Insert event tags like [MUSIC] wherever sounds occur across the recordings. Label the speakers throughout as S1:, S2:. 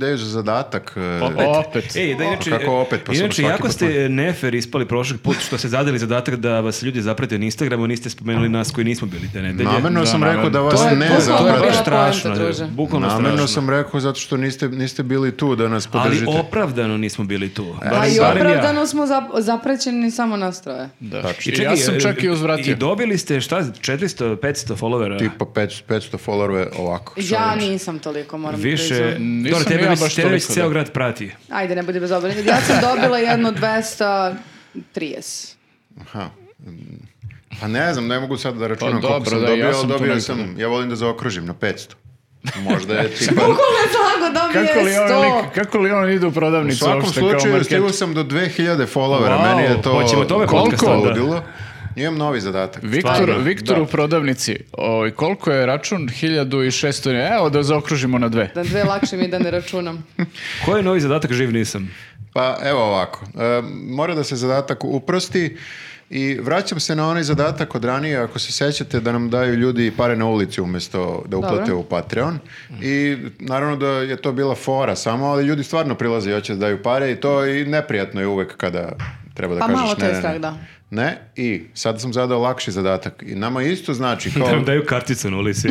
S1: tež zadatak. e,
S2: Pa, Opet.
S3: Ej, da inače,
S1: Kako opet, pa
S3: inače
S1: svaki
S3: jako
S1: put
S3: ste nefer ispali prošli put što ste zadali zadatak da vas ljudi zaprate na Instagramu, niste spomenuli nas koji nismo bili te nedelje.
S1: Namjerno
S2: Da,
S1: sam
S2: naravno.
S1: rekao da vas
S4: To je- to
S1: ne
S4: je
S3: To je
S4: Zapravo.
S3: baš
S1: zaprate.
S4: poenta,
S3: strašno,
S4: druže.
S3: bukvalno strašno.
S1: Namjerno sam rekao zato što niste, niste bili tu da nas
S3: Ali
S1: podržite. E,
S3: opravdano nismo bili tu.
S4: A
S3: Barem-
S4: Pa i
S3: E, barem ja.
S4: opravdano smo zap- zapraćeni samo nas troje.
S2: Da.
S1: Tačno.
S2: I ja sam čak i
S1: e,
S2: uzvratio.
S3: znači, I dobili ste šta, 400, 500 followera?
S1: Tipa 500, 500 followerve ovako.
S4: Ja nisam toliko, moram
S3: Više,
S4: priznati.
S3: dobro, tebe,
S2: ja
S3: već-
S2: baš
S3: tebe već
S2: toliko,
S3: ceo
S2: da.
S3: grad prati.
S4: Ajde, ne budi bezobrazan. Ja
S3: [LAUGHS]
S4: sam dobila jedno 230.
S1: Aha. Mm. Pa ne znam, ne mogu sad da računam
S2: Pa
S1: koliko
S2: dobro,
S1: sam
S2: da,
S1: dobio,
S2: ja
S1: ali
S2: sam tu
S1: dobio
S2: nekako,
S1: sam, ja volim da zaokružim na 500. Možda
S2: [LAUGHS]
S1: je tipa...
S4: Tako dobio
S2: Kako li,
S4: je
S2: on,
S4: 100.
S2: lik- kako li on ide u
S1: U
S2: prodavnicu
S1: svakom
S2: uopšte kao
S1: slučaju
S2: market?
S1: stigao sam do 2000 followera,
S3: Wow,
S1: meni je to...
S3: hoćemo o tome podcast
S1: koliko
S3: onda?
S1: ludilo. Imam novi zadatak.
S2: Viktor,
S3: Stvarno,
S2: Viktor
S1: da.
S2: u prodavnici, ovaj, koliko je račun? 1600, evo da zaokružimo na dve.
S4: Da dve lakše mi je da ne računam.
S3: Koji je novi zadatak, živ nisam.
S1: Pa evo ovako, E, mora da se zadatak uprosti i vraćam se na onaj zadatak od ranije, ako se sećate da nam daju ljudi pare na ulici umjesto da uplate
S4: Dobro.
S1: u Patreon i naravno da je to bila fora samo, ali ljudi stvarno prilaze i hoće da daju pare i to i neprijatno je uvek kada treba da
S4: Pa
S1: kažeš
S4: malo to
S1: ne,
S4: je
S1: ne, ne.
S4: strah, da.
S1: Ne, i sad sam zadao lakši zadatak i nama isto znači
S3: Da
S1: kao...
S3: nam daju karticu na ulici.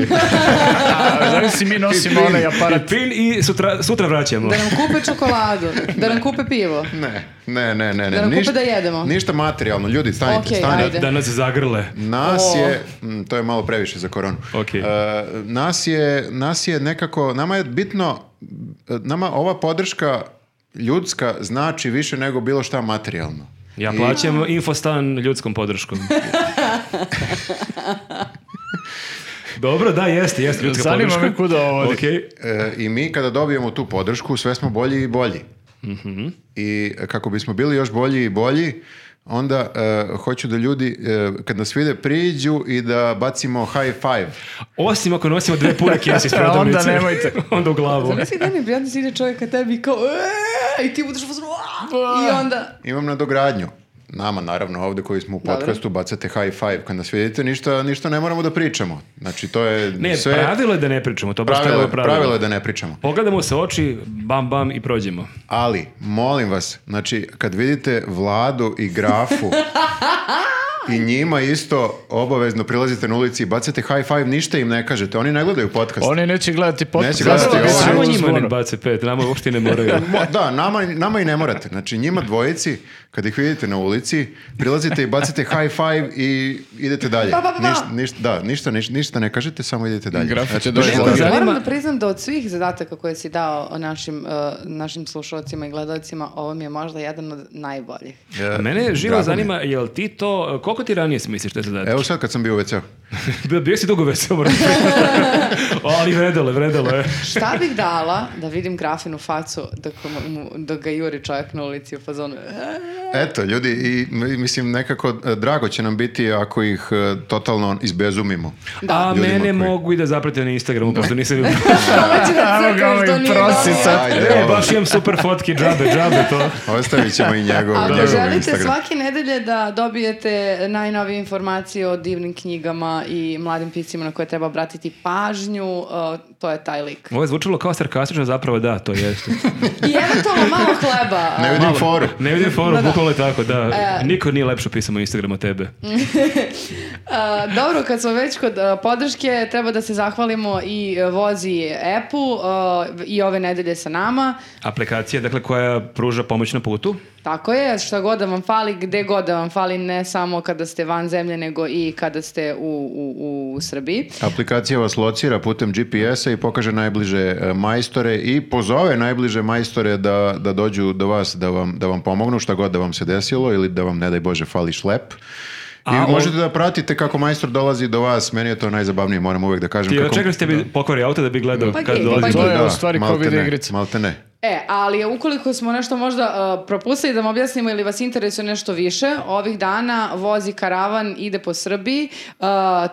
S4: [LAUGHS]
S2: A zavisi mi nosimo
S1: I
S2: onaj aparat.
S3: I pin i sutra, sutra vraćamo.
S4: Da nam kupe čokoladu, da nam kupe pivo.
S1: Ne, ne, ne, ne, ne.
S4: Da nam kupe
S1: ništa-
S4: da jedemo.
S1: Ništa materijalno, ljudi, stanite,
S4: Okej,
S1: stanite.
S4: ajde.
S3: Da nas zagrle.
S1: Nas
S4: O.
S1: je, mm, to je malo previše za koronu,
S3: Ok.
S1: E, nas, je, nas je nekako, nama je bitno, e, nama ova podrška ljudska znači više nego bilo šta materijalno.
S3: Ja
S1: I-
S3: plaćam infostan ljudskom podrškom.
S1: [LAUGHS]
S3: Dobro, da, jeste, jeste ljudska
S2: Zanima
S3: podrška.
S2: me kuda ovo vodi.
S3: Okej.
S1: E, I mi kada dobijemo tu podršku, sve smo bolji i bolji. I e, kako bismo bili još bolji i bolji, onda e, hoću da ljudi, e, kad nas vide, priđu i da bacimo high five.
S3: Osim ako nosimo dve pune
S1: [LAUGHS]
S3: kese iz prodavnice.
S2: Onda nemojte.
S3: [LAUGHS] onda u glavu.
S4: Zamisli da mi prijatno ide čovjek ka tebi i kao "Eee", i ti budeš u fazonu, "Aaa", i onda
S1: Imam nadogradnju. Nama, naravno, ovdje koji smo u
S4: Dobro.
S1: podcastu, bacate high five. Kad nas vidite, ništa, ništa ne moramo da pričamo. Znači, to je
S3: Ne,
S1: sve...
S3: pravilo je da ne pričamo, to baš
S1: pravilo,
S3: pravilo
S1: je-
S3: je
S1: pravilo je da ne pričamo.
S3: Pogledamo se oči, bam bam i prođemo.
S1: Ali, molim vas, znači, kad vidite vladu i grafu i njima isto obavezno prilazite na ulici i bacate high five, ništa im ne kažete. Oni ne gledaju podcast.
S2: Oni neće gledati podcast.
S1: Neće gledati
S2: zato
S1: ovo.
S2: bit će
S3: Samo
S2: u
S3: njima
S2: zvonu.
S3: ne bace pet, nama uopšte ne
S1: [LAUGHS]
S3: moraju.
S1: Mo- da, nama, nama i ne morate. Znači, njima dvojici, kad ih vidite na ulici, prilazite i bacite high five i idete dalje.
S4: Pa, pa, pa, pa.
S1: Ništa, ništa, da, ništa, ništa, ništa ne kažete, samo idete dalje. Znači,
S2: Grafit će
S1: to je
S2: doći
S1: zadatak.
S2: do
S3: Pa Zanima-
S4: Moram da priznam da od svih zadataka koje si dao o našim, eh, našim slušalcima i gledalcima, ovo mi je možda jedan od najboljih.
S1: Ja,
S3: Mene živo
S1: E, drago mi je.
S3: zanima, jel ti to, koliko ti ranije smisliš te zadatke?
S1: Evo sad kad sam bio u WC-u.
S3: [LAUGHS] Bio, bio si dugo vesel, moram priznati. Ali vredalo je, vredalo je.
S4: Šta bih dala da vidim grafinu facu dok, mu- dok ga juri čovjek na ulici u fazonu? "Eee".
S1: Eto, ljudi, i, m- mislim, nekako e, drago će nam biti ako ih e, totalno izbezumimo.
S3: A
S1: Ljudima
S3: mene
S1: koji-
S3: mogu i da zaprate na Instagramu, pošto nisam...
S4: Hoće da
S2: Evo ga
S4: crkaš
S2: ovaj
S4: što nije
S2: prosi
S4: donio.
S2: sad.
S1: Ajde,
S3: E,
S1: ovo,
S3: baš imam super fotke, džabe, džabe to.
S1: Ostavit ćemo i njegov,
S4: Ako
S1: njegov
S4: želite
S1: Instagram.
S4: svake nedelje da dobijete najnovije informacije o divnim knjigama i mladim piscima na koje treba obratiti pažnju, eh, to je taj lik.
S3: Ovo je zvučalo kao sarkastično, zapravo da, to jeste.
S4: I eventualno malo hleba.
S1: [LAUGHS] Ne vidim foru.
S3: Ne vidim foru,
S4: Da, E, da.
S3: bukvalno je tako, da. Niko nije lepše pisao na Instagramu od tebe.
S4: A, dobro, kad smo već kod a, podrške, treba da se zahvalimo i e, vozi Epu a, i ove nedelje sa nama.
S3: Aplikacija, dakle, koja pruža pomoć na putu.
S4: Tako je, šta god da vam fali, gde god da vam fali, ne samo kada ste van zemlje, nego i kada ste u, u, u Srbiji.
S1: Aplikacija vas locira putem GPS-a i pokaže najbliže e, majstore i pozove najbliže majstore da, da dođu do vas da vam, da vam pomognu šta god da vam se desilo ili da vam, ne daj Bože, fali šlep. I
S3: A,
S1: možete da pratite kako majstor dolazi do vas. Meni je to najzabavnije, moram uvek da kažem.
S3: Ti
S1: kako...
S3: očekali ste bi pokvari auto da bi gledao
S4: Pa
S3: kad
S4: gej,
S3: dolazi.
S2: pa
S3: do-
S2: gej. To je u stvari ko vide igrice.
S1: Malte ne.
S4: E, ali ukoliko smo nešto možda a, propustili da vam objasnimo ili vas interesuje nešto više, ovih dana vozi karavan, ide po Srbiji, a,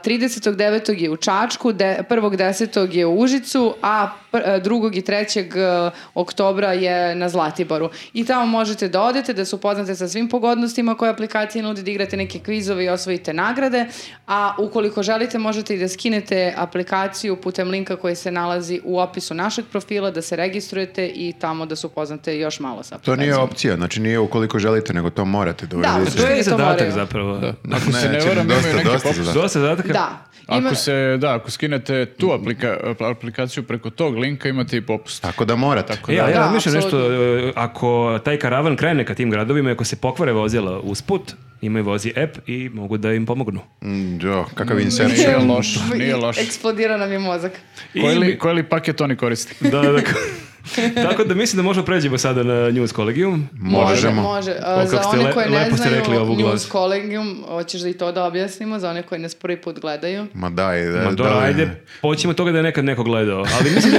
S4: 39. je u Čačku, de, 1.10. je u Užicu, a pr- a, 2. i 3. e, oktobra je na Zlatiboru. I tamo možete da odete, da se upoznate sa svim pogodnostima koje aplikacije nudi, da igrate neke kvizove i osvojite nagrade, a ukoliko želite možete i da skinete aplikaciju putem linka koji se nalazi u opisu našeg profila, da se registrujete i tamo da se upoznate još malo sa
S1: To nije
S4: aplikacijom.
S1: opcija, znači nije ukoliko želite, nego to morate da
S4: Da,
S1: uradite.
S3: Što je
S4: pa to
S3: zadatak
S4: moraju.
S3: zapravo?
S2: Ako se ne
S1: znači,
S2: varam,
S1: dosta,
S2: imaju neke
S1: dosta
S2: popuste.
S1: zadatak.
S3: Dosta zadataka?
S4: Da. Ima-
S2: Ako se, da, ako skinete tu aplika, aplikaciju preko tog linka imate i popust.
S1: Tako da morate.
S3: E,
S2: da,
S3: ali ja
S4: da,
S3: razmišljam nešto,
S4: apsolutno.
S3: e, ako taj karavan krene ka tim gradovima, i ako se pokvare vozila usput, imaju vozi app i mogu da im pomognu.
S1: Mm, jo, kakav inception.
S4: [LAUGHS]
S2: Nije loš, nije loš.
S4: Eksplodira nam je mozak.
S3: I-
S2: Koji li, koji li paket oni koriste?
S3: Da, da, da. Tako da [LAUGHS] mislim da možemo pređemo sada na News kolegijum.
S1: Možemo.
S4: Može, može. A,
S3: O,
S4: za
S3: kako ste
S4: one
S3: le-
S4: koje ne
S3: lepo ste
S4: znaju
S3: rekli ovu
S4: News
S3: glas.
S4: Collegium, hoćeš da i to da objasnimo za one koji nas prvi put gledaju.
S1: Ma daj, da,
S3: Ma dobro,
S1: da li-
S3: ajde, poćemo od toga da je nekad neko gledao, ali mislim da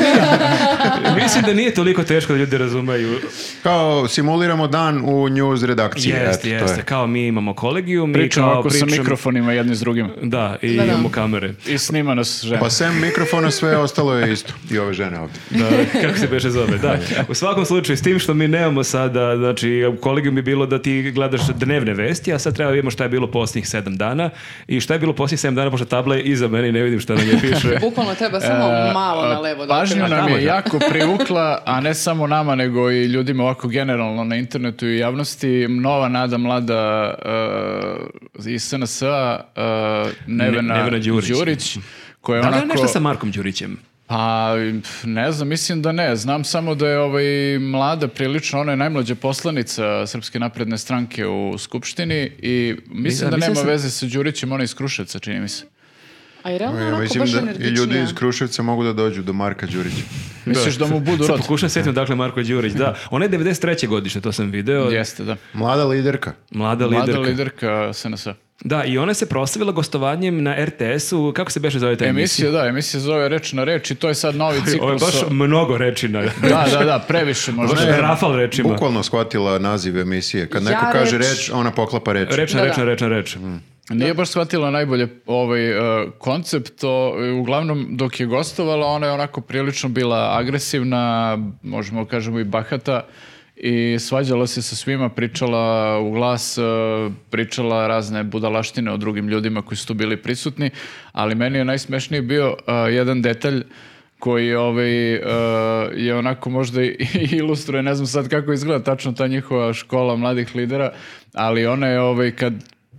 S1: [LAUGHS]
S3: nije, mislim da nije toliko teško da ljudi razumeju.
S1: Kao simuliramo dan u news redakciji. eto,
S3: Jeste,
S1: to je.
S3: jeste, kao mi imamo kolegijum
S2: Pričam
S3: i kao
S2: ovako sa
S3: pričamo-
S2: mikrofonima jedni s drugim.
S3: Da, i
S4: Da, da.
S3: imamo kamere.
S2: I snima nas žena.
S1: Pa sem mikrofona sve ostalo je isto. I ove žene ovdje.
S3: Da, kako se beše zove, da. U svakom slučaju, s tim što mi nemamo sada, znači, u kolegiju bi bilo da ti gledaš dnevne vesti, a sad treba vidimo šta je bilo posljednjih sedam dana i šta je bilo posljednjih sedam dana, pošto tabla je iza mene i ne vidim šta nam je
S4: [LAUGHS]
S3: piše.
S4: Bukvalno treba samo
S2: E,
S4: malo na
S2: a,
S4: levo. da
S2: Pažnju
S4: okrene.
S2: nam
S3: Tamo
S2: je
S3: je.
S2: jako privukla, a ne samo nama, nego i ljudima ovako generalno na internetu i javnosti. Nova nada mlada uh, iz SNS-a, uh, Nevena,
S3: Ne- Nevena
S2: Đurić.
S3: Đurić.
S2: koja je
S3: Da li ono je
S2: onako...
S3: nešto sa Markom Đurićem?
S2: Pa, pf, ne znam, mislim da ne. Znam samo da je ovaj mlada prilično, ona je najmlađa poslanica Srpske napredne stranke u Skupštini i mislim
S3: a
S2: da
S3: mislim
S2: nema
S3: sam-
S2: veze sa Đurićem, ona je iz Kruševca, čini mi se.
S4: A i realno
S1: Ja
S4: onako
S1: mislim
S4: baš
S1: da i
S4: energičnija.
S1: ljudi iz Kruševca mogu da dođu do Marka Đurića.
S2: Misliš da, mu budu
S3: Sad
S2: rod?
S3: pokušam sjetiti dakle Marko Đurić, da.
S2: [LAUGHS]
S3: Ona je 93. godište, to sam video.
S2: Jeste, da.
S1: Mlada liderka.
S3: Mlada liderka.
S2: Mlada liderka SNS-a.
S3: Da, i ona se proslavila gostovanjem na RTS-u, kako se beše zove ta emisija?
S2: Emisija, da, emisija zove Reč na reč i to je sad novi
S3: Ovo je
S2: ciklus.
S3: baš
S2: sa-
S3: mnogo reči na... [LAUGHS]
S2: Da, da, da, previše možda.
S3: Baš
S1: Ne,
S3: rafal rečima.
S1: Bukvalno shvatila naziv emisije. Kad
S4: Ja
S1: neko kaže
S4: reč-
S1: reč, ona poklapa reč.
S3: Reč na
S4: Da,
S3: reč
S4: da.
S3: na reč na reč.
S2: Mm. Nije baš shvatila najbolje ovaj e, koncept, o, uglavnom dok je gostovala ona je onako prilično bila agresivna, možemo kažemo i bahata i svađala se sa svima, pričala u glas, e, pričala razne budalaštine o drugim ljudima koji su tu bili prisutni, ali meni je najsmešniji bio e, jedan detalj koji ovaj, e, je onako možda i [LAUGHS] i ilustruje, ne znam sad kako izgleda tačno ta njihova škola mladih lidera, ali ona je ovaj, kad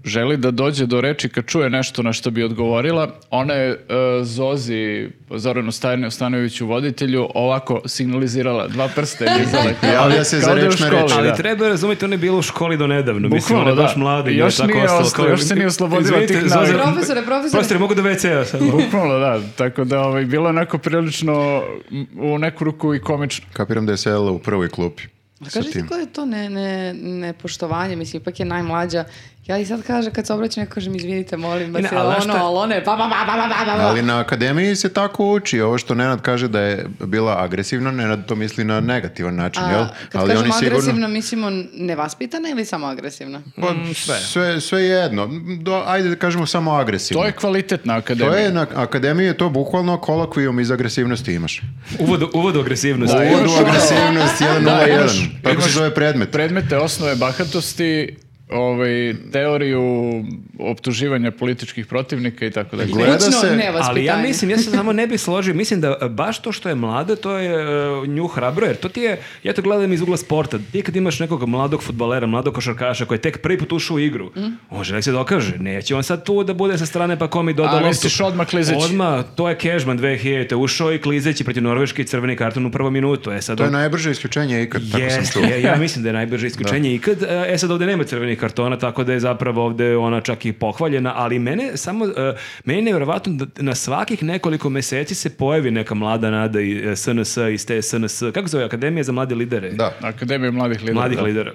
S2: želi da dođe do reči kad čuje nešto na što bi odgovorila. Ona je e, Zozi, Zoranu Stan- Stanojeviću, voditelju, ovako signalizirala dva prste.
S1: [LAUGHS]
S2: lizala.
S1: Javlja se za
S2: Kao da je u
S1: reč na
S2: školi,
S1: reč.
S3: Ali
S2: da.
S3: treba razumjeti, ona je bila u školi do nedavno. Mislim,
S2: Bukvalno,
S3: ona je baš
S2: da.
S3: mlada i
S2: Još
S3: tako
S2: nije
S3: ostala.
S2: oslo- još se nije oslobodila
S3: Izvinite,
S2: tih
S3: Zozan-
S2: navika.
S4: Profesore, profesore.
S3: Profesore, mogu do WC-a sad.
S2: Bukvalno, da. Tako da ovaj, bilo je onako prilično m, u neku ruku i komično.
S1: Kapiram da je sedela u prvoj klupi. sa
S4: A Pa kaži ti
S1: tim.
S4: koje je to ne, ne, nepoštovanje, mislim, ipak je najmlađa. Ja i sad kaže, kad se obraćam, ja kažem, izvinite, molim vas,
S3: Ne,
S4: je
S3: ali znaš
S4: ono,
S3: šta-
S4: ali ono je, ba, ba, ba, ba, ba, ba, ba.
S1: Ali na akademiji se tako uči. Ovo što Nenad kaže da je bila agresivna, Nenad to misli na negativan način,
S4: A,
S1: jel?
S4: kad
S1: Ali oni
S4: kažemo agresivno,
S1: sigurno...
S4: mislimo nevaspitana ili samo agresivna?
S1: Pa, sve, sve jedno. Do, ajde da kažemo samo agresivno.
S2: To je kvalitetna akademija.
S1: To je na akademiji je to bukvalno kolokvijum iz agresivnosti imaš.
S3: Uvod, uvod u agresivnost.
S2: Da,
S1: Uvod
S2: imaš
S1: u
S2: ono-
S1: agresivnost 101.
S2: Da, imaš-
S1: Tako se
S2: imaš
S1: zove predmet.
S2: Predmete osnove bahatosti, ovaj, teoriju optuživanja političkiš protivnika i tako dalje.
S1: Gleda
S4: Kućno
S1: se-
S3: Ali ja
S4: nevaspitanje.
S3: mislim, ja se samo ne bi složio, mislim da e, baš to što je mlada, to je e, nju hrabro, jer to ti je, ja to gledam iz ugla sporta, ti kad imaš nekog mladog futbalera, mladog košarkaša koji je tek prvi put ušao u igru, on želi se dokaže, neće on sad tu da bude sa strane pa kom i doda
S2: A, misliš odmah Klizeć?
S3: Odmah, to je Kežman 2000, ušao i klizeći protiv Norveške i crveni karton u prvom minutu, e sad
S1: To je
S3: on-
S1: najbrže isključenje ikad, [LAUGHS] tako sam
S3: Jest,
S1: čuo.
S3: ja, ja mislim da je najbrže isključenje ikad. E sad ovdje nema crvenih kartona, tako da je zapravo ovdje ona čak i pohvaljena, ali mene samo, e, meni je nevjerovatno da na svakih nekoliko meseci se pojavi neka mlada nada i e, SNS, iz te SNS, kako se zove, Akademija za mlade lidere?
S1: Da.
S2: Akademija mladih lidera.
S3: Mladih
S2: da.
S3: lidera.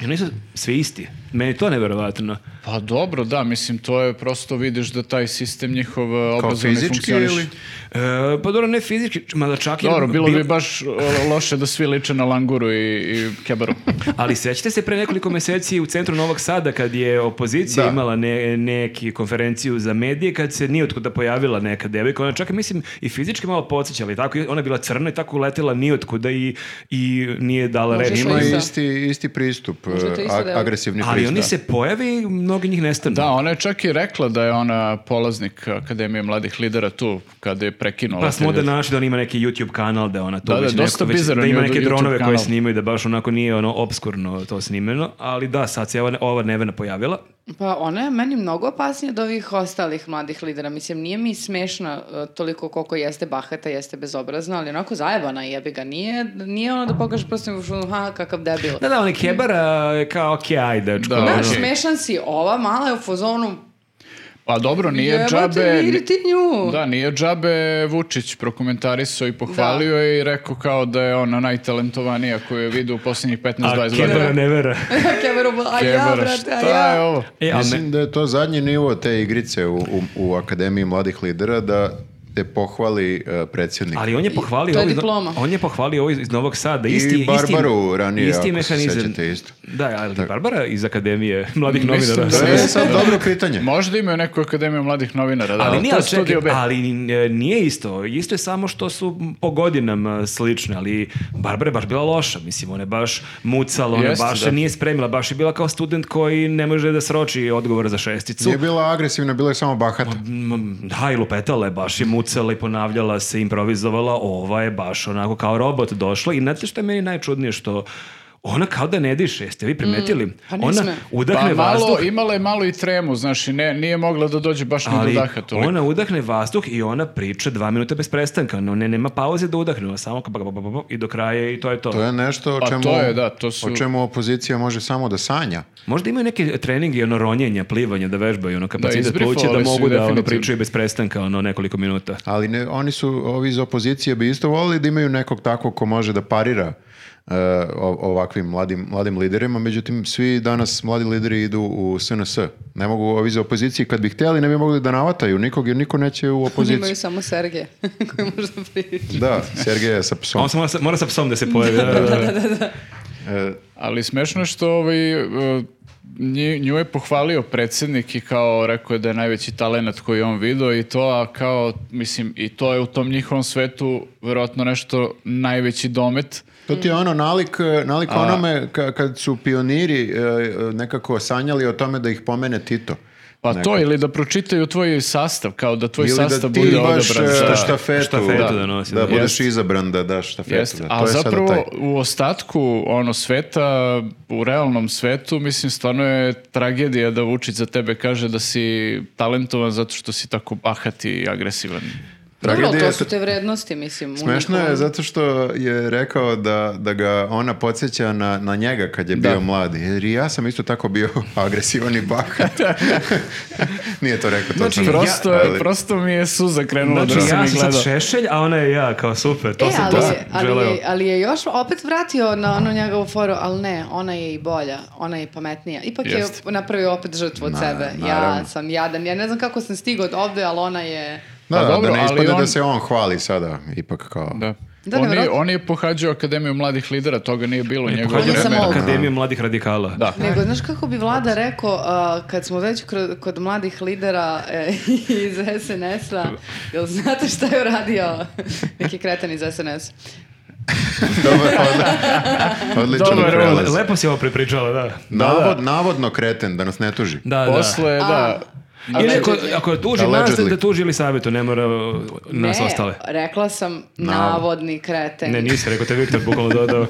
S3: I oni su svi isti. Meni je to nevjerovatno.
S2: Pa dobro, da, mislim, to je prosto vidiš da taj sistem njihov e, obrazovni
S1: fizički
S2: funkcioniš.
S1: ili-
S3: E, pa dobro, ne fizički, mada čak i... ono
S2: Dobro, bilo
S3: bil-
S2: bi baš o, loše da svi liče na Languru i, i
S3: [LAUGHS]
S2: Kebaru.
S3: Ali sećate se pre nekoliko meseci u centru Novog Sada kad je opozicija
S1: Da.
S3: imala ne, neki konferenciju za medije kad se nije otkuda pojavila neka devojka. Ona čak i, mislim i fizički malo podsjećala i tako. i Ona je bila crna i tako uletela nije otkuda i, i nije dala
S4: Može
S3: reč.
S4: se
S1: Ima
S4: Isto.
S1: isti, isti pristup. e,
S4: Možda je to isto
S1: a-
S4: devojka.
S1: agresivni
S3: Ali
S1: turista.
S3: oni se pojave i mnogi njih nestanu.
S2: Da, ona je čak i rekla da je ona polaznik Akademije mladih lidera tu, kada ono, je prekinula.
S3: Pa smo onda
S2: televiziju.
S3: našli da on ima neki YouTube kanal da ona to
S2: Da, da,
S3: već
S2: dosta
S3: neko već-
S2: bizaran
S3: da ima
S2: je
S3: neke
S2: YouTube
S3: dronove koje
S2: kanal.
S3: snimaju da baš onako nije ono obskurno to snimeno, ali da sad se ova, ova Nevena pojavila.
S4: Pa ona je meni mnogo opasnija od ovih ostalih mladih lidera. Mislim, nije mi smešna e, toliko koliko jeste bahata, jeste bezobrazna, ali onako zajebana je, jebi ga. Nije, nije ona da pokaže prstom u šunu, ha, kakav debil.
S3: Da, da, on je kebara je kao okej, ajde, dečko.
S2: Da,
S3: ono.
S4: Znaš,
S2: okej.
S4: smešan si, ova mala je u fazonu, [LAUGHS]
S2: Pa dobro, nije
S4: jebote,
S2: džabe...
S4: vidi ti nju.
S2: Da, nije džabe Vučić prokomentarisao i pohvalio je i rekao kao da je ona najtalentovanija koju je vidio u posljednjih 15-20
S3: A kebara
S2: godina.
S3: nevera.
S4: Kemeru, a ja,
S2: Kebara,
S4: brate, a
S2: šta je
S4: Pa ja.
S2: ovo?
S3: E, ali ne,
S1: Mislim da je to zadnji nivo te igrice u, u, u Akademiji mladih lidera da te pohvali e, predsjednik.
S3: ali on je pohvalio
S4: To je
S3: ovo iz-
S4: diploma.
S3: on je pohvalio ovo iz, iz Novog Sada, isti
S1: I Barbaru
S3: isti,
S1: ranije,
S3: isti
S1: ako se
S3: mehanizam.
S1: sećate isto.
S3: Da, ali Barbara iz Akademije mladih
S2: Mislim
S3: novinara.
S2: da
S1: To je sad dobro pitanje.
S2: Možda imaju neku akademiju mladih novinara. Da,
S3: Ali nije,
S2: to je
S3: ali, čekaj,
S2: Studio B.
S3: ali e, nije isto. Isto je samo što su po godinama slične, ali Barbara je baš bila loša. Mislim, ona je baš mucala, ona
S2: Jeste,
S3: baš
S2: da.
S3: se nije spremila, baš je bila kao student koji ne može da sroči odgovor za šesticu.
S1: Nije bila agresivna, bila je samo bahata.
S3: Mm, Da, i lupetala je, baš je mucala i ponavljala se, improvizovala. Ova je baš onako kao robot došla. I znate što je meni najčudnije što ona kao da ne diše, jeste vi primetili?
S4: pa nisam
S3: ona
S4: ja.
S3: udahne
S2: pa malo,
S3: Dakle, vazduh.
S2: imala je malo i tremu, znaš, i ne, nije mogla da dođe baš na
S3: Ali
S2: dodaha toliko.
S3: ona udahne vazduh i ona priča dva minuta bez prestanka. No, ne, nema pauze da udahne, ona samo kao pa, ba, ba, ba, ba, ba, i do kraja i to je to.
S1: To je nešto o
S2: Pa
S1: čemu,
S2: to je, da, to su-
S1: o čemu opozicija može samo da sanja.
S3: Možda imaju neke treninge, ono ronjenja, plivanja, da vežbaju, ono kapacitet
S2: isbrifovali
S3: pluća, da
S2: su
S3: mogu da ono
S2: definitivno.
S3: pričaju bez prestanka, ono nekoliko minuta.
S1: Ali ne, oni su, ovi iz opozicije bi isto volili da imaju nekog takvog ko može da parira e, o- ovakvim mladim, mladim liderima, međutim svi danas mladi lideri idu u SNS. Ne mogu ovi iz opozicije, kad bi htjeli ne bi mogli da navataju nikog jer niko neće u
S4: Oni
S1: opoziciju.
S4: imaju samo Serge, [LAUGHS] koji možda priča.
S1: Da, Sergej je sa
S3: A
S1: psom.
S3: On se mora, sa- mora sa psom da se pojavi. da, da, da.
S1: E,
S2: Ali smešno je što ovaj, e, nji- nju je pohvalio predsjednik i kao rekao je da je najveći talenat koji je on video i to, a kao, mislim, i to je u tom njihovom svetu verovatno nešto najveći domet.
S1: To ti je ono nalik, e, nalik onome ka- kad su pioniri e, e, nekako sanjali o tome da ih pomene Tito.
S2: Pa
S1: Neko.
S2: to, ili da pročitaju tvoj sastav, kao da tvoj
S1: Ili
S2: sastav
S1: da ti
S2: bude
S1: baš
S2: odabran.
S1: e,
S2: Da.
S1: štafetu,
S3: Štafetu
S1: da,
S3: da nosi,
S1: da
S3: da.
S1: budeš
S2: Jeste.
S1: izabran da daš štafetu.
S2: Jeste,
S1: da. To
S2: a
S1: je sada
S2: zapravo
S1: taj.
S2: u ostatku ono sveta, u realnom svetu, mislim, stvarno je tragedija da Vučić za tebe kaže da si talentovan zato što si tako bahat i agresivan.
S4: Dobro, ali
S1: Tragedija
S4: to
S1: je
S4: su te vrednosti, mislim. u
S1: Smešno je
S4: njihovom-
S1: zato što je rekao da, da ga ona podsjeća na, na njega kad je bio mladi. Jer i ja sam isto tako bio [LAUGHS] agresivan i bahat. [LAUGHS] Nije to rekao točno.
S3: Znači,
S2: Prosto,
S1: ali-
S2: prosto mi je suza krenula
S3: Znači,
S2: dok sam
S3: ja
S2: ih
S3: sam
S2: gledao.
S3: sad šešelj, a ona je ja, kao super, to
S4: E,
S3: sam, to
S4: ali, je-
S3: sam
S4: ali,
S3: želeo.
S4: je- ali je još opet vratio na onu njegovu foru, ali ne, ona je i bolja, ona je i pametnija. Ipak
S2: Jeste.
S4: je napravio opet žrtvu od
S1: Na-
S4: sebe.
S1: naravno.
S4: Ja sam jadan, ja ne znam kako sam stigao od ovde, ali ona je...
S1: Da,
S2: Pa
S1: da,
S2: dobro,
S1: da ne
S2: ali
S1: ispade da
S2: on-
S1: se on hvali sada, ipak kao... [LAUGHS]
S2: Da.
S4: Da,
S2: on, je,
S4: nevjerojatno.
S2: on je pohađao Akademiju mladih lidera, toga nije bilo u njegovo
S3: Pohađao
S4: On je
S3: sam
S2: vreme.
S4: samo-
S3: Akademiju mladih radikala.
S2: Da.
S4: Pa Nego, znaš kako bi vlada rekao, a, kad smo već kod, kod mladih lidera e, [LAUGHS] iz SNS-a, jel znate šta je uradio [LAUGHS] neki kretan iz SNS?
S1: Dobar,
S2: [LAUGHS]
S1: odli- odličan
S2: Dobar
S1: prelaz.
S3: Le- Lepo si ovo prepričala, da.
S1: Navod, Navodno kreten, da nas ne tuži.
S3: Da,
S2: Posle, da,
S4: A,
S3: Ili
S4: ne,
S3: ako, ako tuži nas,
S1: Allegedly.
S3: da tuži ili savjetu, ne mora uh, nas
S4: ne,
S3: ostale.
S4: rekla sam navodni kreten.
S3: Ne, nisi, rekao te Viktor, bukvalno
S1: [LAUGHS]
S3: dodao.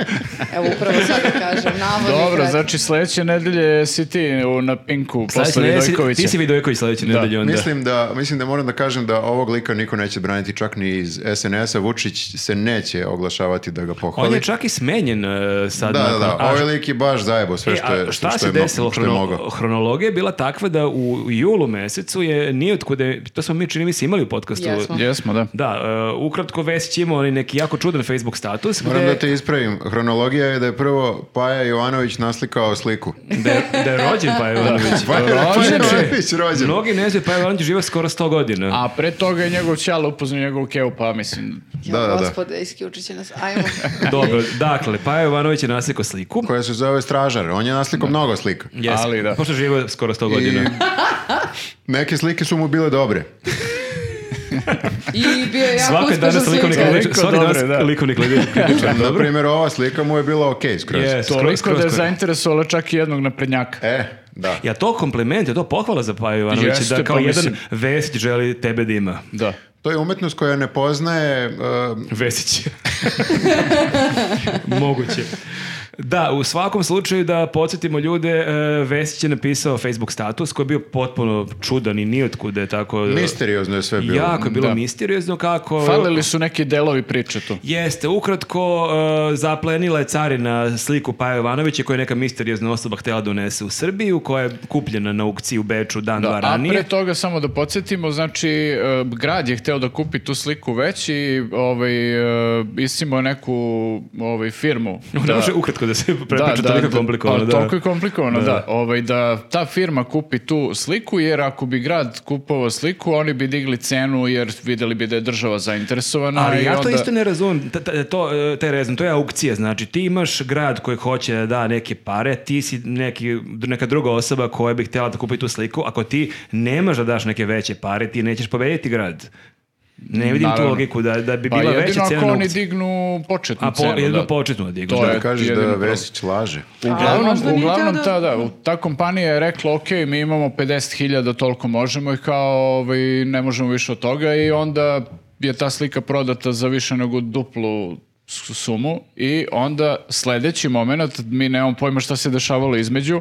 S4: Evo, upravo sada
S3: [LAUGHS]
S4: kažem, navodni
S2: dobro,
S4: kreten.
S2: znači sledeće nedelje si ti u, na Pinku
S3: Sledeće
S2: posle
S3: nedelje si-
S2: Vidojkovića.
S3: Ti si Vidojković sledeće
S2: Da.
S3: nedelje onda.
S1: Mislim da, mislim da moram da kažem da ovog lika niko neće braniti čak ni iz SNS-a. Vučić se neće oglašavati da ga pohvali.
S3: On je čak i smenjen uh, sad.
S1: Da, da,
S3: nakon-
S1: da.
S3: A,
S1: Ovaj lik je baš zajebo sve
S3: E,
S1: što
S3: a
S1: je,
S3: šta
S1: što,
S3: se
S1: je, mo-
S3: desilo?
S1: što je
S3: Hrono-
S1: mogao.
S3: Hronologija je bila takva da u julu mesecu je nije otkude, to smo mi čini mi se imali u podcastu.
S4: Jesmo.
S2: Jesmo, da.
S3: Da, e, ukratko Vesić ima onaj neki jako čudan Facebook status
S1: Moram da
S3: gde,
S1: te ispravim. Hronologija je da je prvo Paja Jovanović naslikao sliku.
S3: da, je, da je rođen pa je Jovanović.
S1: Paja
S2: Rođen pa, je.
S1: Jovanović rođen.
S3: Mnogi ne znaju pa je Jovanović živa skoro 100 godina.
S2: A pre toga je njegov ćala upoznao njegovu kevu, pa mislim,
S4: Ja,
S1: Da, da, da.
S4: gospode, isključit će nas. Ajmo.
S3: Dobro, dakle, pa je Jovanović je naslikao sliku.
S1: Koja se zove Stražar. On je naslikao mnogo slika.
S3: Jes,
S2: Ali da.
S3: Pošto živa skoro 100
S1: I
S3: godina.
S1: neke slike su mu bile dobre.
S4: I bio je jako
S3: Svaka je
S4: uspešan
S3: danas likovni
S4: slikar.
S3: kladič.
S2: Toliko
S3: Svaka je
S2: dobre, da.
S3: danas likovni
S2: [LAUGHS]
S3: kladič.
S1: Na primjer, ova slika mu je bila okej skroz.
S3: Yes. E, Skroz,
S2: Toliko
S3: skroz,
S2: da je
S3: skroz.
S2: zainteresovala čak i jednog naprednjaka.
S1: E, da.
S3: Ja to kompliment, je to pohvala za Paju Ivanovića,
S2: Jeste,
S3: da kao
S2: pa
S3: jedan
S2: mislim-
S3: Vesić želi tebe da ima.
S2: Da.
S1: To je umetnost koja ne poznaje... um,
S3: Vesić. [LAUGHS] Moguće. Da, u svakom slučaju da podsjetimo ljude, e, Vesić je napisao Facebook status koji je bio potpuno čudan i nijotkuda je tako... e,
S1: misteriozno je sve bilo.
S3: Jako je bilo
S2: Da.
S3: misteriozno kako...
S2: Falili su neki delovi priče tu.
S3: Jeste, ukratko, e, zaplenila je carina sliku Paja Jovanovića koju je neka misteriozna osoba htjela donese u Srbiju, koja je kupljena na aukciji u Beču dan, dva
S2: Da, a
S3: ranije.
S2: pre toga samo da podsjetimo, znači e, grad je hteo da kupi tu sliku već i ovaj, e, isimo je neku ovaj, firmu.
S3: [LAUGHS] Ne može ukratko da se prepriča, toliko je komplikovano.
S2: ali
S3: Da,
S2: Pa Toliko je komplikovano, da. Ovaj, da ta firma kupi tu sliku, jer ako bi grad kupovao sliku, oni bi digli cenu jer videli bi da je država zainteresovana.
S3: Ali
S2: i
S3: ja to
S2: onda-
S3: isto ne razumem, ta- ta- to, e, taj rezon, to je aukcija, znači ti imaš grad koji hoće da da neke pare, ti si neki, neka druga osoba koja bi htjela da kupi tu sliku, ako ti nemaš da daš neke veće pare, ti nećeš pobediti grad. Ne vidim tu
S2: Naravno.
S3: logiku da, da bi
S2: Pa
S3: bila veća
S2: jedino
S3: cena
S2: ako
S3: na
S2: oni
S3: aukciji.
S2: dignu početnu
S3: A po,
S2: cenu.
S3: jedino
S2: da.
S3: početno da dignu,
S2: To
S3: da.
S1: Da
S2: je
S1: kažeš
S2: jedini
S1: da
S2: problem.
S1: Vesić laže.
S4: Ali
S2: Uglavnom,
S4: možda nije
S2: uglavnom
S4: hteo da-
S2: ta, da, u- ta kompanija je rekla, ok, mi imamo 50.000, toliko možemo i kao ovaj, ne možemo više od toga i onda je ta slika prodata za više nego duplu s- sumu i onda sledeći moment, mi nemamo pojma šta se dešavalo između,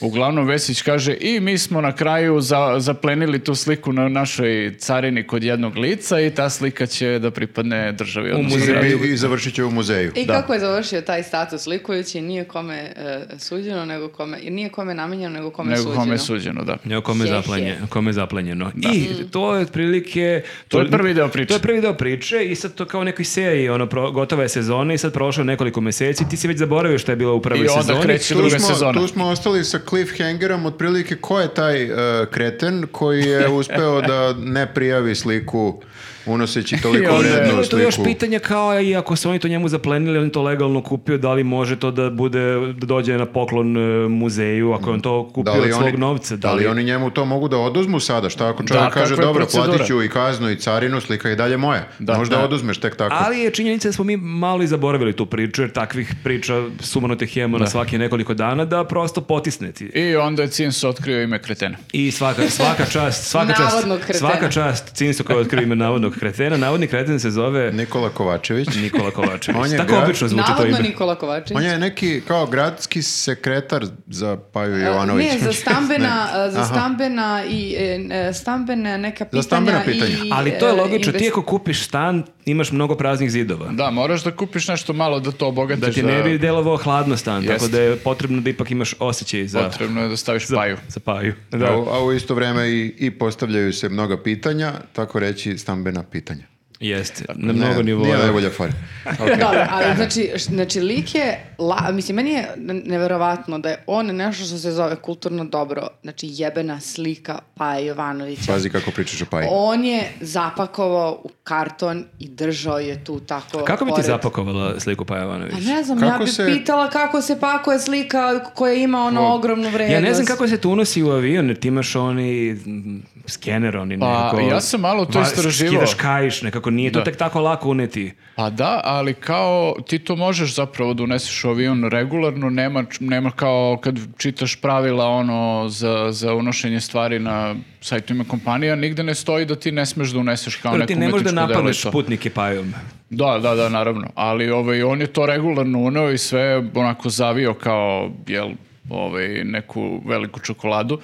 S2: uglavnom Vesić kaže i mi smo na kraju za, zaplenili tu sliku na našoj carini kod jednog lica i ta slika će da pripadne državi. odnosno
S3: muzeju.
S2: gradu.
S1: I, I završit će u muzeju.
S4: I kako je završio taj status likujući, nije kome e, suđeno, nego kome, nije kome namenjeno, nego kome
S2: Nego
S4: suđeno.
S2: kome je suđeno, da.
S3: Evo kome je
S4: Heh,
S3: zaplenje, kome je zaplenjeno. I to je otprilike...
S2: To je prvi deo priče.
S3: To je prvi deo priče i sad to kao u nekoj seriji, ono, pro- gotova je sezona i sad prošlo je nekoliko meseci, ti si već zaboravio što je bilo u prvoj
S2: I onda
S3: sezoni.
S2: kreće
S1: Tu
S2: druga
S1: smo,
S2: sezona.
S1: tu smo ostali sa cliffhangerom otprilike ko je taj e, kreten koji je uspeo da ne prijavi sliku unoseći
S2: I
S1: toliko
S2: onda-
S1: vrednu
S3: Bilo je
S1: sliku.
S3: to još pitanja kao i ako su oni to njemu zaplenili, on to legalno kupio, da li može to da bude, da dođe na poklon e, muzeju, ako je on to kupio od svog novca.
S1: da li oni njemu to mogu da oduzmu sada? Šta ako čovjek
S2: Da,
S1: kaže,
S2: kakva je
S1: dobro,
S2: procedura?"
S1: platit ću i kaznu i carinu, slika je i dalje moja.
S2: Da,
S1: Možda
S2: da.
S1: oduzmeš tek tako.
S3: Ali je činjenica da smo mi malo i zaboravili tu priču, jer takvih priča sumanutih imamo na svaki nekoliko dana, da prosto potisne ti.
S2: I onda je Cins otkrio ime kretena.
S3: I svaka, svaka čast, svaka čast,
S4: Navodnog kretena.
S3: svaka čast Cinsu koja otkriva ime navodnog kretena. Navodni kreten se zove
S1: Nikola Kovačević.
S3: Nikola Kovačević.
S1: On je
S3: Tako
S1: grad-
S3: obično zvuči to
S4: Navodno
S3: ime.
S4: Nikola Kovačić.
S1: On je neki kao gradski sekretar za Paju Jovanovića.
S4: E,
S1: [LAUGHS]
S4: Ne, za stambena,
S1: Ne.
S4: e, za
S1: Aha.
S4: stambena i e, stambene neka pitanja.
S1: Za stambena
S4: I,
S1: pitanja.
S3: Ali to je
S4: e,
S3: logično, ti
S4: invest-
S3: ako kupiš stan, imaš mnogo praznih zidova.
S2: Da, moraš da kupiš nešto malo da to obogatiš.
S3: Da ti ne bi delovao hladno stan, tako
S2: Jest.
S3: da je potrebno da ipak imaš osjećaj za,
S2: Potrebno je da staviš paju.
S3: za paju.
S1: A,
S3: Da.
S1: u- a u isto vrijeme i, i postavljaju se mnoga pitanja, tako reći stambena pitanja.
S3: Jeste,
S2: Pa,
S3: na mnogo
S1: ne, Nije
S3: nivoa.
S1: najbolja fora.
S4: Dobro, ali znači, š- znači lik je, la, mislim, meni je n- neverovatno da je on nešto što se zove kulturno dobro, znači jebena slika Paja Jovanovića.
S1: Pazi kako pričaš o Paju.
S4: On je zapakovao u karton i držao je tu tako.
S3: Kako bi ti
S4: pored.
S3: zapakovala sliku Paja Jovanović?
S4: Pa ne znam,
S1: Kako
S4: ja bi
S1: se-
S4: pitala kako se pakuje slika koja ima ono ogromnu vrednost.
S3: Ja ne znam kako se to unosi u avion, jer ti imaš oni mm, skener, oni
S2: Pa,
S3: nekako...
S2: ja sam malo to
S3: va-
S2: istraživao.
S3: Skidaš kajiš, nekako nije to
S2: Da.
S3: tek tako lako uneti.
S2: Pa da, ali kao ti to možeš zapravo da uneseš u avion regularno, nema, č- nema kao kad čitaš pravila ono za, za unošenje stvari na sajtovima kompanija, nigde ne stoji da ti ne smeš da uneseš kao
S3: Dobro,
S2: neku
S3: ti ne možeš da
S2: umetničku delo i
S3: napadneš
S2: to.
S3: putnike pajom.
S2: Da, da, da, naravno. Ali ovaj, on je to regularno uneo i sve onako zavio kao jel, ovaj, neku veliku čokoladu.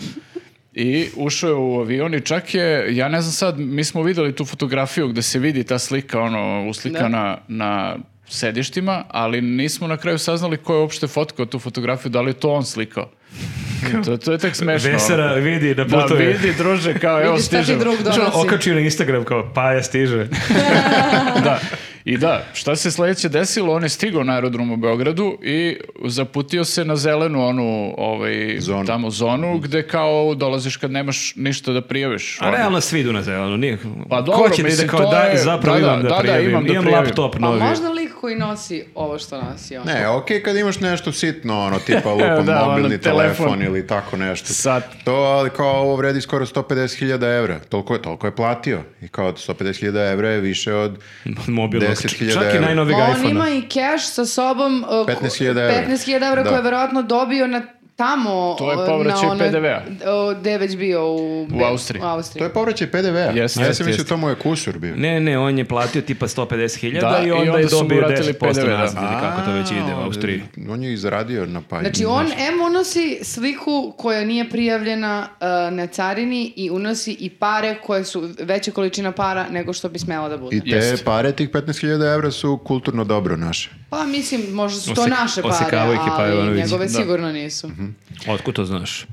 S2: I ušao je u avion i čak je, ja ne znam sad, mi smo videli tu fotografiju gde se vidi ta slika, ono, uslikana na sedištima, ali nismo na kraju saznali ko je uopšte fotkao tu fotografiju, da li je to on
S4: [LAUGHS]
S2: slikao. To, to je tek smešno. ono.
S3: Vesera vidi da
S2: Da,
S3: putuje.
S2: vidi, druže, kao, evo,
S4: Vidi šta ti
S2: stižem.
S4: drug
S3: Znaš, ono,
S4: donosi.
S3: okačio na Instagram kao, Paja stiže.
S2: da. I da, šta se sledeće desilo? On je stigao na aerodrom u Beogradu i zaputio se na zelenu onu, ovaj,
S1: Zonu. Mhm.
S2: tamo zonu, gde kao dolaziš kad nemaš ništa da prijaviš.
S3: A
S2: Ono.
S3: realno svi idu na zeleno, nije.
S2: Pa dobro,
S3: Ko će da ide
S2: mislim,
S3: kao
S2: to
S3: da,
S2: je-
S3: zapravo
S2: da, da,
S3: imam da,
S2: da, da,
S3: prijavim,
S2: imam Pa da
S3: imam
S2: prijavim.
S3: laptop
S4: A
S3: novi. [LAUGHS]
S4: Pa možda lik koji nosi ovo što nosi on?
S1: Ne, okej kad imaš nešto sitno, ono,
S3: [LAUGHS]
S1: tipa lupom
S2: Da, ono,
S1: mobilni telefon.
S2: telefon.
S1: ili tako nešto.
S2: Sad.
S1: To, ali kao ovo vredi skoro 150.000 evra. Toliko je, toliko je platio. I kao 150.000 evra je više od...
S3: Mobilnog.
S1: 10.000
S3: Čak i
S1: evra.
S3: najnovijeg
S2: Pa
S4: Ma, On
S3: iPhone-a.
S4: ima i cash sa sobom. uh, ko-
S1: 15.000 evra.
S4: 15.000 evra
S1: Da.
S4: koje je verovatno dobio na tamo.
S2: To je
S4: uh, na
S2: povraćaj
S4: onoj-
S2: PDV-a.
S4: o, Gde je već bio u...
S2: U Austriji.
S4: U Austriji.
S1: To je pa povraćaj PDV-a.
S2: Jeste,
S1: ja
S2: jeste,
S1: sam mislio
S2: jeste.
S1: to mu je kusur bio.
S3: Ne, ne, on je platio tipa 150.000
S2: Da,
S3: i
S2: i
S3: onda,
S2: onda
S3: je
S2: su mu
S3: dobio
S2: vratili
S3: 10%
S2: PDV, da.
S3: nazad ili kako to već ide u
S1: A,
S3: Austriji.
S1: On je i zaradio na palju.
S4: Znači, on M unosi sliku koja nije prijavljena uh, na carini i unosi i pare koje su veća količina para nego što bi smela da bude.
S1: I te
S2: Jeste.
S1: pare, tih 15.000 evra su kulturno dobro naše.
S4: Pa mislim, možda su to
S3: Osek-
S4: naše pare,
S3: osekavao ih je Pavel
S4: ali
S3: Ivanović.
S4: njegove
S2: Da.
S4: sigurno nisu.
S1: Mhm.
S3: Otkud to znaš?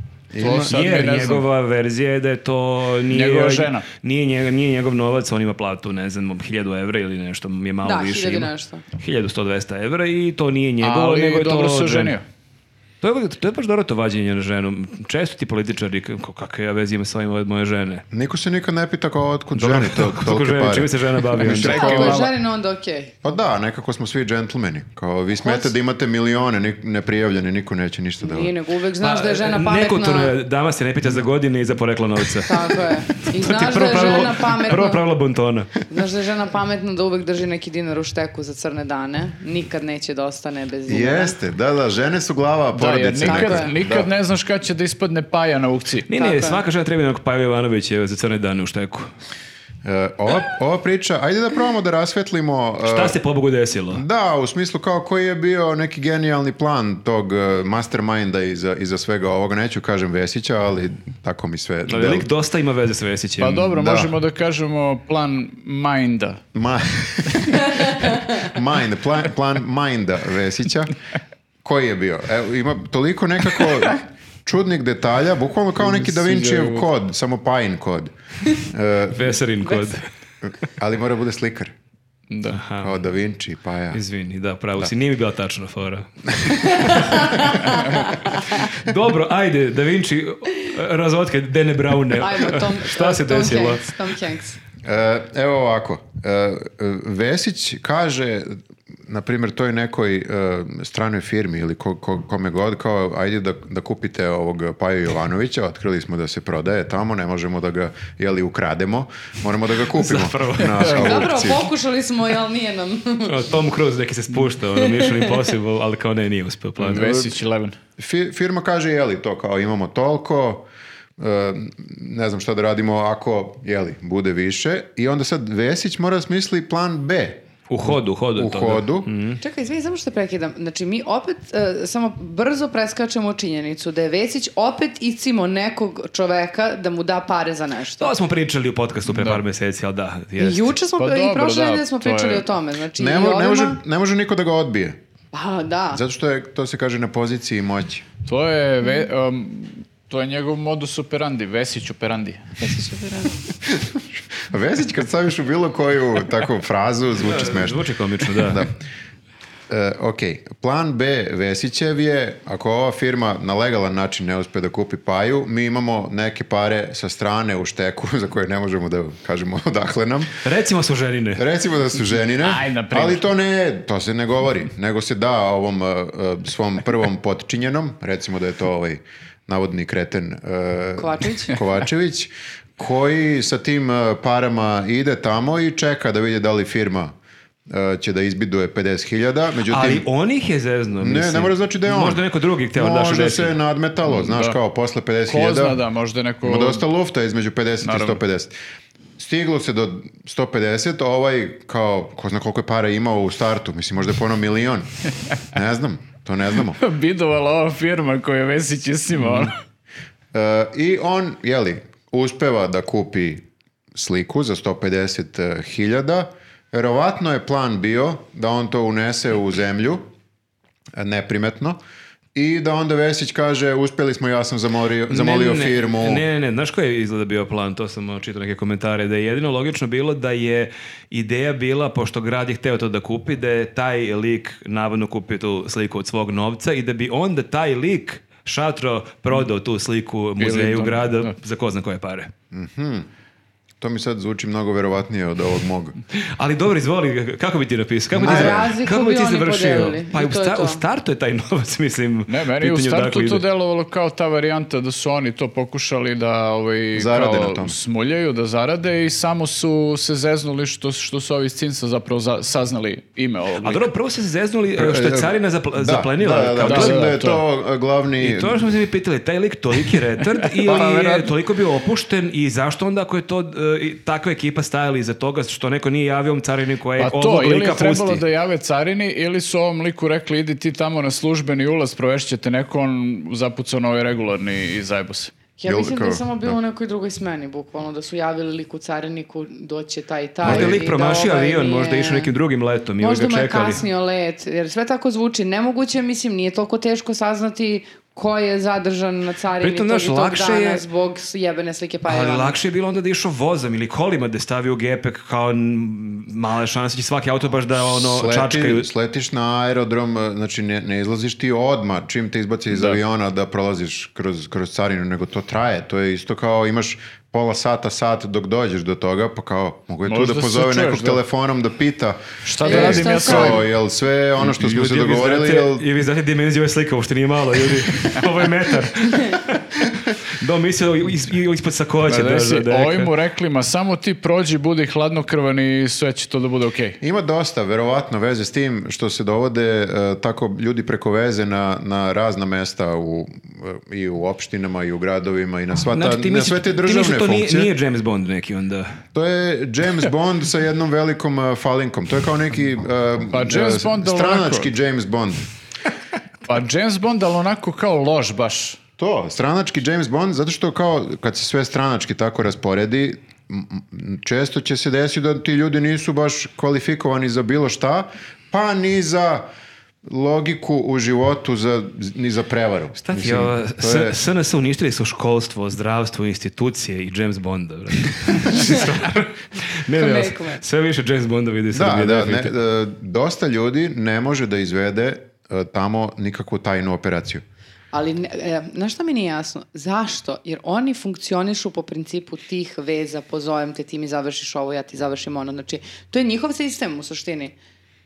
S2: To sad mi
S3: Jer
S2: ne znam.
S3: njegova verzija je da je to nije,
S2: Njegova žena.
S3: Nije, njega, nije njegov novac, on ima platu, ne znam, 1000 evra ili nešto, je malo
S4: Da,
S3: više.
S4: hiljadu
S3: ima.
S4: nešto.
S3: 1100-200 evra i to nije njegovo, nego
S2: Ali
S3: je
S2: dobro
S3: to...
S2: se
S3: od žene.
S2: oženio.
S3: To je, to je baš dobro to vađenje na ženu. Često ti političari, kako, kakve ja veze imam sa ovim od moje žene.
S1: Niko se nikad ne pita kao otkud ženi
S3: [LAUGHS]
S1: to,
S3: Kako
S1: tolike
S3: žene,
S1: pare.
S3: čime se žena
S1: [LAUGHS]
S3: bavi? onda?
S1: Mislim,
S4: Ako
S1: kao-
S4: ovo je žareno, onda okej.
S1: Pa da, nekako smo svi džentlmeni. Kao vi smete da imate milione nik- neprijavljene, niko neće ništa da vam-
S4: Nije nego uvek
S3: Pa,
S4: znaš da je žena pametna.
S3: Nekulturno je, dama se e, ne pita za godine i za poreklo novca.
S4: Tako je.
S3: [LAUGHS]
S4: I
S3: To ti
S4: znaš da je
S3: pravilo-
S4: žena pametna.
S3: Prvo pravilo bontona.
S4: Znaš da je žena pametna da uvek drži neki dinar u šteku za crne dane. Nikad neće da ostane bez dinara.
S1: Jeste, da, da, žene su glava
S2: Da, jer
S1: porodice. nekako.
S2: nikad, nikad
S1: Da.
S2: ne znaš kad će da ispadne paja na aukciji.
S3: Nije,
S4: Tako
S3: nije,
S4: je.
S3: svaka žena treba jednog Paja Jovanovića za crne dane u šteku.
S1: E, ova, ova priča, ajde da probamo da rasvetlimo... e,
S3: Šta se pobogu desilo?
S1: Da, u smislu kao koji je bio neki genijalni plan tog e, masterminda iza, iza svega ovoga. Neću kažem Vesića, ali tako mi sve...
S3: Ali
S1: del-
S3: lik dosta ima veze s Vesićem.
S2: Pa dobro,
S1: Mm, Da.
S2: možemo da kažemo plan minda.
S1: Ma... [LAUGHS] Mind, plan, plan Minda Vesića. Koji je bio? Evo, ima toliko nekako čudnih detalja, bukvalno kao neki Da Vincijev kod, samo Pajin kod.
S3: Veserin kod.
S1: Ali mora bude slikar.
S2: Da.
S1: Kao Da Vinci, pa Paja.
S3: Izvini, da, pravo si. Nije mi bila tačna fora. [LAUGHS] Dobro, ajde, Da Vinci, razotkaj Dene Braune.
S4: Ajmo, Tom,
S3: [LAUGHS] Šta se
S4: Tom
S3: desilo?
S4: Hanks, Tom Hanks.
S1: E, evo ovako. E, e, Vesić kaže na primjer toj nekoj e, stranoj firmi ili ko, ko- kome god kao ajde da, da kupite ovog Paju Jovanovića, otkrili smo da se prodaje tamo, ne možemo da ga jeli ukrademo, moramo da ga kupimo.
S3: [LAUGHS] Zapravo.
S1: Na
S4: Zapravo,
S1: aukciji.
S4: pokušali smo, jel nije nam.
S3: Tom Cruise neki se spušta, ono, Mission Impossible, ali kao ne, nije uspio plan.
S2: pa Vesić Eleven.
S1: Fi- firma kaže jeli to kao imamo toliko e, ne znam šta da radimo ako jeli bude više i onda sad Vesić mora da smisli plan B
S3: U hodu, u hodu. je Mhm.
S1: u
S3: toga.
S1: hodu.
S4: [LAUGHS] Čekaj, izvini, samo što te prekidam. Znači, mi opet e, samo brzo preskačemo činjenicu da je Vesić opet icimo nekog čoveka da mu da pare za nešto.
S3: To smo pričali u podcastu pre par meseci, ali da,
S4: I
S3: jeste.
S4: juče smo,
S2: Pa
S4: i
S2: dobro,
S4: prošle
S2: da,
S4: nedelje smo
S2: to je-
S4: pričali o tome. Znači,
S1: Ne,
S4: i
S1: mo- ne
S4: ovima-
S1: može, ne može niko da ga odbije.
S4: Pa, da.
S1: Zato što je, to se kaže na poziciji moći.
S2: To je, ve- um, to je njegov modus operandi, Vesić operandi.
S1: Vesić kad staviš u bilo koju takvu frazu, zvuči smešno.
S3: Zvuči komično, da.
S1: Da. E, ok, plan B Vesićev je, ako ova firma na legalan način ne uspe da kupi paju, mi imamo neke pare sa strane u šteku, [LAUGHS] za koje ne možemo da kažemo odakle nam.
S3: Recimo su ženine.
S1: Recimo da su ženine,
S2: Aj, na primjer.
S1: ali to ne, to se ne govori, nego se da ovom e, e, svom prvom potčinjenom, recimo da je to ovaj navodni kreten e,
S4: Kovačević.
S1: [LAUGHS] Kovačević, koji sa tim e, parama ide tamo i čeka da vidi da li firma e, će da izbiduje 50.000, međutim...
S3: Ali on ih je zezno,
S1: Ne,
S3: mislim.
S1: ne mora znači da je on.
S3: Možda neko drugi hteo da
S1: Možda
S3: se
S1: se nadmetalo, znaš,
S2: Da.
S1: kao posle 50.000.
S2: Ko zna da, možda je
S1: Ima
S2: neko...
S1: dosta lufta između 50
S2: Naravno.
S1: i 150. Stiglo se do 150, ovaj kao, ko zna koliko je para imao u startu, mislim možda je ponovno
S3: [LAUGHS]
S1: milion. Ne znam, to ne znamo.
S2: Bidovala ova firma koju je Vesić isnima, ono.
S1: E, I on, jeli, uspeva da kupi sliku za 150 hiljada. Verovatno je plan bio da on to unese u zemlju, e, neprimetno, i da onda Vesić kaže uspjeli smo, ja sam zamorio, zamolio
S3: ne, ne,
S1: firmu.
S3: Ne, ne, ne, znaš koji je izgleda bio plan, to sam uh, čitao neke komentare, da je jedino logično bilo da je ideja bila, pošto grad je hteo to da kupi, da je taj lik navodno kupio tu sliku od svog novca i da bi onda taj lik šatro prodao tu sliku muzeju
S2: to-
S3: grada
S2: da.
S3: za ko zna koje pare.
S1: To mi sad zvuči mnogo verovatnije od ovog mog.
S3: Ali dobro, izvoli, k- kako bi ti napisao? Kako bi ti,
S4: A
S3: za-
S4: razliku
S3: kako bi
S4: bi
S3: ti
S4: oni
S3: završio?
S4: podelili.
S3: Pa
S4: I
S3: u,
S4: to je
S3: sta-
S4: to.
S3: u startu je taj [LAUGHS] novac, mislim.
S2: Ne, meni je u
S3: pitanje
S2: startu
S3: odakle
S2: to
S3: ide.
S2: delovalo kao ta varijanta da su oni to pokušali da ovaj,
S1: Zarade
S2: kao
S1: na tome.
S2: smuljaju, da zarade i samo su se zeznuli što, što su ovi iz Cinca zapravo za- saznali ime ovog
S3: A
S2: lika.
S3: dobro, prvo ste se zeznuli e, što je carina zapl-
S1: Da,
S3: zaplenila.
S1: Da, da, da,
S3: kao
S1: mislim
S2: da,
S1: da je
S2: to.
S1: to e, glavni...
S3: I to ono smo se mi pitali, taj lik toliki retard ili je
S1: verovatno.
S3: toliko bio opušten i zašto onda ako je to e, i takva ekipa stajala iza toga što neko nije javio carini koje
S2: Pa
S3: je
S2: to,
S3: e, ovog
S2: ili je
S3: lika
S2: trebalo
S3: pusti.
S2: da jave carini, ili su ovom liku rekli idi ti tamo na službeni ulaz, provešćete neko, on zapucao na ovaj regularni i zajebo se.
S4: Ja
S1: Jel,
S4: mislim da je
S1: kao,
S4: samo bilo
S1: da.
S4: u nekoj drugoj smeni, bukvalno, da su javili liku cariniku, doće taj i taj.
S3: Možda je
S4: i
S3: lik
S4: da
S3: promašio
S4: ovaj
S3: avion,
S4: nije-
S3: možda je išao nekim drugim letom ili
S4: Možda
S3: ga
S4: mu je
S3: čekali.
S4: kasnio let, jer sve tako zvuči nemoguće, mislim, nije toliko teško saznati ko je zadržan na carini
S3: Pritom,
S4: tog i
S3: znaš,
S4: tog
S3: lakše
S4: dana
S3: je-
S4: zbog jebene slike pa
S3: Ali lakše je bilo onda da je išao vozom ili kolima da je stavio gepek kao n- male šanse će svaki auto baš da ono
S1: Sleti-
S3: čačkaju.
S1: Sletiš na aerodrom, e, znači ne, ne izlaziš ti odmah čim te izbaci iz aviona da prolaziš kroz, kroz carinu, nego to traje. To je isto kao imaš pola sata, sat dok dođeš do toga, pa kao mogu je tu
S2: Možda
S1: da
S2: se
S1: pozove
S2: čuješ,
S1: nekog
S2: da.
S1: telefonom da pita
S2: Šta
S4: E,
S2: da radim
S4: šta
S2: ja
S4: sad?
S2: sa ovim?
S1: kao, jel sve ono što smo se
S3: Ljudi, vi
S1: dogovorili,
S3: znate-
S1: jel
S3: I vi znate dimenziju ove slike, uopšte nije malo, ljudi. Ovo je metar. Do mislio is, i- ispod sakoća.
S2: Pa
S3: Da,
S2: reci,
S3: da, da, da,
S2: ovi mu rekli, ma samo ti prođi, budi hladnokrvan i sve će to da bude okej.
S1: Ima dosta, verovatno, veze s tim što se dovode e, tako ljudi preko veze na, na razna mesta u, e, i u opštinama i u gradovima i na, sva Pa ta,
S3: Znači, ti
S1: na
S3: misliš,
S1: sve te
S3: ti misliš
S1: državne
S3: to nije,
S1: funkcije.
S3: nije James Bond neki onda?
S1: To je James Bond sa jednom velikom e, falinkom. To je kao neki e,
S2: Pa James
S1: e,
S2: Bond, ali
S1: stranački
S2: onako.
S1: James Bond.
S2: Pa James Bond, ali onako kao loš baš.
S1: To, stranački James Bond, zato što kao kad se sve stranački tako rasporedi, m- m- često će se desiti da ti ljudi nisu baš kvalifikovani za bilo šta, pa ni za logiku u životu, za, ni za prevaru.
S3: Šta ti
S1: Mislim,
S3: je ovo?
S1: to
S3: S-
S1: je-
S3: SNS uništili su školstvo, zdravstvo, institucije i James Bonda.
S1: [LAUGHS]
S3: brate. ne, ne, ja sam-
S4: Nekome.
S3: sve više James Bonda vidi se.
S1: Da, da, ne, e, dosta ljudi ne može da izvede e, tamo nikakvu tajnu operaciju.
S4: Ali, ne- e, znaš šta mi nije jasno? Zašto? Jer oni funkcionišu po principu tih veza, pozovem te, ti mi završiš ovo, ja ti završim ono. Znači, to je njihov sistem u suštini.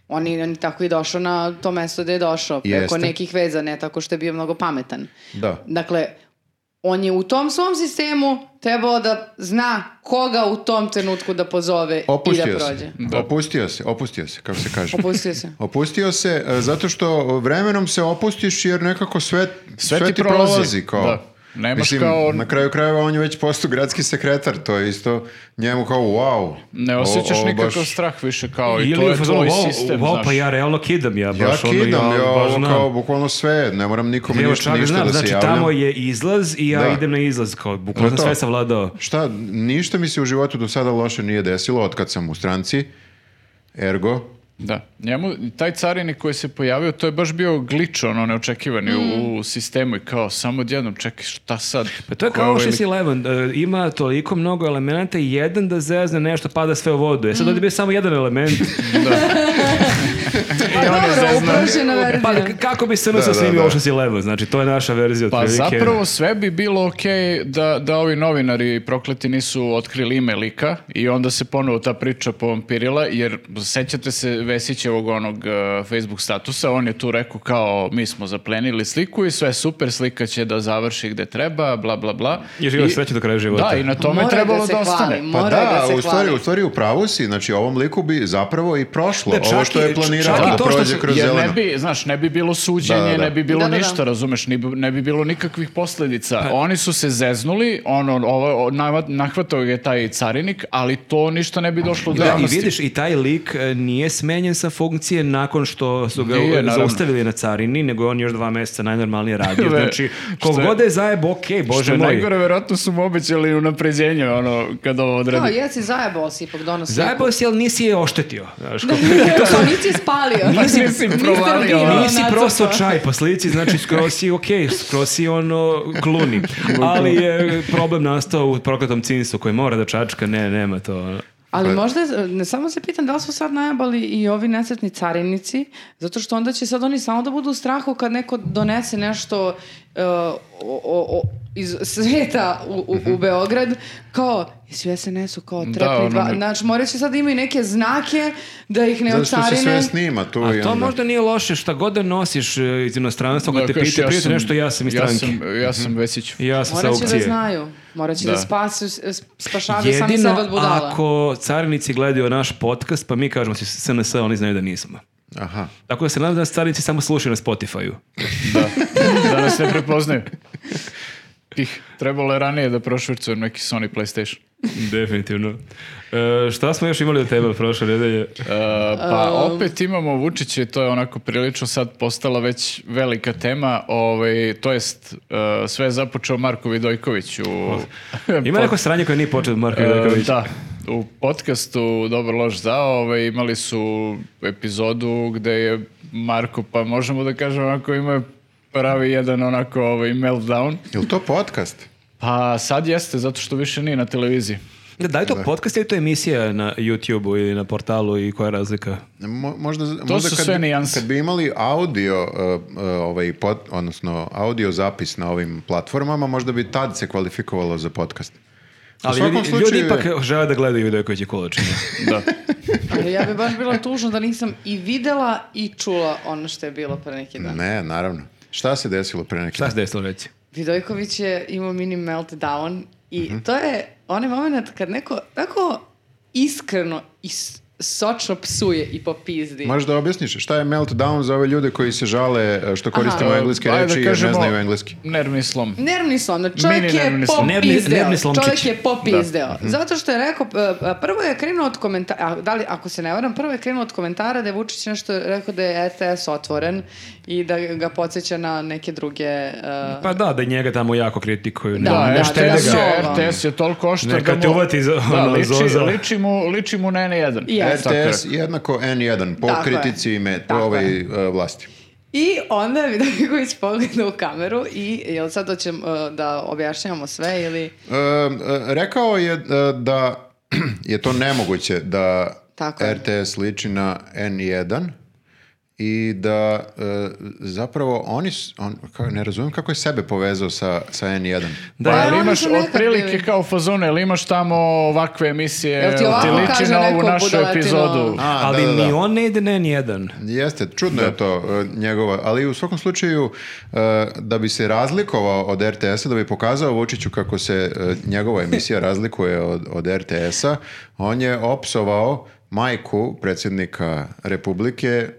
S4: Oni, on je tako i došao na to mesto da je došao, preko
S1: Jeste.
S4: nekih veza, ne tako što je bio mnogo pametan.
S1: Da.
S4: Dakle, on je u tom svom sistemu trebao da zna koga u tom trenutku da pozove i da
S1: Opustio
S4: prođe.
S1: se. Opustio se, opustio se, kako se
S4: [LAUGHS]
S1: kaže.
S4: Opustio se.
S1: Opustio se e, zato što vremenom se opustiš jer nekako sve, sve, ti prolazi. kao.
S2: Da. Nemaš
S1: Mislim,
S2: kao-
S1: na kraju krajeva on je već postao gradski sekretar, to je isto njemu kao wow.
S2: Ne
S1: o-
S2: osjećaš
S1: ovo
S2: nikakav
S1: baš-
S2: strah više kao i
S3: Ili
S2: to
S3: je
S2: je
S3: fazonu,
S2: tvoj
S3: wow,
S2: sistem,
S3: wow,
S2: znaš.
S3: pa ja realno kidam ja
S1: Ja
S3: baš ono,
S1: kidam, ja,
S3: baš
S1: ovo
S3: znam.
S1: kao bukvalno sve, ne moram nikome
S3: Evo
S1: ništa,
S3: čak
S1: ništa
S3: znam,
S1: da se
S3: znači
S1: javljam.
S3: tamo je izlaz i ja
S1: Da.
S3: idem na izlaz, kao bukvalno
S1: To je
S3: sam
S1: to.
S3: sve savladao.
S1: Šta, ništa mi se u životu do sada loše nije desilo od kad sam u stranci, ergo,
S2: Da. Njemu, taj carinik koji se pojavio, to je baš bio glič, ono, neočekivani u, u sistemu i kao, samo odjednom, čekaj, šta sad?
S3: Mm. Pa to je
S2: Ko
S3: kao
S2: ovaj lik?
S3: 6-11, e, ima toliko mnogo elemenata i jedan da zezne nešto, pada sve u vodu. E sad ovdje je bio samo jedan element.
S4: Pa dobro, uprošena verzija.
S3: Pa k- kako bi se da,
S1: da,
S3: snimio
S1: da.
S3: ovo 6-11, znači to je naša verzija.
S2: Pa
S3: otprilike.
S2: zapravo sve bi bilo okej da, da ovi novinari prokleti nisu otkrili ime lika i onda se ponovo ta priča povampirila, jer sećate se Vesićevog onog uh, Facebook statusa, on je tu rekao kao mi smo zaplenili sliku i sve super, slika će da završi gde treba, bla bla bla.
S3: I živio
S2: I-
S3: sreće do kraja života.
S2: Da, i na tome
S4: Mora
S2: trebalo
S4: se
S2: da, ostane.
S4: hvali,
S1: Pa
S4: mora
S1: da,
S4: se
S1: u stvari,
S4: hvali.
S1: u stvari u pravu si, znači ovom liku bi zapravo i prošlo
S3: Da, čak
S1: ovo što
S3: i-
S1: je planirano
S3: čak i
S1: da
S3: to što
S1: prođe
S3: se-
S1: kroz
S2: Jer
S1: zeleno.
S2: ne bi, znaš, ne bi bilo suđenje,
S1: Da, da, da.
S2: ne bi bilo
S4: Da, Pa- da, da.
S2: ništa, razumeš, ne bi, ne bi bilo nikakvih posljedica. Oni su se zeznuli, ono, ovo, o, nama- nahvatao je taj carinik, ali to ništa ne bi došlo do
S3: Da, i
S2: javnosti.
S3: vidiš, i taj lik e, nije sme smenjen sa funkcije nakon što su ga
S2: Nije,
S3: Nije,
S2: naravno.
S3: zaustavili na carini, nego je on još dva mjeseca najnormalnije
S2: [LAUGHS]
S3: radio.
S2: Ve-
S3: Znači,
S2: što je-
S3: kogod je zajeb, ok,
S2: Što
S3: bože
S2: je
S3: moj.
S2: najgore, verovatno su mu obećali unapređenje, ono, kad ovo
S4: Da,
S2: odredi.
S4: jesi zajebao si ipak donosi.
S3: Zajebao si, ali nisi je oštetio. Znaš, ko-
S4: Kao niti je spalio.
S2: Nisi- provalio.
S4: Niste originalno
S3: Nisi
S4: nacrtao.
S3: prosto čaj po slici, znači skroz si ok, skroz si ono kluni. Ali je problem nastao u prokletom cinsu koji mora da čačka, ne, nema to. ono.
S4: Ali možda, je- ne samo se pitam da li su sad najabali i ovi nesretni carinici, zato što onda će sad oni samo da budu u strahu kad neko donese nešto e, o, o- o- iz sveta u, u, u Beograd, kao, jesi u SNS-u, kao
S2: ono
S4: trepni dva,
S2: ne-
S4: znači morat će sad da imaju neke znake da ih ne
S1: Zato što se sve
S4: ocarine.
S1: snima tu i
S3: A to
S1: onda-
S3: možda nije loše, šta god da nosiš e, iz inostranstva, kad te
S2: kažeš,
S3: pita, pita nešto, ja sam iz
S2: ja
S3: stranke.
S2: sam- Ja sam Vesić.
S3: I Ja sam sa
S4: Morat će da
S3: aukcije.
S4: znaju, morat će da,
S2: Da.
S4: spasu, s- spašavaju sami sebe
S3: Jedino
S4: od budala.
S3: ako carinici gledaju naš podcast, pa mi kažemo si SNS, oni znaju da nismo.
S1: Aha.
S3: Tako da se nadam da nas carinici samo slušaju na Spotify-u.
S2: Da nas ne prepoznaju. Ih, trebalo je ranije da prošvrcujem neki Sony Playstation.
S3: Definitivno. E, šta smo još imali od tebe prošle nedelje?
S2: E, pa opet imamo Vučića i to je onako prilično sad postala već velika tema, ovaj, to jest e, sve je započeo Marko Vidojković u... e,
S3: Ima neko sranje koje nije počeo od Marka Vidakovića?
S2: Da, u podcastu Dobar loš zao ovaj, imali su epizodu gde je Marko, pa možemo da kažemo onako ima pravi jedan onako ovaj, meltdown.
S1: Jel to podcast?
S2: Pa sad jeste, zato što više nije na televiziji.
S3: Da, da li to podcast ili to emisija na YouTube-u ili na portalu i koja je razlika?
S1: Mo- možda, to
S2: su sve nijanse.
S1: Kad bi imali audio, uh, uh, ovaj, pod, odnosno audio zapis na ovim platformama, možda bi tad se kvalifikovalo za podcast.
S3: Ali
S1: svakom
S3: ljudi,
S1: slučaju
S3: ljudi ipak
S1: je-
S3: žele da gledaju Vidaković i Kulačina.
S2: Da.
S4: Ali ja bi baš bila tužna da nisam i videla i čula ono što je bilo pre neki dan.
S1: Ne, naravno. Šta se desilo pre neki
S3: Šta se desilo reci?
S4: Vidojković je imao mini meltdown i to je onaj moment kad neko tako iskreno i s- sočno psuje i popizdi.
S1: Možeš da objasniš šta je meltdown za ove ljude koji se žale uh, što koristimo
S4: Aha.
S1: engleske
S2: Ajde da
S1: reči jer ne
S2: kažemo,
S1: znaju engleski?
S2: Nervni slom.
S4: Nervni slom, znači čovjek
S2: Mini
S4: je
S2: nervni slom.
S3: Nervni-
S4: popizdeo.
S3: nervni slomčić.
S4: Čovjek je popizdeo. Zato što je rekao, e, prvo je krenuo od komentara, a, da li, ako se ne varam, prvo je krenuo od komentara da je Vučić nešto rekao da je RTS otvoren i da ga podsjeća na neke druge... e,
S3: Pa da, da njega tamo jako kritikuju. ne?
S4: Da,
S2: Da,
S4: da,
S2: RTS,
S4: da,
S2: je,
S4: da.
S2: RTS je toliko oštar
S3: Neka te uvati za-
S2: da,
S3: ono,
S2: liči,
S3: Zoza.
S2: liči, mu, liči mu na N1.
S4: Jeste.
S2: Tako je.
S1: E, RTS jednako N1 po
S4: Tako je.
S1: kritici i met, po
S4: Tako
S1: ovaj, uh, vlasti.
S4: I onda je [LAUGHS] Vidojković pogledao u kameru i jel sad hoćemo e, da objašnjavamo sve ili...
S1: E, e, rekao je e, da [CLEARS THROAT] je to nemoguće da
S4: Tako je.
S1: RTS liči na N1 i da e, zapravo oni, s- on, ka- ne razumijem kako je sebe povezao sa, sa N1.
S3: Da,
S2: Pa,
S4: Pa,
S2: jel
S4: oni
S2: imaš
S4: su nekad
S2: otprilike
S4: bili.
S2: kao fazone, jel imaš tamo ovakve emisije,
S4: Jel
S2: jel
S4: ti
S2: ti,
S4: ovako
S2: liči
S4: kaže
S2: na ovu
S4: neko
S2: našu
S4: budaletino?
S2: epizodu?
S1: A,
S3: ali
S1: da, da, da.
S3: ni on ne ide na N1.
S1: Jeste, čudno je to e, njegova, ali u svakom slučaju e, da bi se razlikovao od RTS-a, da bi pokazao Vučiću kako se e, njegova
S3: [LAUGHS]
S1: emisija razlikuje od, od RTS-a, on je opsovao majku predsjednika Republike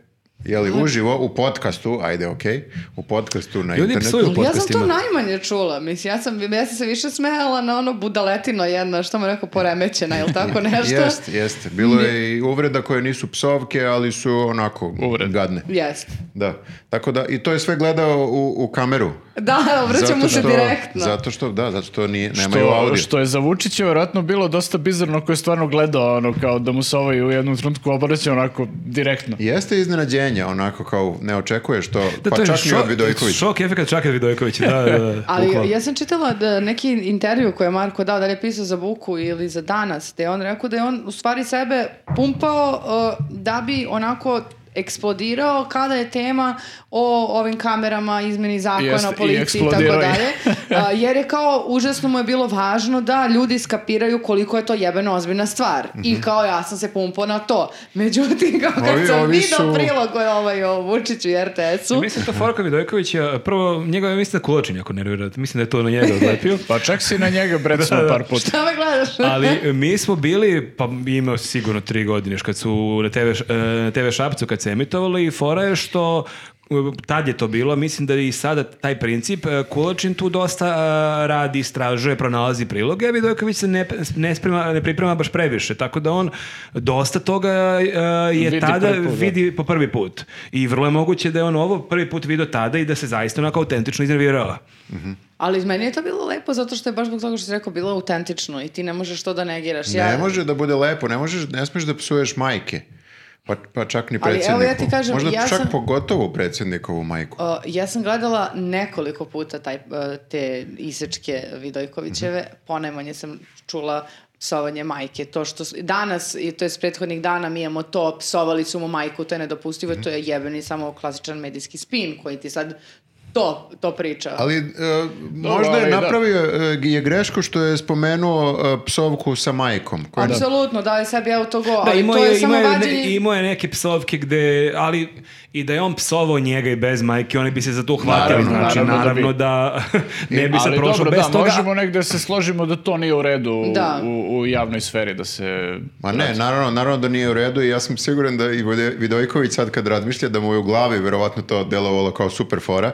S1: je
S3: Mhm.
S1: li uživo u podcastu, ajde, okej, u podcastu na
S3: Ljudi
S1: internetu.
S3: psuju. U
S4: Ja sam to
S3: podcastima.
S4: najmanje čula, mislim, ja sam, ja sam se više smejala na ono budaletino jedno, što mu rekao, poremećena ili
S1: [LAUGHS]
S4: tako nešto.
S1: Jeste, jeste. Bilo je i uvreda koje nisu psovke, ali su onako gadne.
S4: Jest.
S1: Da. Tako da, i to je sve gledao u, u kameru.
S4: Da, vraćamo mu se direktno.
S1: Zato što, da, zato što nije, nemaju
S2: Što,
S1: audio.
S2: što je za Vučića vjerojatno bilo dosta bizarno ko je stvarno gledao ono kao da mu se ovaj u jednom trenutku obraća onako direktno.
S1: Jeste iznenađenje, onako kao ne očekuješ to,
S3: Da,
S1: pa
S3: to je
S1: čak i
S3: šok-
S1: od Vidojkovića.
S3: Šok efekt čak i od Vidojkovića, da, da, da.
S4: [LAUGHS] Ali
S3: bukvalno.
S4: ja sam čitala da neki intervju koji je Marko dao, da li je pisao za Buku ili za danas, gde je on rekao da je on u stvari sebe pumpao uh, da bi onako eksplodirao kada je tema o ovim kamerama, izmeni zakona,
S2: Jeste,
S4: o
S2: i
S4: policiji i tako
S2: eksplodirao je.
S4: dalje. A, jer je kao, užasno mu je bilo važno da ljudi skapiraju koliko je to jebeno ozbiljna stvar. I kao, ja sam se pumpao na to. Međutim, kao kad
S1: Ovi-
S4: sam
S1: ovi
S4: vidio
S1: su-
S4: prilog koji je ovaj o Vučiću i RTS-u,
S3: Mislim to Forka Vidojkovića, prvo njega ja mislim da Kulačin jako nervira, mislim da je to na
S4: [LAUGHS]
S3: njega odlepio.
S2: Pa čak si na njega brecno par puta.
S4: šta me gledaš?
S2: [LAUGHS]
S3: Ali mi smo bili, pa imao si sigurno tri godine, još kad su na TV, š- e, na TV Šapcu kad se emitovali i fora je što tad je to bilo, mislim da je i sada taj princip, e, Kulačin tu dosta e, radi, istražuje, pronalazi priloge, a Vidojković se ne, ne, sprema, ne priprema baš previše, tako da on dosta toga e, je
S2: Vidi
S3: tada
S2: prvi put, da.
S3: vidi po prvi put. I vrlo je moguće da je on ovo prvi put video tada i da se zaista onako autentično iznervirala.
S4: Ali meni je to bilo lepo zato što je baš zbog toga što si rekao bilo autentično i ti ne možeš to da negiraš.
S1: Ne može da bude lepo, ne, možeš, ne smiješ da psuješ majke. Pa, pa čak ni
S4: Ali evo ja
S1: predsjedniku.
S4: ti kažem,
S1: Možda
S4: ja
S1: čak
S4: sam-
S1: pogotovo predsjednikovu majku.
S4: O, ja sam gledala nekoliko puta taj, e, te isečke Vidojkovićeve,
S1: Mhm.
S4: ponajmanje sam čula psovanje majke. To što s- danas, i to je s prethodnih dana, mi imamo to, psovali su mu majku, to je nedopustivo,
S1: Mhm.
S4: to je jebeni samo klasičan medijski spin koji ti sad to, to priča.
S1: Ali e, možda je
S2: ali da.
S1: napravio e, je grešku što je spomenuo e, psovku sa majkom. koja-
S4: Apsolutno, da li sebi auto go,
S3: Da,
S4: Pa ali
S3: imao
S4: to je,
S3: je,
S4: samo
S3: imao je,
S4: vađenje...
S3: ne- imao je neke psovke gde, ali i da je on psovao njega i bez majke, oni bi se za to hvatili.
S2: Naravno,
S3: znači,
S2: naravno
S3: naravno,
S2: da bi.
S3: da, ne bi se
S2: Ali
S3: prošlo
S2: dobro,
S3: bez
S2: da,
S3: toga.
S2: možemo negde da se složimo da to nije u redu u,
S4: Da.
S2: u, u javnoj sferi, da se...
S1: Ma
S3: Znači.
S1: ne, naravno, naravno da nije u redu i ja sam siguran da i Vode- Vidojković sad kad razmišlja da mu je u glavi verovatno to delovalo kao super fora,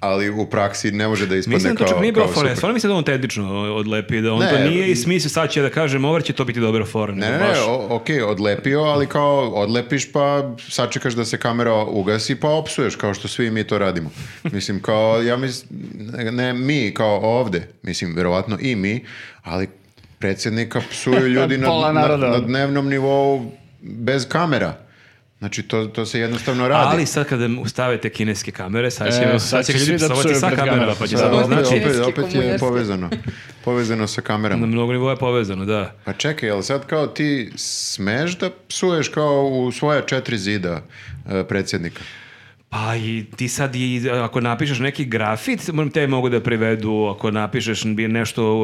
S1: ali u praksi ne može da ispadne
S3: Mislim da to
S1: kao,
S3: čak nije
S1: kao
S3: bilo fora.
S1: super.
S3: Stvarno mislim da on tetično odlepi, da on
S1: Ne,
S3: to nije i smislio sad ću ja da kažem, ovo će to biti dobra fora.
S1: Ne,
S3: nego
S1: ne, ne,
S3: baš.
S1: o- okej, odlepio, ali kao odlepiš pa sačekaš da se kamera ugasi pa opsuješ, kao što svi mi to radimo. Mislim, kao, ja mislim, ne, ne mi, kao ovde, mislim, verovatno i mi, ali predsjednika psuju
S3: [LAUGHS]
S1: ljudi na,
S2: Pola
S1: na,
S2: naroda.
S1: na dnevnom nivou bez kamera. Znači, to, to se jednostavno radi.
S3: Ali sad kada stavite kineske kamere, sad će,
S2: E,
S3: sad će ljudi
S2: svi da
S3: psovati
S2: psuju
S3: sa
S2: pred
S3: kamera,
S2: kamerom.
S3: pa će
S1: Da,
S3: sad ovo
S1: opet,
S3: znači
S1: opet,
S4: Kineski
S1: opet je
S4: komunjarski.
S1: povezano. Povezano sa
S3: na
S1: kamerama.
S3: mnogo nivoa je povezano, da.
S1: Pa čekaj, jel sad kao ti smeš da psuješ kao u svoja četiri zida e, predsjednika?
S3: Pa i ti sad i ako napišeš neki grafit, moram te mogu da privedu, ako napišeš bi nešto,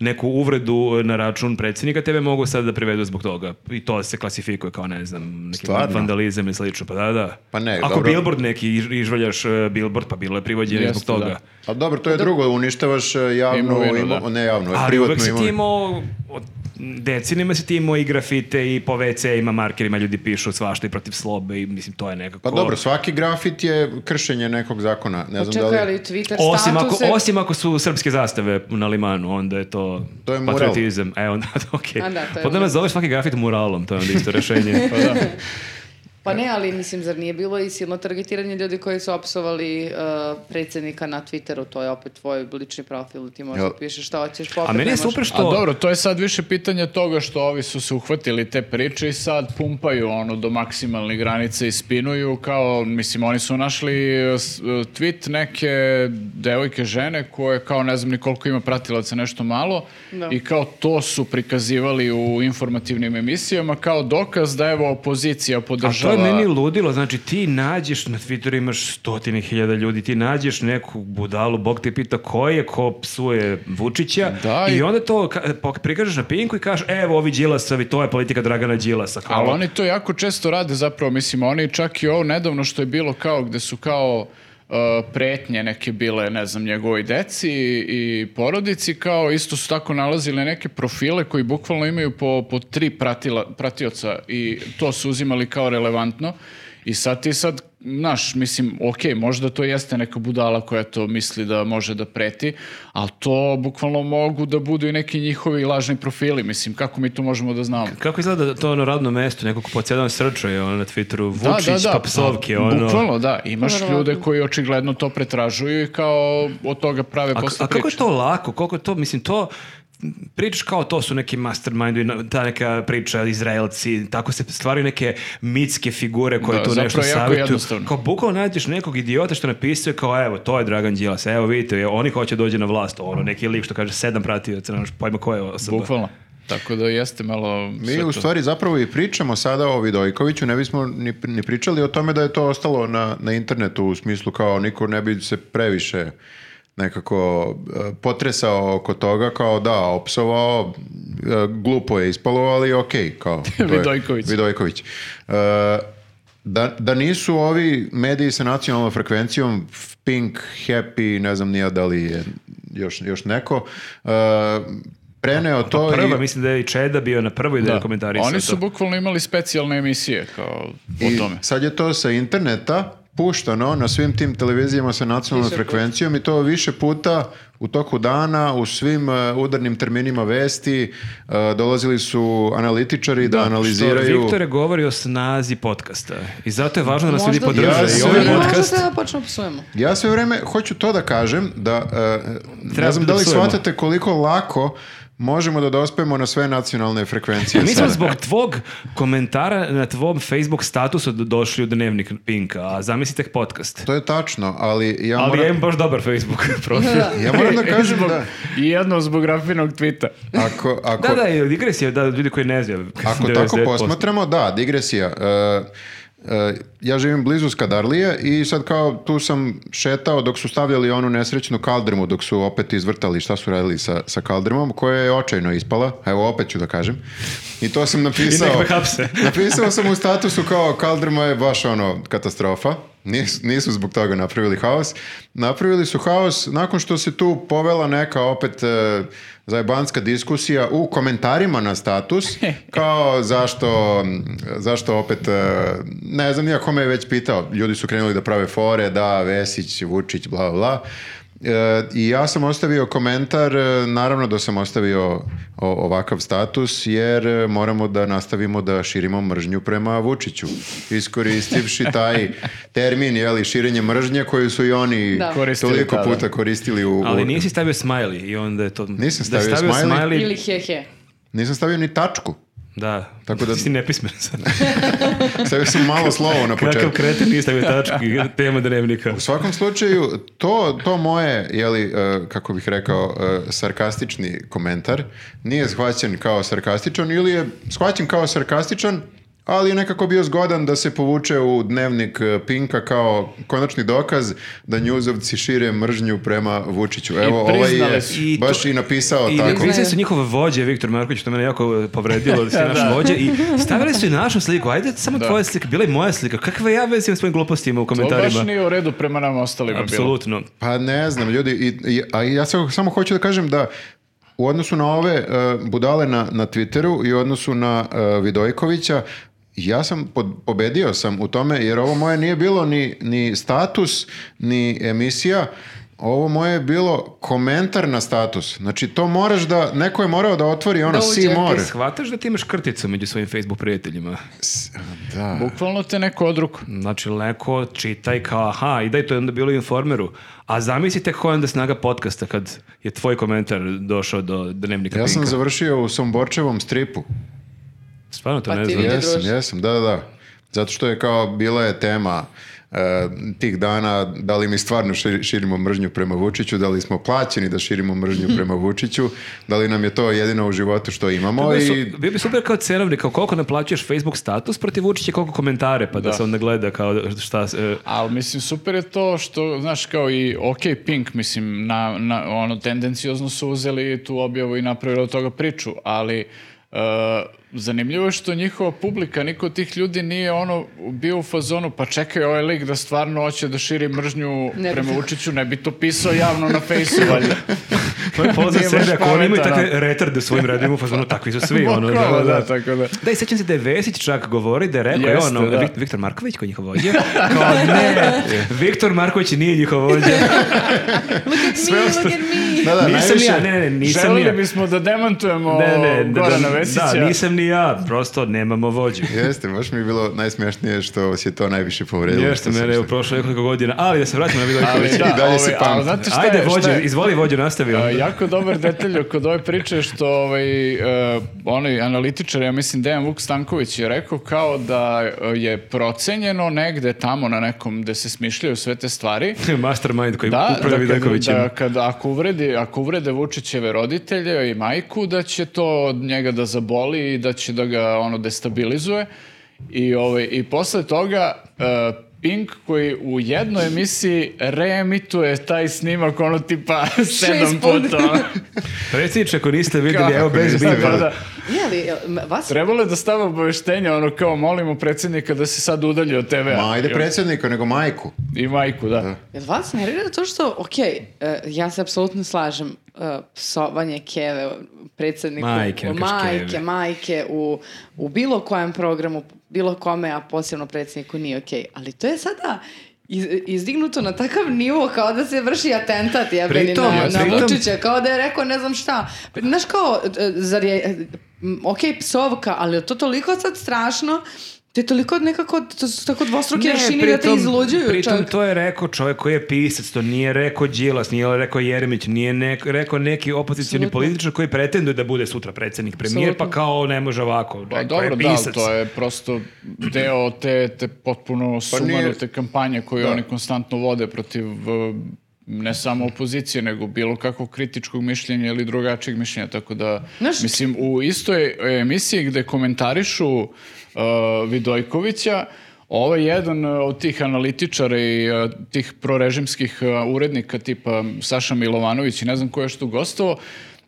S3: neku uvredu na račun predsjednika, tebe mogu sad da privedu zbog toga. I to se klasifikuje kao, ne znam, neki
S1: Stvarno?
S3: vandalizam i slično, pa da, da.
S1: Pa ne,
S3: Ako
S1: dobro.
S3: billboard neki iz- izvalješ e, billboard, pa bilo je privođenje
S2: Jeste,
S3: zbog toga.
S2: da.
S1: A Pa dobro,
S3: Pa
S1: to je drugo, uništavaš e, javnu
S2: Imovinu,
S1: imo-
S2: da.
S1: ne javnu,
S3: Ali
S1: privatnu
S3: uvek si ti
S1: imovinu.
S3: imao, od decenima si ti imao i grafite i po WC-ima, markerima ljudi pišu svašta i protiv slobe i mislim to je
S1: Pa
S3: nekako...
S1: dobro, svaki grafit je kršenje nekog zakona.
S3: Pa
S1: Ne znam
S4: Čekaj,
S1: da
S4: ali
S1: li...
S4: Twitter
S3: Osim ako,
S4: statuse-
S3: osim ako su srpske zastave na limanu, onda je to,
S1: To je mural.
S3: patriotizam. E, onda, [LAUGHS] okej.
S4: A da, to je
S3: Onda
S4: mural.
S3: nas zoveš svaki grafit muralom, to je onda isto rešenje.
S4: [LAUGHS]
S2: Pa da.
S4: Pa ne, ali mislim, zar nije bilo i silno targetiranje ljudi koji su opsovali uh, predsjednika na Twitteru, to je opet tvoj lični profil, ti možeš
S1: Jel-
S4: da pišeš šta hoćeš, popet
S3: A meni
S4: ne
S3: je
S4: možeš.
S3: super
S2: A
S3: što...
S2: dobro, to je sad više pitanje toga što ovi su se uhvatili te priče i sad pumpaju ono do maksimalne granice i spinuju kao, mislim, oni su našli e, s- e, tweet neke devojke žene koje kao ne znam ni koliko ima pratilaca nešto malo
S4: Da.
S2: i kao to su prikazivali u informativnim emisijama kao dokaz da evo opozicija
S3: A to
S2: podržava...
S3: je meni ludilo, znači ti nađeš na Twitteru imaš stotine hiljada ljudi, ti nađeš neku budalu, Bog te pita ko je, ko psuje Vučića
S2: Da,
S3: i
S2: i-
S3: onda to ka- pok- prikažeš na pinku i kažeš evo ovi Đilasovi, to je politika Dragana Đilasa. kao-
S2: Ali oni to jako često rade zapravo, mislim, oni čak i ovo nedavno što je bilo kao gde su kao uh, pretnje neke bile, ne znam, njegovoj deci i porodici, kao isto su tako nalazili neke profile koji bukvalno imaju po, po tri pratila, pratioca i to su uzimali kao relevantno. I sad ti sad, znaš, mislim, ok, možda to jeste neka budala koja to misli da može da preti, ali to bukvalno mogu da budu i neki njihovi lažni profili, mislim, kako mi to možemo da znamo?
S3: Kako izgleda to ono radno mesto, nekog po cijelom srčaju ono, na Twitteru, Vučić, pa psovke,
S2: Pa,
S3: ono.
S2: Bukvalno, da. Imaš
S4: Verovatno.
S2: ljude koji očigledno to pretražuju i kao od toga prave
S3: A,
S2: posle
S3: a kako je
S2: priče.
S3: to lako? Koliko je to, mislim, to pričaš kao to su neki mastermindu i na- ta neka priča Izraelci, tako se stvaraju neke mitske figure koje
S2: Da,
S3: tu
S2: zapravo
S3: nešto
S2: je jako
S3: savjetuju.
S2: jednostavno.
S3: Kao bukvalno nađeš nekog idiota što napisuje kao evo, to je Dragan Đilas, evo vidite, je- oni hoće dođe na vlast, ono, neki lik što kaže sedam pratioca, nemaš pojma koja je osoba.
S2: Bukvalno. Tako da jeste malo... sve
S1: Mi u
S2: to.
S1: stvari zapravo i pričamo sada o Vidojkoviću, ne bismo ni, ni pričali o tome da je to ostalo na, na internetu u smislu kao niko ne bi se previše nekako e, potresao oko toga kao da, opsovao, e, glupo je ispalo, ali okej,
S2: [LAUGHS]
S1: kao. to je-
S2: Vidojković.
S1: Vidojković. E, da, da nisu ovi mediji sa nacionalnom frekvencijom Pink, Happy, ne znam nija da li je još, još neko, e, preneo to
S3: Prva,
S1: i-
S3: mislim da je i Čeda bio na prvoj da, je
S2: Da.
S3: komentarisao
S2: Oni su
S3: to.
S2: [LAUGHS] bukvalno imali specijalne emisije kao o
S1: I
S2: tome.
S1: sad je to sa interneta puštano na svim tim televizijama sa nacionalnom
S4: Više puta.
S1: frekvencijom i to više puta u toku dana, u svim e, udarnim terminima vesti, e, dolazili su analitičari da, analiziraju...
S3: Što Viktore govori o snazi podcasta. I zato je važno da nas ljudi podrže.
S1: Ja
S3: I
S1: se-
S3: ovaj
S1: Mi
S3: podcast...
S4: možete da počnemo psujemo.
S1: Ja sve vreme hoću to da kažem, da e,
S3: Treba
S1: ne znam
S3: da
S1: da li
S3: psujemo.
S1: shvatate koliko lako možemo da dospemo na sve nacionalne frekvencije.
S3: Mi smo
S1: sada.
S3: zbog tvog komentara na tvom Facebook statusu do- došli u dnevnik Pinka, a zamislite podcast.
S1: To je tačno, ali ja
S3: Ali ja
S1: moram...
S3: imam baš dobar Facebook [LAUGHS] profil.
S1: Ja moram
S3: [LAUGHS]
S1: da kažem da
S2: I jedno zbog grafinog tvita.
S1: ako, ako,
S3: Da, da, je digresija, da, ljudi koji ne znaju. [LAUGHS]
S1: ako tako
S3: 99%.
S1: posmatramo, da, digresija. E, e, ja živim blizu Skadarlije i sad kao tu sam šetao dok su stavljali onu nesrećnu kaldrmu, dok su opet izvrtali šta su radili sa, sa kaldrmom, koja je očajno ispala, evo opet ću da kažem. I to sam
S3: I
S1: napisao...
S3: nek me hapse.
S1: [LAUGHS] Napisao sam u statusu kao Kaldrma je baš ono katastrofa. Nisu, nisu zbog toga napravili haos. Napravili su haos nakon što se tu povela neka opet e, zajebanska diskusija u komentarima na
S3: [LAUGHS]
S1: status kao zašto, zašto opet e, ne znam nijako me je već pitao. Ljudi su krenuli da prave fore, da, Vesić, Vučić, bla, bla, bla. E, I ja sam ostavio komentar, e, naravno da sam ostavio o- ovakav status, jer e, moramo da nastavimo da širimo mržnju prema Vučiću, iskoristivši taj termin, jeli, širenje mržnje koju su i oni
S4: Da.
S2: Koristili
S1: toliko
S2: tada.
S1: puta koristili u...
S3: Ali
S1: u-
S3: nisi stavio smiley i onda je to...
S1: Nisam
S3: da je
S1: stavio smiley.
S4: Ili hehe.
S1: Nisam stavio ni tačku,
S3: Da,
S1: Tako da-
S3: ti si nepismen
S1: [LAUGHS]
S3: sad.
S1: stavio sam malo slovo na početku.
S3: Kakav kreten nije stavio
S1: [LAUGHS]
S3: tački, tema dnevnika.
S1: U svakom slučaju, to, to moje, jeli, e, kako bih rekao, e, sarkastični komentar nije shvaćen kao sarkastičan ili je shvaćen kao sarkastičan, ali je nekako bio zgodan da se povuče u dnevnik e, Pinka kao konačni dokaz da njuzovci šire mržnju prema Vučiću. Evo, ovaj
S2: priznali
S1: je
S2: su.
S3: I to-
S1: baš i napisao
S3: I
S1: tako.
S3: Mislim su njihove vođe, Viktor Marković, to mene jako
S1: [LAUGHS]
S3: povredilo, da si naš vođe. I stavili su i našu sliku, ajde samo tvoja slika, bila i moja slika. Kakve ja veze imam s tvojim glupostima u
S2: To baš
S3: komentarima?
S2: nije u redu prema nama ostalima bilo.
S3: Apsolutno.
S1: Pa ne znam, ljudi, i, i- a ja samo, samo hoću da kažem da u odnosu na ove e, budale na, na Twitteru i u odnosu na e, Vidojkovića, ja sam pod- pobedio sam u tome, jer ovo moje nije bilo ni, ni status, ni emisija, ovo moje je bilo komentar na status. Znači, to moraš da, neko je morao da otvori ono,
S4: Da uđe,
S1: si more.
S3: Ti shvataš da ti imaš krticu među svojim Facebook prijateljima?
S1: Da.
S2: Bukvalno te neko odruku.
S3: Znači, leko čitaj kao, aha, i da je to je onda bilo u informeru. A zamislite koja je onda snaga podcasta kad je tvoj komentar došao do dnevnika
S1: Ja sam
S3: Pinka.
S1: završio u Somborčevom stripu.
S3: Stvarno to
S4: Pa
S3: ne
S4: ti
S3: znam.
S4: vidi.
S1: Jesam,
S4: druže.
S1: jesam, da, da, da. Zato što je kao, bila je tema e, tih dana, da li mi stvarno šir- širimo mržnju prema Vučiću, da li smo plaćeni da širimo mržnju
S3: [LAUGHS]
S1: prema Vučiću, da li nam je to jedino u životu što imamo
S3: Bio,
S1: i...
S3: su, bio bi super kao cenovnik, kao koliko naplaćuješ Facebook status protiv Vučića, koliko komentare, pa da, se onda gleda kao šta...
S2: [LAUGHS]
S3: e,
S2: Ali mislim, super je to što, znaš, kao i OK Pink, mislim, na, na, ono, tendencijozno su uzeli tu objavu i napravili od toga priču, ali e, zanimljivo je što njihova publika, niko od tih ljudi nije ono bio u fazonu, pa čekaj ovaj lik da stvarno hoće da širi mržnju
S4: Ne bi
S2: prema
S4: to-
S2: Vučiću, ne bi to pisao javno na
S4: [LAUGHS]
S2: fejsu, valjda.
S3: To Pa je pozor
S2: Nije baš
S3: sebe, ako oni imaju
S2: pametan,
S3: takve retarde u svojim radima, u fazonu, takvi su svi, ono,
S2: Bukvalno, da, tako da.
S3: Da, i sećam se da je Vesić čak govori da je rekao,
S2: Jeste,
S3: ono,
S2: da.
S3: Vik- Viktor Marković koji je njihov vođa, kao ne, Viktor Marković nije njihov vođa,
S4: Look at me, look at me.
S1: Da, da,
S3: nisam
S1: najviše-
S3: ja, ne, ne, nisam
S2: Želeli
S3: ja.
S2: bismo da demantujemo
S3: Ne, ne, da,
S2: Gorana
S3: da,
S2: Vesića.
S3: da, nisam ni ja, prosto nemamo vođu.
S1: Jeste, baš mi je bilo najsmješnije što vas je to najviše povredilo.
S3: Jeste
S1: što sam
S3: mene u
S1: se-
S3: prošlo nekoliko godina, ali da se vratimo na Vidojkovića.
S2: Ali da,
S1: I dalje se
S2: ovaj,
S1: pamti.
S2: ali znate šta
S3: Ajde,
S2: je, šta
S3: vođe,
S2: je?
S3: izvoli vođu, nastavi.
S2: E, jako dobar detalj kod ove priče što ovaj, e, onaj analitičar, ja mislim Dejan Vuk Stanković je rekao kao da e, je procenjeno negde tamo na nekom gde se smišljaju sve te stvari.
S3: [LAUGHS] Mastermind koji
S2: Da, da,
S3: upravlja
S2: kad,
S3: Vidojkovićem.
S2: da kad- ako, uvredi, ako uvrede Vučićeve roditelje i majku, da će to od njega da zaboli i da će da ga ono destabilizuje. I, ovaj, i posle toga e, Pink koji u jednoj emisiji reemituje taj snimak ono tipa [LAUGHS] sedam
S4: puta.
S2: puta.
S3: Predsjedniče, ako niste vidjeli,
S2: Kako
S3: evo bez
S1: niste
S3: biba.
S1: vidjeli?
S2: Pa da,
S4: Je li, jel, m- vas
S2: trebalo je da stave obaveštenje, ono kao molimo predsjednika da se sad udalji od TV-a.
S1: Ma, ajde
S2: I-
S1: predsjednika, nego majku.
S2: I majku, da.
S4: Jel vas nervira to što, ok, e, ja se apsolutno slažem, e, psovanje keve predsjedniku,
S3: Majke, ne kažeš
S4: majke,
S3: keve.
S4: majke u, u bilo kojem programu, bilo kome, a posebno predsjedniku nije ok. Ali to je sada iz- izdignuto na takav nivo kao da se vrši atentat jebeni
S3: Pritom,
S4: na, na
S3: pritom-
S4: Vučića, kao da je rekao ne znam šta. Znaš kao, e, zar je, e, m, ok, psovka, ali je to toliko sad strašno, to je toliko nekako, to su tako dvostruki aršini da te izluđuju.
S3: pritom
S4: čak.
S3: to je rekao čovjek koji je pisac, to nije rekao Đilas, nije rekao Jeremić, nije nek- rekao neki opozicioni
S4: Apsolutno.
S3: političar koji pretenduje da bude sutra predsjednik premijer, pa
S4: Apsolutno.
S3: kao ne može ovako,
S2: Pa
S3: to
S2: dobro,
S3: je
S2: da,
S3: pisac.
S2: ali to je prosto deo te, te potpuno sumanute kampanje koju oni konstantno vode protiv eh, ne samo opozicije, nego bilo kakvog kritičkog mišljenja ili drugačijeg mišljenja, tako da,
S4: Znaš-
S2: mislim, u istoj emisiji gde komentarišu eh, Vidojkovića, ovaj jedan eh, od tih analitičara i eh, tih prorežimskih eh, urednika tipa Saša Milovanović i ne znam ko je što gostovao,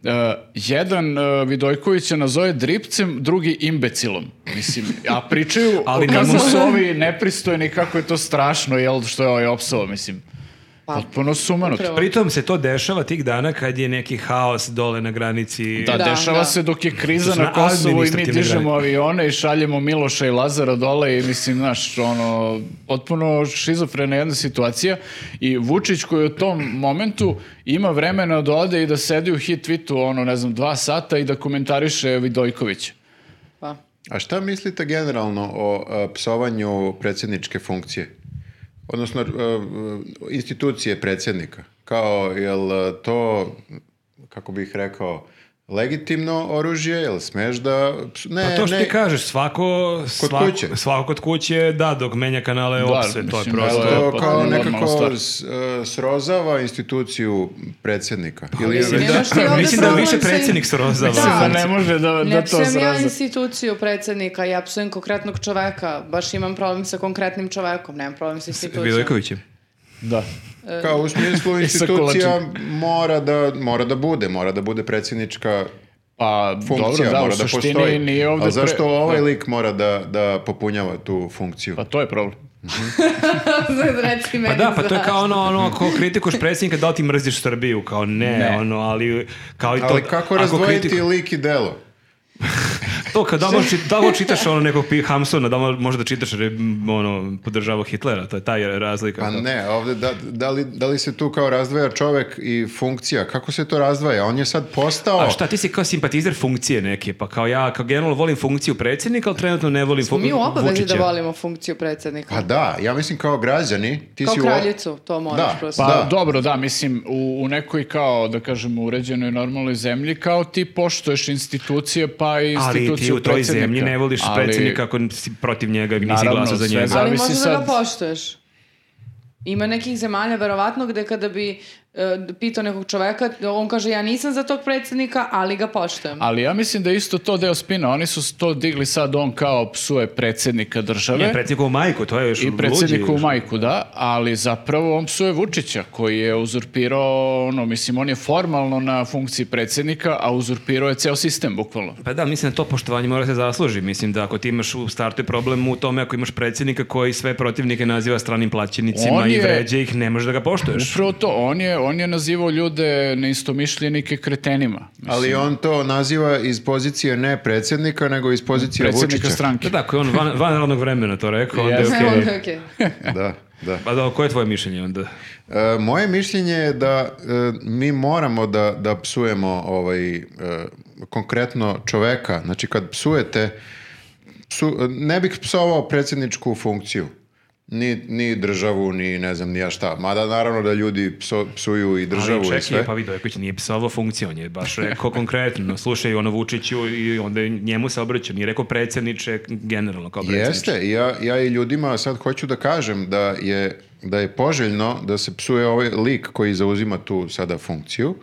S2: Uh, jedan uh, Vidojković je nazove dripcem, drugi imbecilom. Mislim, a pričaju
S3: Ali
S2: Ali kako
S3: nemo-
S2: su ovi nepristojni, kako je to strašno, jel, što je ovaj opsao, mislim.
S4: Pa,
S2: Potpuno sumanut.
S4: upravo.
S3: Pritom se to dešava tih dana kad je neki haos dole na granici.
S2: Da,
S4: Da,
S2: dešava
S4: da.
S2: se dok je kriza
S3: To su
S2: na
S3: na
S2: Kosovu i mi
S3: administrativne
S2: dižemo
S3: granice.
S2: avione i šaljemo Miloša i Lazara dole i mislim, znaš, ono, potpuno šizofrena jedna situacija i Vučić koji u tom momentu ima vremena da ode i da sedi u hit tweetu, ono, ne znam, dva sata i da komentariše Vidojkovića.
S4: pa.
S1: A šta mislite generalno o a, psovanju predsjedničke funkcije? Odnosno, e, e, institucije predsjednika. Kao, jel e, to, kako bih rekao, legitimno oružje, jel smeš da... ps- Ne,
S3: Pa to što
S1: ne.
S3: ti kažeš, svako, svako,
S1: kuće.
S3: svako kod kuće, da, dok menja kanale
S2: Da,
S3: opse, to je
S2: mislim,
S3: prosto.
S2: evo,
S1: To
S2: potpuno
S1: kao
S2: normalna
S1: nekako
S2: stvar.
S1: s- e, srozava instituciju predsjednika. Ili,
S4: mislim,
S1: ili-
S4: nemaš ti ovdje
S3: Mislim da
S4: problem
S3: više
S4: sa-
S3: predsjednik srozava.
S4: Da.
S2: Da ne može [LAUGHS] da, da
S4: Ne
S2: to
S4: psujem ja
S2: sraza.
S4: instituciju predsjednika, ja psujem konkretnog čoveka. Baš imam problem sa konkretnim čovekom, nemam problem sa institucijom. [LAUGHS]
S3: Vidojković je.
S2: Da.
S1: Kao u smislu
S2: I sa kolačem.
S1: institucija mora da, mora da bude, mora da bude predsjednička
S2: Pa
S1: funkcija,
S2: dobro, da,
S1: mora
S2: u
S1: da
S2: suštini
S1: postoji.
S2: nije ovde...
S1: A zašto
S2: pre-
S1: ovaj
S2: da.
S1: lik mora da, da popunjava tu funkciju?
S2: Pa to je problem.
S4: Reci
S3: Pa
S4: meni
S3: da, pa to je
S4: za-
S3: kao ono, ono, ako kritikuš predsjednika, da li ti mrziš Srbiju? Kao ne,
S2: Ne.
S3: ono, ali kao i to...
S1: Ali kako
S3: ako
S1: razdvojiti
S3: kritiku-
S1: lik i delo?
S3: To, kad da li čit- da li čitaš ono nekog P. Hamsona, da li možda čitaš jer je, m, ono, podržavao Hitlera, to je taj razlika.
S1: Pa
S3: da.
S1: ne, ovde da, da, li, da li se tu kao razdvaja čovek i funkcija? Kako se to razdvaja? On je sad postao...
S3: A šta, ti si kao simpatizer funkcije neke, pa kao ja, kao generalno volim funkciju predsjednika, ali trenutno ne volim fu-
S4: Mi u obavezi da
S3: Vučića.
S4: volimo funkciju predsjednika.
S1: Pa da, ja mislim kao građani, ti
S4: Kao
S1: si u-
S4: kraljicu, to moraš
S1: Da,
S4: prosto.
S2: Pa
S1: Da.
S2: dobro, da, mislim, u, u nekoj kao, da kažem, uređenoj normalnoj zemlji, kao ti poštuješ institucije, pa i instituciju
S3: Ali ti u toj
S2: predsjednika.
S3: zemlji ne voliš
S2: Ali-
S3: predsjednika ako si protiv njega i nisi
S2: Naravno,
S3: glasao za
S2: sve
S3: njega.
S2: za-
S4: Ali
S2: zavisi
S4: možda da ga
S2: sad-
S4: poštuješ. Ima nekih zemalja, verovatno, gde kada bi e, pitao nekog čoveka, on kaže ja nisam za tog predsjednika, ali ga poštujem. [LAUGHS]
S2: Ali ja mislim da je isto to deo spina. Oni su s- to digli sad, on kao psuje predsjednika države.
S3: Ne, predsjednikovu majku, to je još
S2: I
S3: luđe.
S2: predsjedniku u majku, da, ali zapravo on psuje Vučića koji je uzurpirao, ono, mislim, on je formalno na funkciji predsjednika, a uzurpirao je ceo sistem, bukvalno.
S3: Pa da, mislim da to poštovanje mora se zasluži. Mislim da ako ti imaš u startu je problem u tome ako imaš predsjednika koji sve protivnike naziva stranim plaćenicima
S2: On
S3: i
S2: je-
S3: vređa ih, ne možeš da ga poštuješ.
S2: Upravo to, on je, on je nazivao ljude neistomišljenike kretenima.
S1: Ali on to naziva iz pozicije ne predsjednika, nego iz pozicije
S2: Predsjednika
S1: Vučića.
S2: stranke.
S3: Da, da, ako je on van, van radnog vremena to rekao, onda je
S2: Jeste.
S3: okej.
S4: Onda je okej.
S1: Da, da.
S3: Pa da, koje je tvoje mišljenje onda?
S1: E, moje mišljenje je da e, mi moramo da, da psujemo ovaj, e, konkretno čoveka. Znači kad psujete, psu, ne bih psovao predsjedničku funkciju. Ni, ni državu, ni ne znam ni ja šta. Mada naravno da ljudi pso- psuju i državu
S3: Ali
S1: i
S3: čekaj,
S1: sve.
S3: pa Vidojković nije pisao funkciju, on je baš rekao konkretno, slušaj ono Vučiću i onda je njemu se obraćao, nije rekao predsjedniče, generalno kao predsjedniče.
S1: Jeste, ja, ja i ljudima sad hoću da kažem da je, da je poželjno da se psuje ovaj lik koji zauzima tu sada funkciju.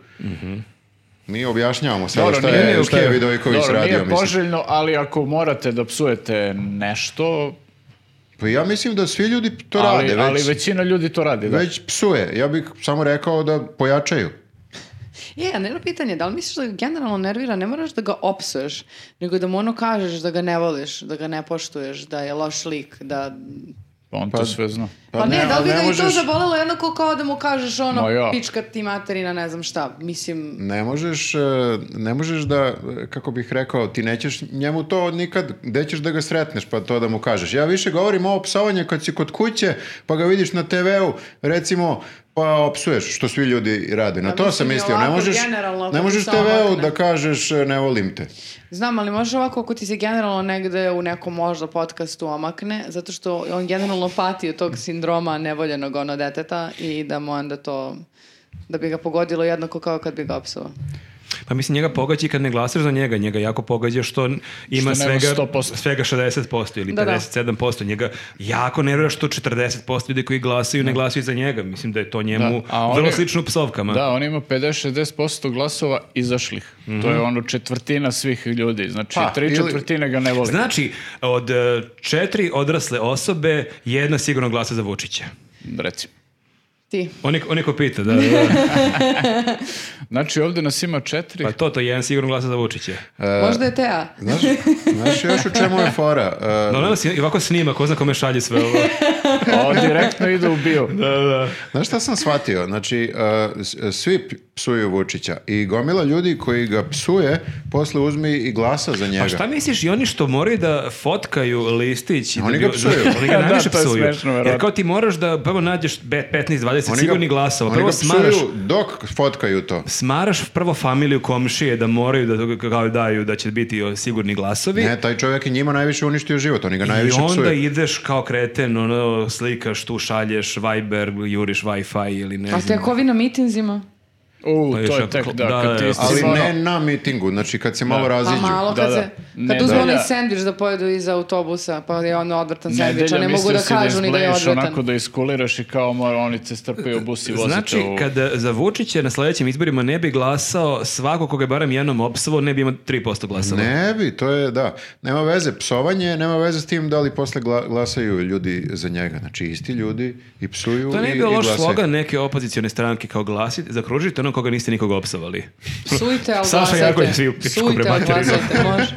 S1: Mi objašnjavamo sada
S2: Mhm. Dobro,
S1: šta,
S2: nije-
S1: je,
S2: nije
S1: šta je
S2: okej.
S1: Vidojković
S2: Dobro,
S1: radio.
S2: nije
S1: mislim.
S2: poželjno, ali ako morate da psujete nešto,
S1: Pa ja mislim da svi ljudi to
S2: ali,
S1: rade,
S2: ali
S1: već, već,
S2: većina ljudi to radi. Da.
S1: psuje. Ja bih samo rekao da pojačaju.
S4: Je, a jedno pitanje, da li misliš da ga generalno nervira, ne moraš da ga opsuješ, nego da mu ono kažeš da ga ne voliš, da ga ne poštuješ, da je loš lik, da...
S2: Pa on to sve zna.
S4: Pa, ne, da li
S1: ali
S4: bi ga
S1: ne
S4: i to
S1: možeš-
S4: zabolelo jednako kao da mu kažeš ono
S2: Ma ja.
S4: pička ti materina, ne znam šta. Mislim,
S1: Ne možeš, e, ne možeš da, e, kako bih rekao, ti nećeš njemu to nikad, gde ćeš da ga sretneš pa to da mu kažeš. Ja više govorim o opsovanju kad si kod kuće pa ga vidiš na TV-u, recimo, pa opsuješ, što svi ljudi rade. Na
S4: Pa
S1: to sam
S4: mislim i
S1: mislio, ne
S4: ovako
S1: možeš,
S4: generalno,
S1: ne
S4: ako
S1: možeš
S4: ti samo ovako
S1: TV-u
S4: ne-
S1: da kažeš e, ne volim te.
S4: znam, ali možeš ovako ako ti se generalno negde u nekom možda podcastu omakne, zato što on generalno pati od tog sindroma nevoljenog ono deteta i da mu onda to da bi ga pogodilo jednako kao kad bi ga opsovao.
S3: Pa mislim, njega pogađa i kad ne glasaš za njega. Njega jako pogađa što n- ima
S2: Što nema
S3: svega,
S2: 100%.
S3: svega 60% ili
S4: Da, da.
S3: 57%. Njega jako nervira što 40% ljudi koji glasaju ne glasaju za njega. Mislim da je to njemu
S2: Da, a on
S3: vrlo
S2: je-
S3: slično psovkama.
S2: Da, on ima 50-60% glasova izašlih. To je ono četvrtina svih ljudi. Znači,
S1: Mhm. Pa,
S2: tri
S1: ili-
S2: četvrtine ga ne voli.
S3: Znači, od e, četiri odrasle osobe, jedna sigurno glasa za Vučića.
S2: Recimo.
S4: Ti.
S3: Oni, oni ko pita, da, da,
S2: [LAUGHS]
S3: da.
S2: Znači, ovdje nas ima četiri.
S3: Pa to, to jedan sigurno glasa za Vučića.
S4: Možda je Teja.
S1: Znaš, znaš još u čemu je fora? E,
S3: Da, ona nas i Ono, ovako snima, ko zna kome šalje sve ovo.
S1: Pa-
S2: O, direktno ide u
S1: [LAUGHS]
S2: bio.
S3: Da, da.
S1: Znaš šta sam shvatio? Znači, uh, s- svi p- psuju Vučića i gomila ljudi koji ga psuje posle uzmi i glasa za njega.
S3: A Pa šta misliš i oni što moraju da fotkaju listić? i da
S1: Oni
S3: bi-
S1: ga psuju.
S3: [LAUGHS] Oni ga
S2: [LAUGHS] Da,
S3: najviše
S2: to je
S3: psuju.
S2: smešno, verovatno.
S3: Jer kao ti moraš da prvo nađeš be- 15, 20
S1: Oni ga-
S3: sigurnih glasova.
S1: Oni
S3: Prvo
S1: ga
S3: smaraš,
S1: psuju dok fotkaju to.
S3: smaraš prvo familiju komšije da moraju da kao daju da će biti o, sigurni glasovi.
S1: Ne, taj čovjek je njima najviše uništio život, oni ga najviše
S3: I onda
S1: psuju.
S3: ideš kao kreten, ono, slikaš tu, šalješ Viber, juriš Wi-Fi ili ne
S4: A
S3: znam.
S4: tek ovi na mitinzima?
S2: U,
S3: Pa još
S2: to je
S3: ako-
S2: tek, da,
S3: da,
S2: kad ti
S3: da,
S2: isti ono
S1: Ali
S2: stvarno-
S1: ne na mitingu, znači kad se malo
S4: Pa
S1: raziđu.
S4: malo
S2: Da,
S4: kad,
S2: da.
S4: se, kad
S2: Nedelja-
S4: uzmu onaj sandvič da pojedu iza autobusa, pa je ono odvrtan sandvič, a ne
S2: Nedelja,
S4: mogu
S2: mislio
S4: da
S2: si
S4: kažu ni da je
S2: izbleješ
S4: odvrtan.
S2: onako da iskuliraš i kao mora, oni te strpaju u bus i vozite
S3: Znači,
S2: u...
S3: kad e, za Vučića na sljedećim izborima ne bi glasao svako koga je barem jednom opsavo, ne bi imao 3% glasova.
S1: Ne bi, to je, da. Nema veze, psovanje, nema veze s tim da li posle gla- glasaju ljudi za njega. Znači, isti ljudi i psuju
S3: To
S1: i,
S3: ne bi
S1: i
S3: bio loš
S1: glasaju.
S3: slogan neke opozicione stranke kao glasi, zakružite ono koga niste nikog opsovali.
S4: Psujte, ali
S3: Saša
S4: glasajte.
S3: Janković, svi u pičku
S4: Psujte, ali
S3: prematerili.
S4: glasajte, može.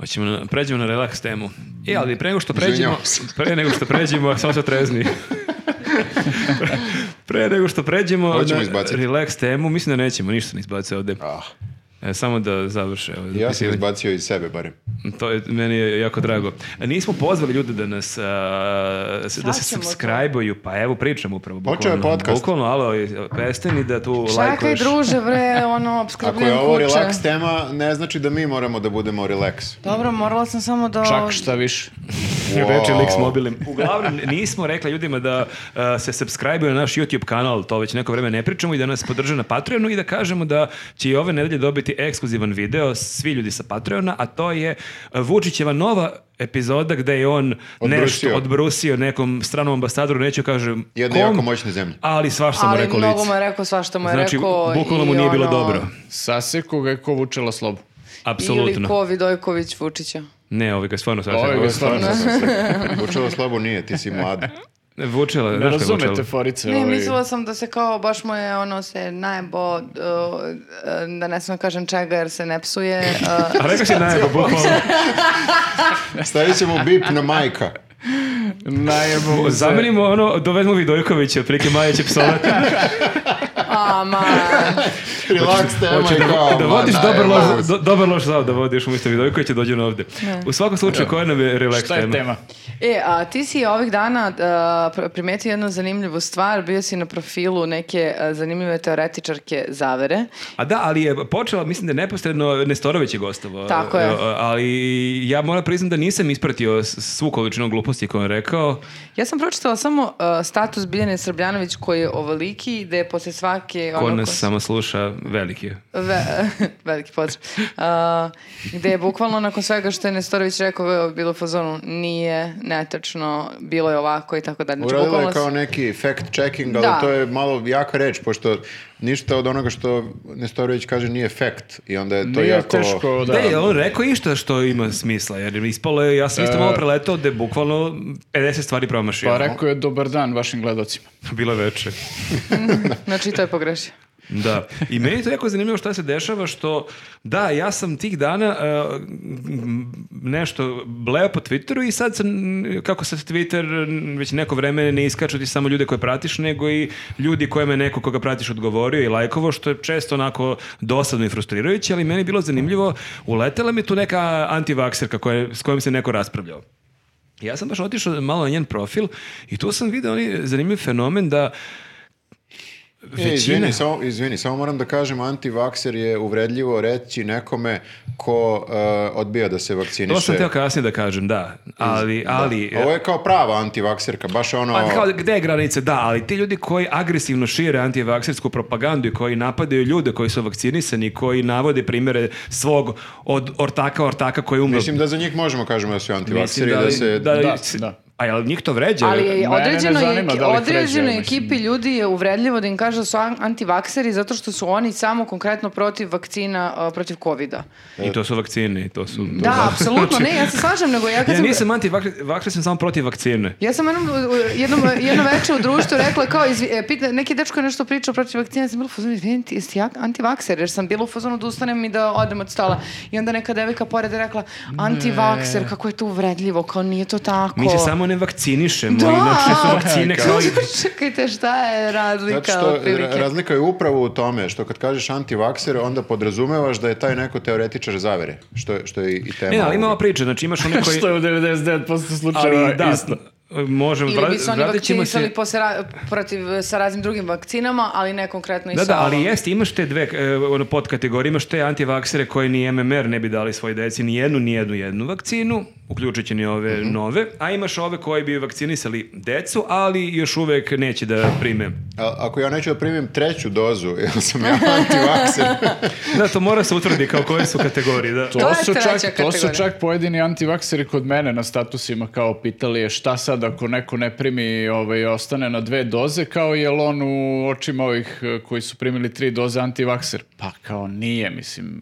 S3: Hoćemo na, pređemo na relaks temu. E, ali pre nego što pređemo,
S1: Izvinjavam se.
S3: [LAUGHS] pre nego što pređemo, samo
S1: [LAUGHS]
S3: se trezni. pre nego što pređemo
S1: Hoćemo
S3: na
S1: izbaciti.
S3: relaks temu, mislim da nećemo, ništa ne izbaciti ovdje. E, samo da završe. ovo
S1: Ja sam
S3: zapisivanje.
S1: Ah, izbacio iz sebe, barem.
S3: To je, meni je jako drago. E, Nismo pozvali ljude da nas, a, s- da se
S4: ćemo to.
S3: subscribe-uju, pa evo pričam upravo.
S1: Počeo je
S3: bukvalno.
S1: podcast.
S3: Bukvalno, alo, prestani da tu
S4: Čekaj,
S3: lajkuješ.
S4: druže, bre, ono,
S1: Ako
S4: obskrbljen
S1: je ovo
S4: kuće.
S1: relax tema, ne znači da mi moramo da budemo relax.
S4: Dobro, morala sam samo da...
S2: Čak šta više.
S3: Reče lik s
S1: Wow.
S3: mobilnim. Uglavnom, nismo rekli ljudima da a, se subscribe na naš YouTube kanal, to već neko vreme ne pričamo, i da nas podrže na Patreonu i da kažemo da će i ove nedelje dobiti ekskluzivan video svi ljudi sa Patreona, a to je a, Vučićeva nova epizoda gde je on nešto
S1: Odbrusio.
S3: odbrusio nekom stranom ambasadoru, neću kažem
S1: Jedne
S3: kom,
S1: jako moćne zemlje.
S3: ali svašta mu
S4: Ali
S3: rekao
S4: mnogo mu
S3: lice.
S4: je rekao, svašta mu je
S3: Znači,
S4: rekao.
S3: bukvalno mu
S4: i
S3: nije bilo
S4: ono,
S3: dobro.
S2: Saseku ga je ko vučela slobu.
S4: Ili
S3: Apsolutno.
S4: ko Vidojković Vučića.
S3: Ne, ovaj ga stvarno sasvim.
S2: Ovaj ga
S1: Stvarno sam se- Vučelo slabo nije, ti si mlad.
S3: Vučela,
S2: Ne
S3: znaš šta je
S2: razumete
S3: Vučela?
S2: forice.
S4: Ne,
S2: ovaj.
S4: mislila sam da se kao baš mu je ono se najbo, uh, da ne smem kažem čega jer se ne psuje. uh,
S3: A rekao si najbolje, bukvalno.
S1: Stavit ćemo bip na majka.
S2: Najebo mu se.
S3: Zamenimo ono, dovedemo Vidojkovića, prilike Maja će
S2: [LAUGHS]
S3: psovati.
S4: A, ma,
S1: Relax tema
S3: Znači, Hoće
S1: i kao...
S3: da, da
S1: ma,
S3: vodiš
S1: daj,
S3: dobar loš,
S1: mogu se.
S3: do, dobar loš zav da vodiš umjesto Vidojkovića dođu na ovde. U svakom slučaju, koja nam je relax
S2: Šta je tema?
S4: E, a ti si ovih dana uh, pr- primetio jednu zanimljivu stvar, bio si na profilu neke uh, zanimljive teoretičarke zavere.
S3: A da, ali je počela, mislim da je neposredno Nestorović je gostovo.
S4: Tako je.
S3: E, Ali ja moram priznati da nisam ispratio s- svu količinu gluposti koju je rekao.
S4: Ja sam pročitala samo uh, status Biljane Srbljanović koji je ovoliki, da je posle svake...
S3: Ko
S4: ono,
S3: nas
S4: ko-
S3: samo sluša, veliki je.
S4: Ve- [LAUGHS] veliki pozdrav. Uh, gde je bukvalno nakon svega što je Nestorović rekao bilo u fazonu nije netačno, bilo je ovako i tako dalje. Znači,
S1: Uradila
S4: bukvalno
S1: je
S4: s-
S1: kao neki fact checking, ali
S4: Da.
S1: to je malo jaka reč, pošto ništa od onoga što Nestorović kaže nije fact i onda je to
S2: Nije
S1: jako...
S2: teško
S3: Da,
S2: Pa da...
S3: je on rekao išta što ima smisla, jer ispalo je, ja
S2: E.
S3: sam isto malo preletao da je bukvalno 50 stvari promašio.
S2: Pa rekao je dobar dan vašim gledocima.
S3: Bilo je veče.
S4: Znači, to je pogrešio.
S3: Da. I meni je to jako zanimljivo šta se dešava što, da, ja sam tih dana uh, m, nešto bleo po Twitteru i sad sam, kako se Twitter već neko vreme ne iskaču ti samo ljude koje pratiš, nego i ljudi kojima je neko koga pratiš odgovorio i lajkovo, što je često onako dosadno i frustrirajuće, ali meni je bilo zanimljivo, uletela mi tu neka antivakserka koja, s kojom se neko raspravljao. Ja sam baš otišao malo na njen profil i tu sam vidio onaj zanimljiv fenomen da
S1: E, izvini, samo, izvini, samo moram da kažem, antivakser je uvredljivo reći nekome ko e, odbija da se vakciniše.
S3: To sam teo kasnije da kažem, da. Ali, ali...
S1: Ovo je kao prava antivakserka, baš ono...
S3: Pa kao, gde je granica? Da, ali ti ljudi koji agresivno šire antivaksersku propagandu i koji napadaju ljude koji su vakcinisani, koji navode primere svog od ortaka, ortaka koji je umro.
S1: Mislim da za njih možemo kažemo da su antivakseri,
S3: Mislim
S1: da,
S3: da li-
S1: se...
S3: da li-
S2: Da,
S3: se-
S2: da.
S3: A jel njih to vređa?
S4: Ali
S2: ne
S4: je određeno
S2: zanima da li fređaju,
S4: određenoj
S2: mislim.
S4: ekipi ljudi je uvredljivo da im kaže da su an- antivakseri zato što su oni samo konkretno protiv vakcina, a, protiv covida.
S3: I to su vakcine, i to su... to
S4: Da, apsolutno, ne, ja se slažem, nego ja kad
S3: Ja
S4: sam...
S3: nisam antivakcin, sam samo protiv vakcine.
S4: Ja sam jednom, u- u- jednom, jedno večer u društvu rekla kao, izvi, e, pita, neki dečko je nešto pričao protiv vakcina, ja sam bila u fazonu, izvinite, jeste ja antivakser, jer sam bila u fazonu da ustanem i da odem od stola. I onda neka devika pored je rekla, antivakser, kako je to uvredljivo, kao nije to tako.
S3: Mi se samo ne vakcinišemo,
S4: Da.
S3: inače
S4: [LAUGHS]
S3: su vakcine kao i...
S4: Čekajte, šta je razlika
S1: Zato što
S4: otprilike?
S1: ra- razlika je upravo u tome što kad kažeš antivakser, onda podrazumevaš da je taj neko teoretičar zavere, što je, što je i- i tema.
S3: Ne, ali ima ova
S1: ovoga.
S3: priča, znači imaš one koji...
S2: [LAUGHS] Što je u 99% slučajeva
S3: ali da,
S2: isto.
S3: možemo,
S4: Ili bi
S3: vra-
S4: se oni
S3: vratit ćemo se...
S4: vakcinisali posle ra- protiv, e, sa raznim drugim vakcinama, ali ne konkretno i
S3: Da,
S4: sa
S3: da, ali
S4: ovom.
S3: jeste, imaš te dve e, ono, podkategorije, imaš te antivaksere koji ni MMR ne bi dali svoj deci ni jednu, ni jednu, jednu vakcinu, uključujući ni ove nove, a imaš ove koji bi vakcinisali decu, ali još uvek neće da prime.
S1: A- ako ja neću da primim treću dozu, [LAUGHS] jel sam ja antivakser?
S3: [LAUGHS] Da, to mora se utvrdi kao koje su kategorije, da.
S2: To,
S4: To je
S2: su
S4: treća
S2: čak, to su
S4: kategorija.
S2: čak pojedini antivakseri kod mene na statusima kao pitali je šta sad ako neko ne primi ovaj, ostane na dve doze, kao je on u očima ovih eh, koji su primili tri doze antivakser. Pa kao nije, mislim.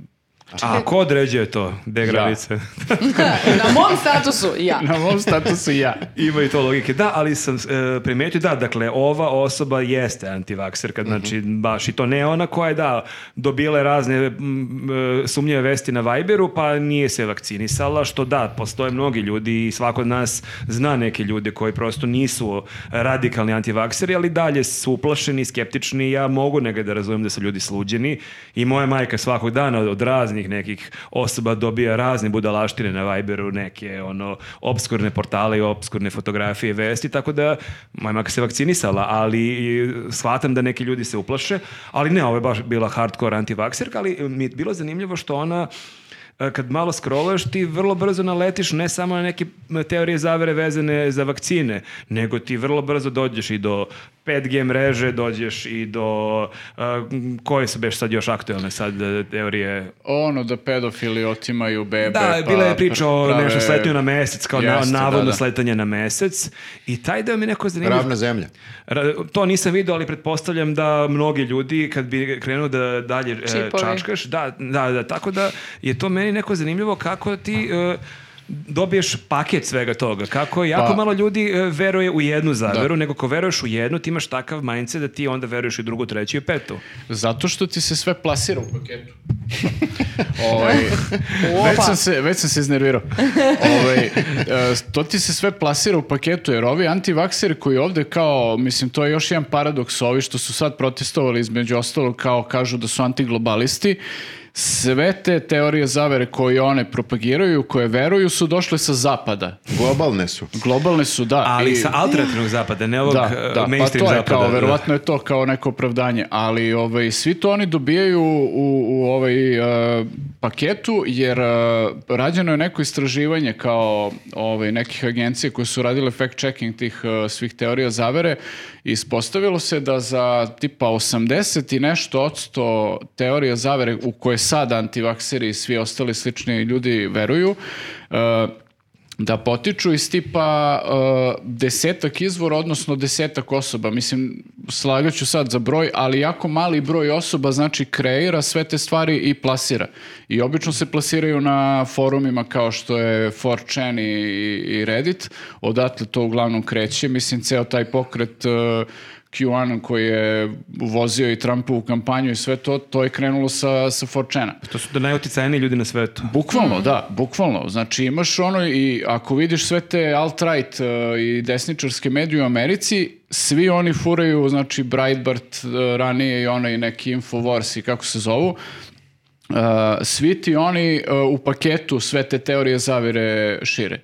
S3: A ko određuje to? Gde granice?
S4: [LAUGHS] Na mom statusu, ja.
S2: Na mom statusu ja.
S3: Ima i to logike. Da, ali sam e, primetio da, dakle, ova osoba jeste antivakserka, znači baš i to ne ona koja je, da, dobila je razne mm, e, sumnjive vesti na Viberu, pa nije se vakcinisala, što da, postoje mnogi ljudi i svako od nas zna neke ljude koji prosto nisu radikalni antivakseri, ali dalje su uplašeni, skeptični, ja mogu negdje da razumijem da su ljudi sluđeni i moja majka svakog dana od raznih nekih osoba dobija razne budalaštine na Viberu, neke ono obskurne portale i obskurne fotografije i vesti, tako da moja majka se vakcinisala, ali i, shvatam da neki ljudi se uplaše, ali ne, ovo je baš bila hardcore antivakserka, ali mi je bilo zanimljivo što ona e, kad malo scrollaš, ti vrlo brzo naletiš ne samo na neke m, teorije zavere vezane za vakcine, nego ti vrlo brzo dođeš i do 5G mreže, dođeš i do e, m, koje su beš sad još aktualne sad e, teorije
S2: Ono da pedofili otimaju bebe.
S3: da,
S2: pa
S3: bila je priča o
S2: prave-
S3: nešto sletanju na mesec, kao na-
S2: Jeste, da,
S3: navodno
S2: da.
S3: sletanje na mesec. I taj deo mi je neko zanimljiv.
S1: Ravna zemlja.
S3: Ra- To nisam vidio, ali pretpostavljam da mnogi ljudi, kad bi krenuo da dalje e,
S4: Čipovi.
S3: čačkaš, da, da, da, tako da je to meni neko zanimljivo kako ti... e, dobiješ paket svega toga. Kako jako
S2: Pa-
S3: malo ljudi e, veruje u jednu zaveru, nego ko veruješ u jednu, ti imaš takav mindset da ti onda veruješ i u drugu, treću i petu.
S2: Zato što ti se sve plasira u
S3: [LAUGHS]
S2: paketu. ovaj, već, sam se, već sam se iznervirao. Ovaj, e, to ti se sve plasira u paketu, jer ovi antivakseri koji ovde kao, mislim, to je još jedan paradoks, ovi što su sad protestovali između ostalog kao kažu da su antiglobalisti, sve te teorije zavere koje one propagiraju, koje veruju, su došle sa zapada.
S1: Globalne su.
S2: Globalne su, da.
S3: Ali
S2: i-
S3: sa alternativnog zapada, ne ovog
S2: da,
S3: e,
S2: da, pa
S3: mainstream
S2: to je
S3: zapada.
S2: kao,
S3: da.
S2: verovatno je to kao neko opravdanje, ali ovaj, svi to oni dobijaju u, u ovaj e, paketu, jer e, rađeno je neko istraživanje kao ovaj, nekih agencija koje su radile fact-checking tih e, svih teorija zavere i ispostavilo se da za tipa 80 i nešto odsto teorija zavere u koje sad antivakseri i svi ostali slični ljudi veruju, e, da potiču iz tipa uh, desetak izvora, odnosno desetak osoba. Mislim, slagaću sad za broj, ali jako mali broj osoba znači kreira sve te stvari i plasira. I obično se plasiraju na forumima kao što je 4chan i, i Reddit, odatle to uglavnom kreće. Mislim, ceo taj pokret uh, QAnon koji je vozio i Trumpovu kampanju i sve to, to je krenulo sa, sa 4
S3: To su najoticajniji ljudi na svetu.
S2: Bukvalno,
S3: Mhm.
S2: da, bukvalno. Znači imaš ono i ako vidiš sve te alt-right e, i desničarske medije u Americi, svi oni furaju, znači Breitbart e, ranije i onaj neki Infowars i kako se zovu, Uh, svi ti oni uh, u paketu sve te teorije zavire šire.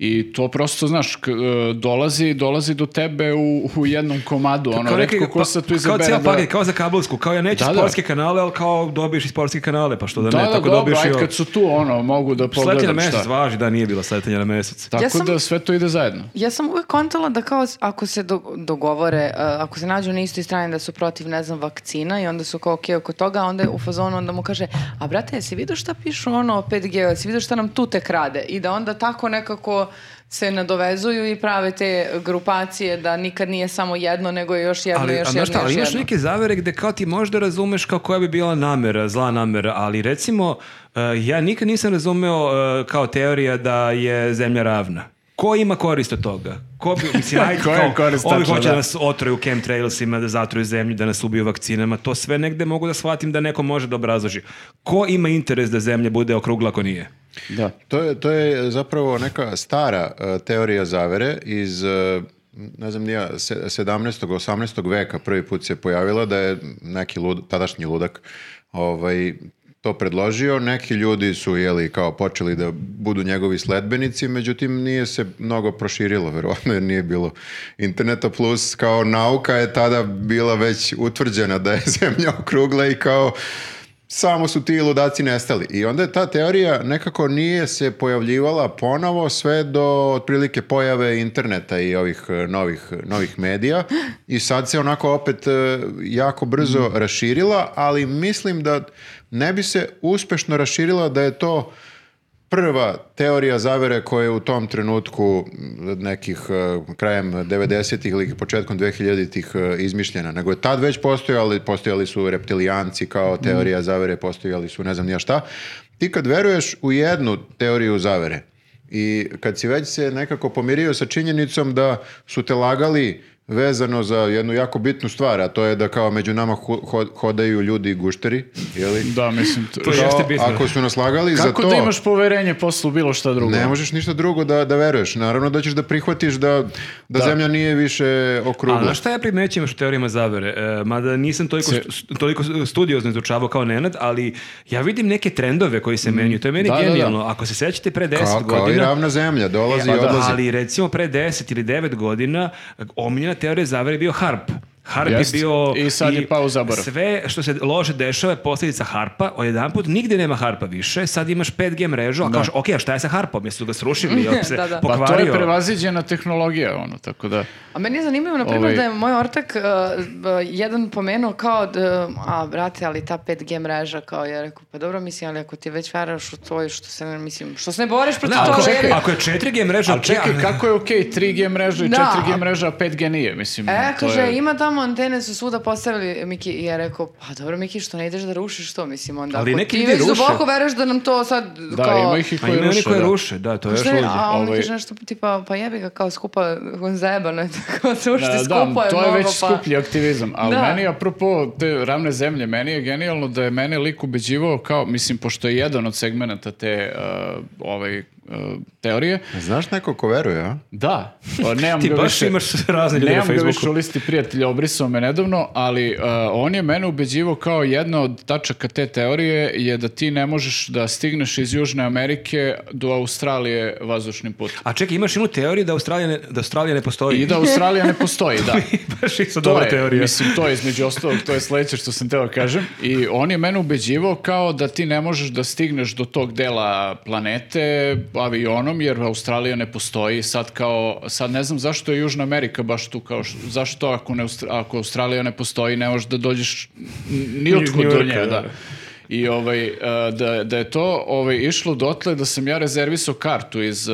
S2: I to prosto, znaš, k- uh, dolazi, dolazi do tebe u, u jednom komadu, ono,
S3: neki-
S2: retko ko
S3: pa-
S2: sad tu
S3: kao
S2: izabere
S3: cijela
S2: da-
S3: paket, kao za kablovsku, kao ja neću
S2: Da, da.
S3: sportske kanale, ali kao dobiješ i sportske kanale, pa što da,
S2: Da,
S3: ne,
S2: da,
S3: tako
S2: dobro,
S3: dobiješ i
S2: ajde,
S3: ovo.
S2: kad su tu, ono, mogu da
S3: Sletnje na
S2: pogledam
S3: mesec,
S2: šta.
S3: važi, da, nije bilo sletanje na mesec.
S2: Tako
S4: Ja sam-
S2: da sve to ide zajedno.
S4: Ja sam uvek kontala da kao s- ako se do- dogovore, uh, ako se nađu na istoj strani da su protiv, ne znam, vakcina i onda su kao okej oko toga, a onda je u fazonu, onda mu kaže, a brate, jesi vidio šta pišu ono o 5G, jesi vidio šta nam tu tek rade? I da onda tako nekako se nadovezuju i prave te grupacije da nikad nije samo jedno, nego je još jedno,
S3: ali,
S4: još
S3: a
S4: jedno,
S3: znaš šta,
S4: još
S3: ali imaš
S4: jedno.
S3: neke zavere gde kao ti možda razumeš kao koja bi bila namera, zla namera, ali recimo, e, ja nikad nisam razumeo e, kao teorija da je zemlja ravna. Ko ima korist od toga? Ko bi,
S4: [LAUGHS]
S3: mislim, ajde,
S2: Koja je
S3: kao,
S2: korist,
S3: ovi
S2: tačno,
S3: hoće
S2: da.
S3: da nas otruju chemtrailsima, da zatruju zemlju, da nas ubiju vakcinama, to sve negde mogu da shvatim da neko može da obrazloži. Ko ima interes da zemlja bude okrugla ako nije?
S2: Da.
S1: To je, to je zapravo neka stara e, teorija zavere iz e, ne znam nija, se- 17. 18. veka prvi put se pojavila da je neki lud, tadašnji ludak ovaj, to predložio. Neki ljudi su jeli, kao počeli da budu njegovi sledbenici, međutim nije se mnogo proširilo, verovatno jer nije bilo interneta, plus kao nauka je tada bila već utvrđena da je [LAUGHS] zemlja okrugla i kao samo su ti ludaci nestali. I onda je ta teorija nekako nije se pojavljivala ponovo sve do otprilike pojave interneta i ovih e, novih, novih medija. I sad se onako opet e, jako brzo raširila, ali mislim da ne bi se uspešno raširila da je to prva teorija zavere koja je u tom trenutku m, nekih e, krajem 90-ih ili početkom 2000-ih e, izmišljena, nego je tad već postojali, postojali su reptilijanci kao
S2: Mhm.
S1: teorija zavere, postojali su ne znam ni ja šta. Ti kad veruješ u jednu teoriju zavere i kad si već se nekako pomirio sa činjenicom da su te lagali vezano za jednu jako bitnu stvar, a to je da kao među nama ho- ho- hodaju ljudi gušteri, jeli?
S2: Da, mislim, to-
S3: To je-
S1: Kao,
S3: jeste bitno.
S1: ako su nas lagali Pa za
S2: Kako
S1: to...
S2: da imaš poverenje poslu bilo šta drugo?
S1: Ne možeš ništa drugo da, da veruješ. Naravno da ćeš da prihvatiš da, da, zemlja nije više
S3: A
S1: okrugla.
S3: znaš šta ja primećujem što teorijama zavere? E, mada nisam toliko,
S2: Se-
S3: stu- toliko studiozno izučavao kao Nenad, ali ja vidim neke trendove koji se menjuju. To je meni
S2: Mm. Da, da, da.
S3: genijalno. Ako se sećate pre 10
S1: Kao, kao i
S3: godina...
S1: ravna zemlja, dolazi
S3: E,
S1: i
S3: pa da,
S1: odlazi.
S3: ali recimo pre 10 ili 9 godina e, omiljena teorija zavere je bio harp. Harp
S2: Jest.
S3: je bio...
S2: I sad je pao u zaborav.
S3: Sve što se loše dešava je posljedica harpa. Odjedanput nigde nema harpa više. Sad imaš 5G mrežu, a kažeš, ok, a šta je sa harpom? Jesu ga
S2: [LAUGHS]
S3: srušili, jel se
S4: Da, da.
S2: Pa
S3: pokvario?
S2: to je prevaziđena tehnologija, ono, tako da...
S4: A meni je zanimljivo, na primjer,
S2: Ovaj-
S4: da je moj ortak uh, b- jedan pomenuo kao, da, a brate, ali ta 5G mreža, kao ja rekao, pa dobro, mislim, ali ako ti već veraš u to i što se, ne- mislim, što se ne boriš protiv
S3: Da, ako,
S4: toga,
S2: čekaj,
S4: je-
S3: ako je 4G mreža...
S2: Ali čekaj,
S3: a-
S2: kako je okej 3G mreža i
S4: Da.
S2: 4G mreža, a 5G nije, mislim.
S4: E,
S2: to
S4: kaže,
S2: je-
S4: ima tamo antene, su svuda postavili, Miki, i ja rekao, pa dobro, Miki, što ne ideš da rušiš to, mislim, onda,
S3: Ali
S4: ako
S3: neki
S4: ti
S3: ljudi
S4: već
S3: ruše.
S4: duboko veruješ da nam to sad,
S2: Da,
S4: kao...
S2: ima ih i
S3: A ima
S2: koji
S3: oni
S2: ruše.
S3: koji
S2: da.
S3: ruše, da, to je još
S4: Šta je,
S3: luđe.
S4: a on mi
S2: Ovaj-
S4: kaže nešto tipa, pa jebi ga kao skupa, on zajebano je tako, [LAUGHS] to
S2: Da,
S4: što
S2: da,
S4: skupo je
S2: to
S4: mnogo,
S2: je već
S4: pa...
S2: skuplji aktivizam. Ali
S4: Da.
S2: meni, apropo te ravne zemlje, meni je genijalno da je mene lik ubeđivao kao, mislim, pošto je jedan od segmenata te uh, ovaj, uh, teorije,
S1: Znaš neko ko veruje, a?
S2: da, o, nemam
S3: Ti
S2: ga
S3: baš
S2: više.
S3: imaš razne ljude na
S2: Nemam ga više u
S3: Facebooku.
S2: listi prijatelja, obrisao me nedavno, ali uh, on je mene ubeđivao kao jedna od tačaka te teorije je da ti ne možeš da stigneš iz Južne Amerike do Australije vazdušnim putem.
S3: A čekaj, imaš jednu teoriju da Australija ne, da Australija ne postoji.
S2: I da Australija ne postoji,
S3: [LAUGHS]
S2: da.
S3: baš isto
S2: To
S3: dobra
S2: je,
S3: teorija.
S2: mislim, to je između ostalog, to je sledeće što sam teo kažem. I on je mene ubeđivao kao da ti ne možeš da stigneš do tog dela planete avionom, jer Australija ne postoji. Sad kao, sad ne znam zašto je Južna Amerika baš tu, kao š- zašto ako, ne, Austra- ako Australija ne postoji, ne možeš da dođeš n- ni
S3: Iz
S2: otkud
S3: Njujorka,
S2: do nje,
S3: da.
S2: da. I ovaj, e, da, da je to ovaj, išlo dotle da sam ja rezervisao kartu iz e,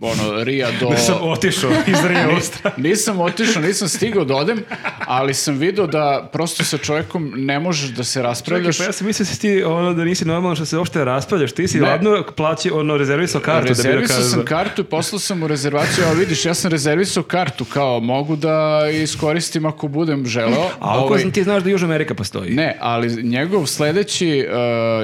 S2: ono, Rija [LAUGHS] do...
S3: Sam otišao iz Rija u Australiju.
S2: Nisam otišao, nisam stigao da odem, ali sam video da prosto sa čovjekom ne možeš da se raspravljaš.
S3: Pa ja sam mislio da si ti ono da nisi normalno što se uopšte raspravljaš. Ti si
S2: Ne.
S3: ladno plaći ono rezervisao kartu da bi
S2: Rezervisao
S3: dokazao.
S2: sam kartu i poslao sam u rezervaciju, a vidiš, ja sam rezervisao kartu, kao mogu da iskoristim ako budem želeo.
S3: A ako
S2: Ovaj,
S3: ti znaš da Južna Amerika postoji.
S2: Ne, ali njegov sledeći,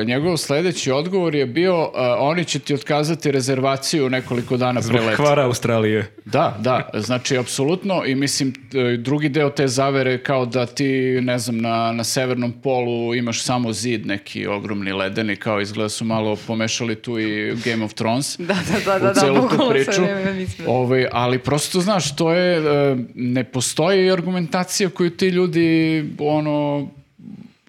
S2: e, njegov sledeći odgovor je bio e, oni će ti otkazati rezervaciju nekoliko dana pre
S3: Zbog
S2: leta.
S3: kvara Australije.
S2: Da, da, znači apsolutno i mislim t- e, drugi deo te zavere kao da ti, ne znam, na, na severnom polu imaš samo zid neki ogromni ledeni, kao izgleda su malo pomešali tu i Game of Thrones
S4: [LAUGHS] Da, da, da, da,
S2: u celu
S4: da,
S2: tu
S4: bukvalno
S2: priču.
S4: sam, nema mislila.
S2: Ovaj, ali prosto, znaš, to je, e, ne postoji argumentacija koju ti ljudi, ono,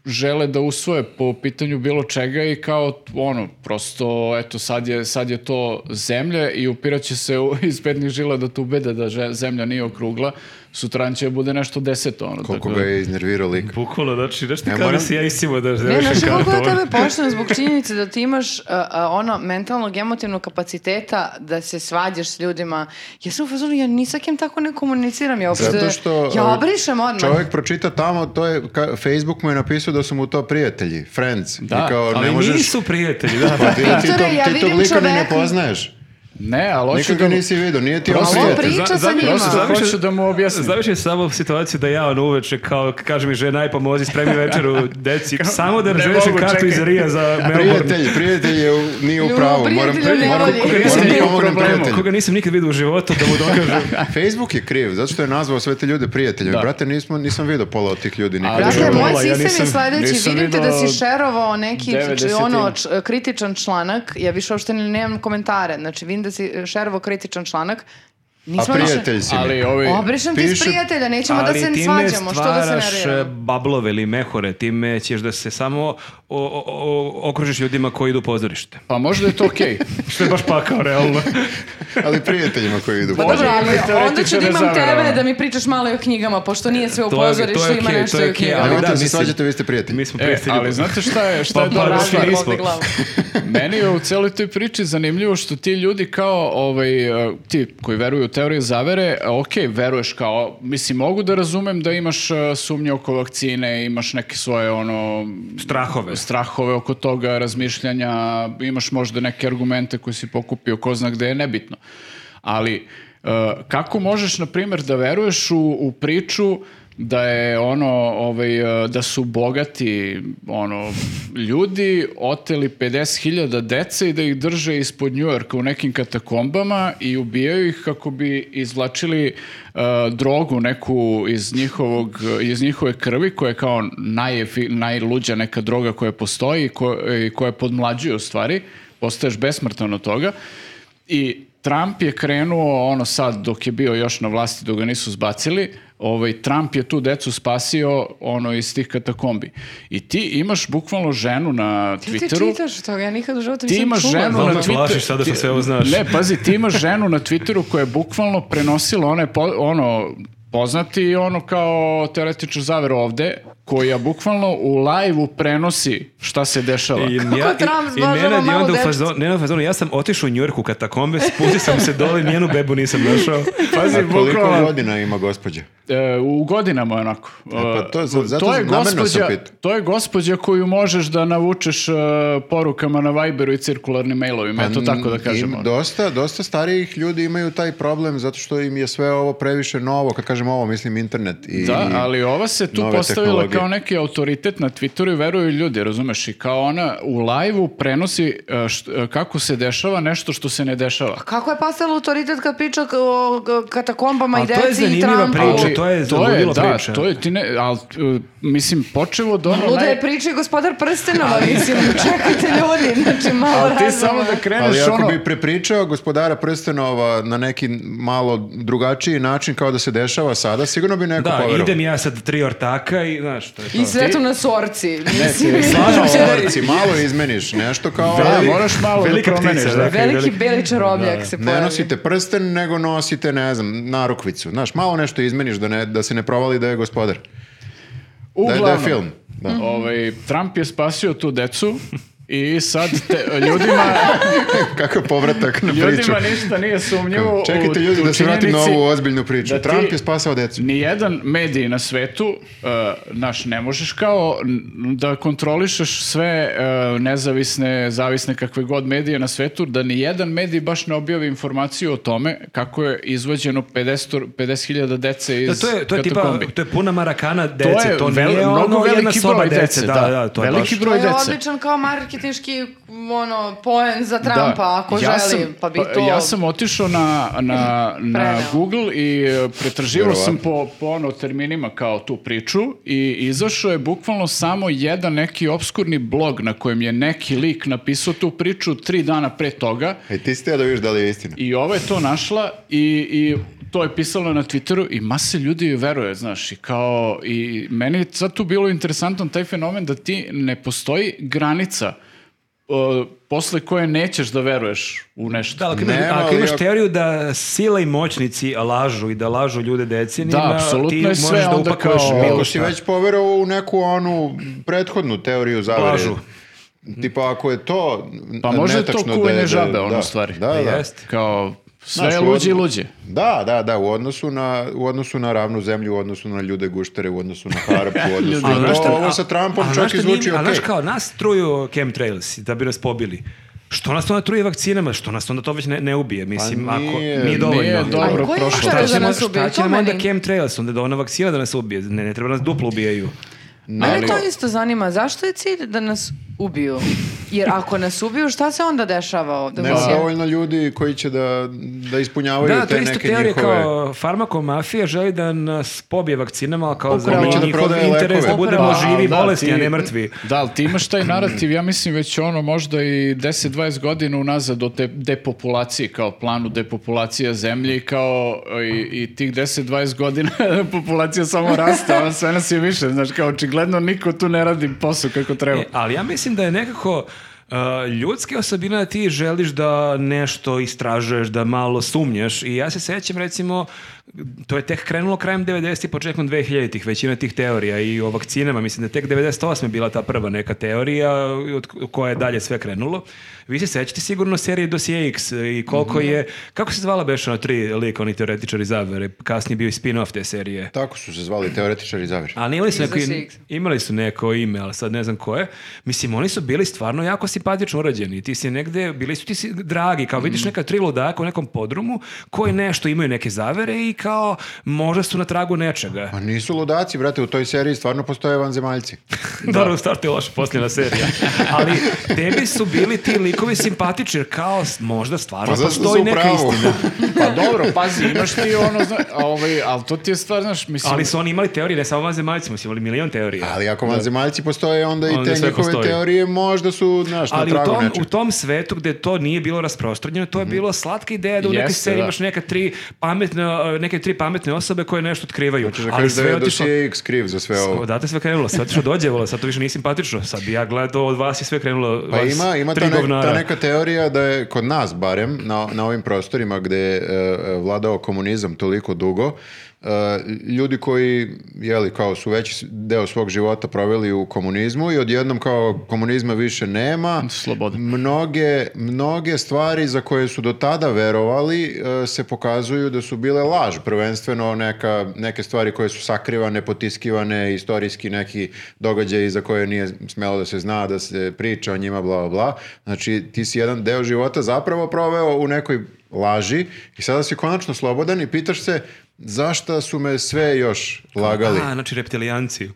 S2: žele da usvoje po pitanju bilo čega i kao, ono, prosto, eto, sad je, sad je to zemlje i upiraće se u, [LAUGHS] iz petnih žila da te ubede da že- zemlja nije okrugla, sutran će da bude nešto deseto, ono.
S1: Koliko
S2: tako da-
S1: ga je iznervirao lik.
S3: Bukvalno, znači, znaš ti
S1: Ja
S3: kao da
S1: moram-
S3: si ja isimo da
S4: Ne,
S3: rezervišem
S4: znaš
S3: kartu.
S4: koliko ja
S3: ono.
S4: tebe poštujem zbog činjenice da ti imaš a, a, ono mentalnog, emotivnog kapaciteta da se svađaš s ljudima. Ja sam u fazonu, ja ni sa kim tako ne komuniciram. Ja uopšte,
S1: Zato što
S4: ja
S1: e,
S4: obrišem odmah.
S1: Čovjek pročita tamo, to je ka- Facebook mu je napisao da su mu to prijatelji, friends.
S2: Da,
S1: I kao
S3: Ali
S1: ne možeš
S3: nisu prijatelji, da.
S1: pa ti, ti,
S4: Doktore,
S1: to,
S4: ja
S1: ti tog
S4: vidim
S1: lika ni ne
S4: čoveka.
S1: poznaješ.
S2: Ne, ali hoću
S1: Nikad
S2: da...
S1: ga nisi vidio, nije ti on
S2: Prosto-
S4: Ali on
S1: prijatelj.
S4: pri- Priča sa njima.
S2: Prosto
S3: Zamisli-
S2: hoću da mu objasnim.
S3: Zamislim samo situaciju da ja ono uveče kao kaže mi žena aj pomozi spremi večeru deci samo da
S2: ne
S3: rezervišem
S2: mogu,
S3: kartu
S2: čekaj.
S3: iz Rija za
S1: [LAUGHS]
S3: Melbourne.
S1: Prijatelj, prijatelj je u- nije u
S4: Ljubav
S1: pravu. Moram,
S4: prijatelja
S1: pri-
S4: ne
S1: moram,
S4: voli.
S1: moram
S2: Jesi
S1: da
S2: ti u
S1: pomognem
S2: problemu?
S1: prijatelju.
S3: Koga nisam nikad vidio u životu da mu
S4: [LAUGHS]
S3: dokažem.
S1: Facebook je kriv, zato što je nazvao sve te ljude prijateljima.
S2: Da.
S1: Brate, nismo, nisam vidio pola od tih ljudi nikad.
S2: Ali-
S4: Dakle,
S2: Dobro,
S4: moj
S3: ja
S4: sistem
S3: nisam-
S4: je sledeći.
S2: nisam
S4: Vidim te da
S2: video
S4: si šerovao neki č-
S2: 90-im.
S4: ono, č- kritičan članak. Ja više uopšte ne- nemam komentare. Znači, vidim da si šerovao kritičan članak.
S1: A
S4: Nismo više-
S1: prijatelj si mi.
S2: Ali ovaj,
S4: Obrišem ti s
S1: Pišu-
S4: prijatelja, nećemo da se
S3: time
S4: svađamo, što da se
S3: stvaraš
S4: nerviramo.
S3: e, bablove ili mehore, time ćeš da se samo o, o- o- okružiš ljudima koji idu u pozorište.
S2: pa možda je to
S3: [LAUGHS]
S2: okej.
S3: Što je baš pakao, realno.
S1: ali prijateljima koji idu.
S2: Pa
S1: po-
S4: Dobro,
S2: Može, ali
S4: ali onda ću
S2: teoretičare
S4: da imam
S2: zavera,
S4: tebe
S2: ono.
S4: da mi pričaš malo i o knjigama, pošto nije sve u
S3: To je- to je
S4: pozorištu, ima
S3: okej,
S4: nešto
S3: to je
S4: i o
S3: okej,
S4: knjigama.
S3: ali
S1: Nemojte
S3: da,
S1: da se
S3: mislim-
S1: svađate, vi ste prijatelji.
S3: Mi smo
S2: E,
S3: prijatelji.
S2: ali znate šta je, šta je
S3: Pa,
S2: dobro?
S3: pa,
S4: Razvoj
S3: Mislim,
S4: ovde
S3: nismo.
S4: glavu.
S2: [LAUGHS] Meni je u celoj toj priči zanimljivo što ti ljudi kao ovaj, e, ti koji veruju u teoriju zavere, e, ok, veruješ kao, mislim, mogu da razumem da imaš e, sumnje oko vakcine, imaš neke svoje ono...
S3: Strahove.
S2: Strahove oko toga, razmišljanja, imaš možda neke argumente koje si pokupio, ko zna gde je nebitno. Ali e, kako možeš, na primjer, da veruješ u, u priču da je ono ovaj e, da su bogati ono ljudi oteli 50.000 dece i da ih drže ispod Njujorka u nekim katakombama i ubijaju ih kako bi izvlačili e, drogu neku iz njihovog iz njihove krvi koja je kao najefi- najluđa neka droga koja postoji i ko- e, i koja podmlađuje u stvari postaješ besmrtan od toga i Trump je krenuo, ono sad dok je bio još na vlasti, dok ga nisu zbacili, ovaj, Trump je tu decu spasio ono iz tih katakombi. I ti imaš bukvalno ženu na
S4: Ti ti
S2: Twitteru.
S4: čitaš to, ja nikad u životu
S2: Ti
S4: nisam
S2: imaš
S4: čula.
S2: ženu
S3: Znam
S2: na
S3: da plašiš sada
S2: Twitteru.
S3: što
S2: ti-
S3: sve ovo znaš.
S2: Ne, pazi, ti imaš ženu na Twitteru koja je bukvalno prenosila one po- ono poznati ono kao teoretičar zaver ovde, koja bukvalno u live-u prenosi šta se dešava. [LAUGHS]
S3: I
S4: Kako Trump ono
S3: i
S4: zbažava
S3: Nenad je
S4: malu
S3: onda u
S4: devčicu.
S3: fazonu, Nenad u fazonu, ja sam otišao u Njujorku u katakombe, spustio sam se dole, njenu bebu nisam našao.
S4: [LAUGHS]
S2: Pazi,
S1: A koliko
S2: bukvalno-
S1: godina ima gospođa?
S2: E, u godinama je onako.
S1: pa to- za-
S2: E,
S1: zato namerno sam pitao.
S2: to je gospođa koju možeš da navučeš e, porukama na Viberu i cirkularnim mailovima, eto tako da ono. kažemo.
S1: Pa Mm, Im- dosta, dosta starijih ljudi imaju taj problem zato što im je sve ovo previše novo. Kad kažem ovo, mislim internet. I,
S2: Da, ali ova se tu
S1: nove
S2: postavila
S1: tehnologije.
S2: kao neki autoritet na Twitteru i veruju ljudi, razumeš? I kao ona u live-u prenosi e, št- e, kako se dešava nešto što se ne dešava.
S4: Kako je pastala autoritet kad priča k- o k- katakombama i
S3: Ali to je
S4: deci i
S3: zanimljiva
S4: Trumpu?
S3: priča.
S2: Ali
S3: to je zaludilo
S2: da,
S3: priča.
S2: to je ti ne, ali, e, mislim, počevo do... ono
S4: Luda
S2: naj-
S4: je priča i gospodar prstenova, mislim, čekajte ljudi, znači malo
S2: Ali
S4: razuma.
S2: ti samo da kreneš
S1: Ali ako
S2: ono...
S1: bi prepričao gospodara prstenova na neki malo drugačiji način kao da se dešava sada, sigurno bi neko
S3: Da,
S1: poverovao.
S3: idem ja sad tri ortaka i znaš što je to.
S4: I svetom na sorci. Mislim,
S2: ti-
S1: Malo
S4: Znači,
S1: orci, malo izmeniš nešto kao...
S2: Da,
S1: ali
S2: moraš malo da
S3: velika
S2: promeniš,
S3: ptica,
S2: da.
S3: da.
S4: Veliki beli čarobljak se pojavi.
S1: Ne nosite prsten, nego nosite, ne znam, narukvicu. Znaš, malo nešto izmeniš da, ne, da se ne provali da je gospodar. Da je, da je
S2: Uglavnom,
S1: film. [LAUGHS]
S2: [LAUGHS] Ovaj, Trump je spasio tu decu i sad
S1: [LAUGHS]
S2: te, ljudima,
S1: Kakav povratak na priču.
S2: ljudima ništa nije sumnjivo. u-
S1: Čekajte ljudi
S2: u
S1: da se vratim na
S2: činjenici-
S1: ovu ozbiljnu priču.
S2: da ti-
S1: Trump je spasao decu.
S2: Nijedan medij na svetu, uh, naš, ne možeš kao n- da kontrolišeš sve uh, nezavisne, zavisne kakve god medije na svetu, da nijedan medij baš ne objavi informaciju o tome kako je izvađeno 50 50.000 dece iz
S3: Da, to je, to je tipa,
S2: katakombi.
S3: to je puna marakana dece, to,
S2: vel-
S3: nije
S2: mnogo
S3: ono jedna
S2: veliki
S3: soba
S2: broj
S3: dece. Da, da, to je baš-
S2: veliki broj
S4: To je
S2: dece.
S4: odličan kao marketinški ono, poen za Trumpa, ako želi. pa bi to...
S2: Ja sam otišao na, na, na
S4: Preneo.
S2: Google i e, pretraživao
S1: Verovatno.
S2: sam po, po ono terminima kao tu priču i izašao je bukvalno samo jedan neki obskurni blog na kojem je neki lik napisao tu priču tri dana pre toga
S1: E ti ste da vidiš da li je istina.
S2: i ova je to našla i, i to je pisalo na Twitteru i mase ljudi joj veruje, znaš, i kao, i meni je sad tu bilo interesantan taj fenomen da ti ne postoji granica o, posle koje nećeš da veruješ u nešto.
S3: Da, ali ako,
S1: Nema,
S3: imaš- ako
S1: ali
S3: imaš
S1: ako-
S3: teoriju da sila i moćnici lažu i da lažu ljude decenijima,
S2: Da, apsolutno
S3: ti
S2: je
S3: možeš
S2: sve
S3: da
S2: onda
S3: upakuješ
S2: kao-
S3: bilo
S1: Ako si
S3: šta.
S1: već poverovao u neku onu prethodnu teoriju zavere.
S3: Lažu.
S1: Tipa ako je to
S2: Pa
S1: n-
S2: može
S1: netačno
S2: to
S1: da je-
S2: kuvanje
S1: da-
S2: žabe, ono
S1: da.
S2: u stvari.
S1: Da, da.
S3: Jest.
S2: Kao, sve
S1: Znaš,
S2: je
S1: u
S2: luđe i
S1: odno-
S2: luđe.
S1: Da, da, da, u odnosu, na, u odnosu na ravnu zemlju, u odnosu na ljude guštere, u odnosu na harpu,
S2: [LAUGHS]
S1: u odnosu
S2: A
S1: na
S2: znaš
S1: to,
S3: šta-
S1: ovo sa Trumpom
S3: a znaš
S1: čak
S3: šta
S1: i zvuči
S3: njima- A znaš
S1: okej.
S3: kao, nas truju chemtrails da bi nas pobili. Što nas onda truje vakcinama? Što nas onda to već ne, ne ubije? Mislim, ako
S1: Pa nije-
S3: nije dovoljno.
S2: nije dobro.
S4: Ali koji je
S2: prošlo.
S4: interes da
S3: ćemo-
S4: nas ubiju?
S3: šta će
S4: To
S3: nam onda
S4: meni.
S3: chemtrails? Onda da ona vakcina da nas ubije. Ne, ne treba nas duplo ubijaju.
S4: Mene to isto zanima. Zašto je cilj da nas ubiju? Jer ako nas ubiju, šta se onda dešava ovdje?
S1: Nema
S4: Mislim,
S1: dovoljno ljudi koji će da, da ispunjavaju
S3: Da, to
S1: te
S3: je isto
S1: neke
S3: teorija
S1: njihove...
S3: kao farmakomafija želi da nas pobije vakcinama, ali kao za
S4: Upravo. Hoće
S1: da
S3: njihov
S1: prodaje
S3: interes da
S1: lekove.
S3: budemo
S4: Upravo.
S3: živi,
S2: Ali da,
S3: bolesni, a
S2: ti-
S3: ne mrtvi.
S2: Da, ali ti imaš taj narativ, ja mislim već ono možda i 10-20 godina unazad o te depopulaciji, kao planu depopulacija zemlje i kao e, i, i tih 10-20 godina [LAUGHS] populacija samo raste, a sve nas je više, znaš, kao očigledno niko tu ne radi posao kako treba.
S3: E, ali ja mislim da je nekako uh, ljudska osobina da ti želiš da nešto istražuješ, da malo sumnjaš i ja se sećam recimo to je tek krenulo krajem 90-ih, početkom 2000-ih, većina tih teorija i o vakcinama, mislim da je tek 98. bila ta prva neka teorija od k- koja je dalje sve krenulo. Vi se sećate sigurno serije Dosije X i koliko je, kako se zvala beše na tri lika, oni teoretičari zavere, kasnije bio i spin-off te serije.
S1: Tako su se zvali teoretičari zavere.
S3: Ali imali su,
S4: Iz
S3: neko,
S4: Dosije X.
S3: imali su neko ime, ali sad ne znam koje. Mislim, oni su bili stvarno jako simpatično urađeni. Ti si negde, bili su ti si dragi, kao
S1: Mhm.
S3: vidiš neka tri ludaka u nekom podrumu koji nešto imaju neke zavere i kao možda su na tragu nečega.
S1: Pa nisu ludaci, brate, u toj seriji stvarno postoje vanzemaljci.
S3: [LAUGHS] Dobro, u startu je loša posljedna serija. Ali tebi su bili ti likovi simpatični, jer kao s- možda stvarno
S1: Pa zato što
S3: postoji
S1: su u
S3: neka
S1: pravu. [LAUGHS]
S3: istina.
S2: Pa dobro, pazi, imaš ti ono, zna, a ovaj, ali to ti je stvar, znaš, mislim...
S3: Ali su oni imali teorije, ne samo vanzemaljcima, su imali milion teorija.
S1: Ali ako vanzemaljci postoje, onda i
S3: Onda
S1: te
S3: sve
S1: njihove
S3: postoji.
S1: teorije možda su, znaš, na
S3: Ali u
S1: tragu
S3: tom,
S1: nečeg. Mhm.
S3: u tom svetu gde to nije bilo rasprostranjeno, to je bilo slatka ideja da u nekoj
S2: Jeste,
S3: seriji
S2: da.
S3: imaš neka tri pametne, e, neke tri pametne osobe koje nešto otkrivaju.
S1: Hoćeš da
S3: ali
S1: kažeš da
S3: sve je
S1: je
S3: otišlo...
S1: dosije X kriv za sve ovo.
S3: Odatle sve krenulo, sve otišlo dođevalo, sad to više nije simpatično. Sad bi ja gledao, od vas je sve krenulo.
S1: Pa
S3: vas
S1: ima, ima
S3: tri
S1: ta, nek-
S3: govnara.
S1: ta neka teorija da je kod nas barem na, na ovim prostorima gde je e, vladao komunizam toliko dugo, e, ljudi koji jeli, kao su veći deo svog života proveli u komunizmu i odjednom kao komunizma više nema,
S2: Slobode.
S1: mnoge, mnoge stvari za koje su do tada verovali e, se pokazuju da su bile laž, prvenstveno neka, neke stvari koje su sakrivane, potiskivane, istorijski neki događaji za koje nije smelo da se zna, da se priča o njima, bla, bla, bla. Znači, ti si jedan deo života zapravo proveo u nekoj laži i sada si konačno slobodan i pitaš se zašta su me sve još lagali.
S3: A, znači reptilijanci.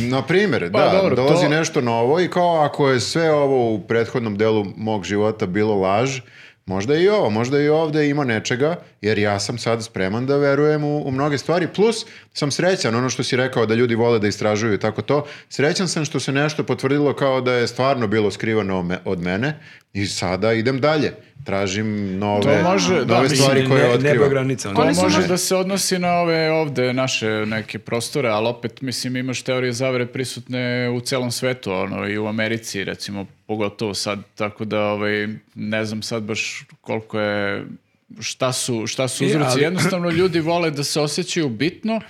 S1: Na primjer,
S2: Pa
S1: da,
S2: dobro,
S1: dolazi
S2: to-
S1: nešto novo i kao ako je sve ovo u prethodnom delu mog života bilo laž, možda i ovo, možda i ovdje ima nečega, jer ja sam sad spreman da verujem u, u mnoge stvari, plus sam srećan, ono što si rekao da ljudi vole da istražuju i tako to, srećan sam što se nešto potvrdilo kao da je stvarno bilo skrivano me- od mene i sada idem dalje, tražim nove,
S2: To može, da,
S1: nove
S2: mislim,
S1: stvari koje
S3: ne, nebo je
S1: otkrivam.
S3: granica. ono.
S2: To
S4: Oni su
S2: može
S4: možda-
S2: da se odnosi na ove ovde naše neke prostore, ali opet mislim imaš teorije zavere prisutne u celom svetu, ono i u Americi recimo pogotovo sad, tako da ovaj ne znam sad baš koliko je šta su šta su
S3: E,
S2: uzroci.
S3: ali-
S2: Jednostavno ljudi vole da se osjećaju bitno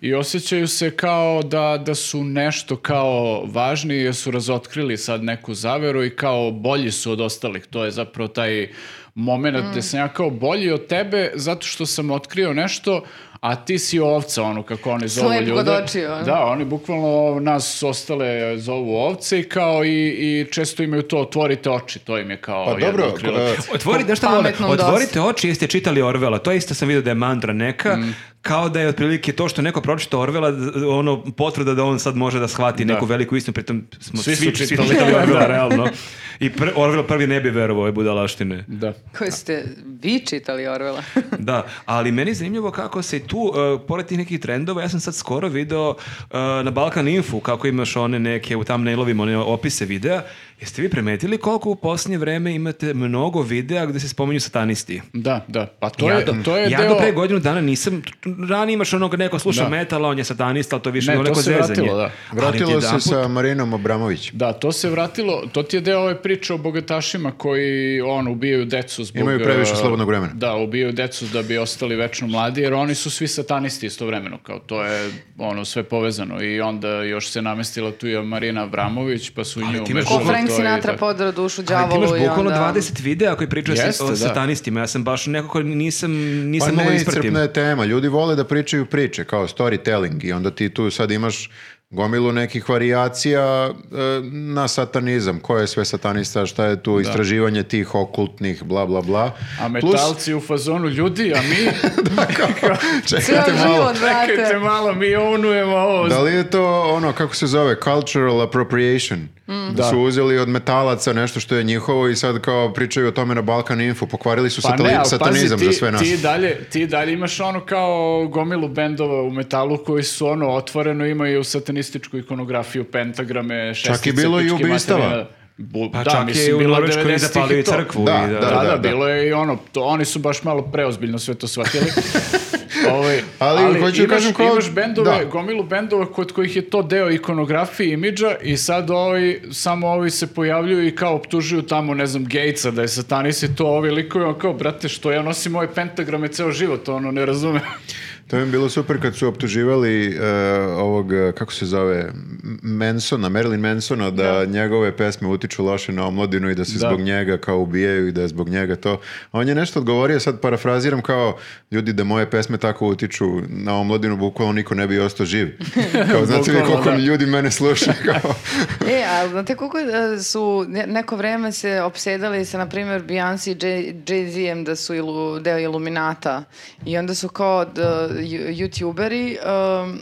S2: i osjećaju se kao da, da su nešto kao važni jer su razotkrili sad neku zaveru i kao bolji su od ostalih. To je zapravo taj moment gde sam ja kao bolji od tebe zato što sam otkrio nešto, a ti si ovca, ono kako oni zovu
S4: Slep
S2: ljude.
S4: kod očiju, ono.
S2: Da, oni bukvalno nas ostale zovu ovce i kao i, i često imaju to otvorite oči, to im je kao
S1: Pa
S2: jedno
S1: dobro,
S2: krilo.
S1: e,
S3: Otvorite, znaš šta
S4: Pa-
S3: vole?
S4: pametnom
S3: ono, Otvorite oči, jeste čitali Orvela. To isto sam vidio da je mantra neka, kao da je otprilike to što neko pročita Orvela, d- ono potvrda da on sad može da shvati neku veliku istinu, pritom smo svi,
S2: Svi su
S3: svi
S2: čitali.
S3: čitali Orvela, realno. I pr Orwell prvi ne bi verovao ove budalaštine.
S2: Da.
S4: Koji ste vi čitali
S2: [LAUGHS]
S4: Orvela?
S3: Da, ali meni je zanimljivo kako se i tu, uh, pored tih nekih trendova, ja sam sad skoro video uh, na Balkan Infu kako imaš one neke u thumbnailovima, one opise videa. Jeste vi primetili koliko u posljednje vreme imate mnogo videa gde se spominju satanisti?
S2: Da, da. Pa to
S3: ja
S2: je,
S3: do,
S2: to je
S3: ja
S2: deo...
S3: do pre godinu dana nisam, ranije imaš onog neko sluša
S2: Da.
S3: metala, on je satanista, ali to je više
S2: Ne,
S3: ono
S2: to
S3: neko
S2: se
S3: zezanje.
S2: vratilo, da.
S3: Ali
S1: Vratilo se
S3: odjedanput-
S1: sa Marinom Abramovićem.
S2: Da, to se vratilo, to ti je deo ove priče o bogatašima koji on ubijaju decu zbog...
S1: Imaju previše
S2: e,
S1: slobodnog vremena.
S2: Da, ubijaju decu da bi ostali večno mladi, jer oni su svi satanisti istovremeno, kao to je ono sve povezano i onda još se namestila tu i Marina Avramović, pa su i nju
S3: ti imaš
S4: Ko
S2: umešali,
S4: Frank
S2: to je i
S4: Sinatra
S2: tako.
S4: podra dušu
S3: Ali ti imaš
S4: đavolu i
S3: bukvalno
S4: onda...
S3: 20 videa koji pričaju sa-
S2: Jeste,
S3: o
S2: da.
S3: satanistima. Ja sam baš nekako nisam,
S1: Pa
S3: nisam mogao da
S1: ne,
S3: ispratim.
S1: iscrpna je tema. Ljudi vole da pričaju priče, kao storytelling i onda ti tu sad imaš gomilu nekih varijacija e, na satanizam. Ko je sve satanista, šta je tu istraživanje tih okultnih, bla, bla, bla.
S2: A [LAUGHS]
S1: Plus-
S2: metalci u fazonu ljudi, a
S1: [LAUGHS]
S2: mi...
S1: Čekajte
S4: Ceo
S1: malo.
S4: život,
S2: Čekajte
S4: brate.
S2: malo, mi ovnujemo ovo.
S1: Da li je to ono, kako se zove, cultural appropriation? Da su uzeli od metalaca nešto što je njihovo i sad kao pričaju o tome na Balkan Info. Pokvarili su satali-
S2: Pa ali
S1: satanizam
S2: pazi, ti,
S1: za sve nas.
S2: Ti dalje, ti dalje imaš ono kao gomilu bendova u metalu koji su ono otvoreno imaju satanističku ikonografiju, pentagrame, šestice,
S1: Čak je bilo i
S2: pičke
S1: ubistava.
S2: materine. Bu-
S3: Pa
S2: da,
S3: čak
S2: mislim,
S3: je u
S2: bilo
S3: Norveškoj
S2: 90-ih
S3: zapalio i
S2: to.
S3: crkvu.
S1: Da,
S3: i
S1: da,
S2: Da, da,
S1: da.
S2: bilo je i ono, to, oni su baš malo preozbiljno sve
S1: [LAUGHS]
S2: to shvatili. Ovaj,
S1: Ali hoću da
S2: imaš,
S1: kažem kao-
S2: imaš bendove,
S1: da.
S2: gomilu bendova kod kojih je to deo ikonografije i imidža i sad ovi, samo ovi se pojavljuju i kao optužuju tamo, ne znam, Gatesa da je satanist i to ovi likovi, on kao, brate, što ja nosim ove pentagrame ceo život, ono, ne razumem.
S1: To mi je bilo super kad su optuživali e, ovog, e, kako se zove, M- Mansona, Marilyn Mansona, da, njegove pesme utiču loše na omladinu i da se zbog njega kao ubijaju i da je zbog njega to. A on je nešto odgovorio, sad parafraziram kao, ljudi da moje pesme tako utiču na omladinu, bukvalno niko ne bi ostao živ. Kao, znate vi
S2: Bukvalno,
S1: koliko
S2: da.
S1: ljudi mene sluša, kao...
S4: E, a znate koliko e, su ne- neko vreme se opsedali sa, na primjer, Beyoncé i Jay- Jay-Z-em da su ilu, deo Iluminata i onda su kao d, ju- youtuberi um,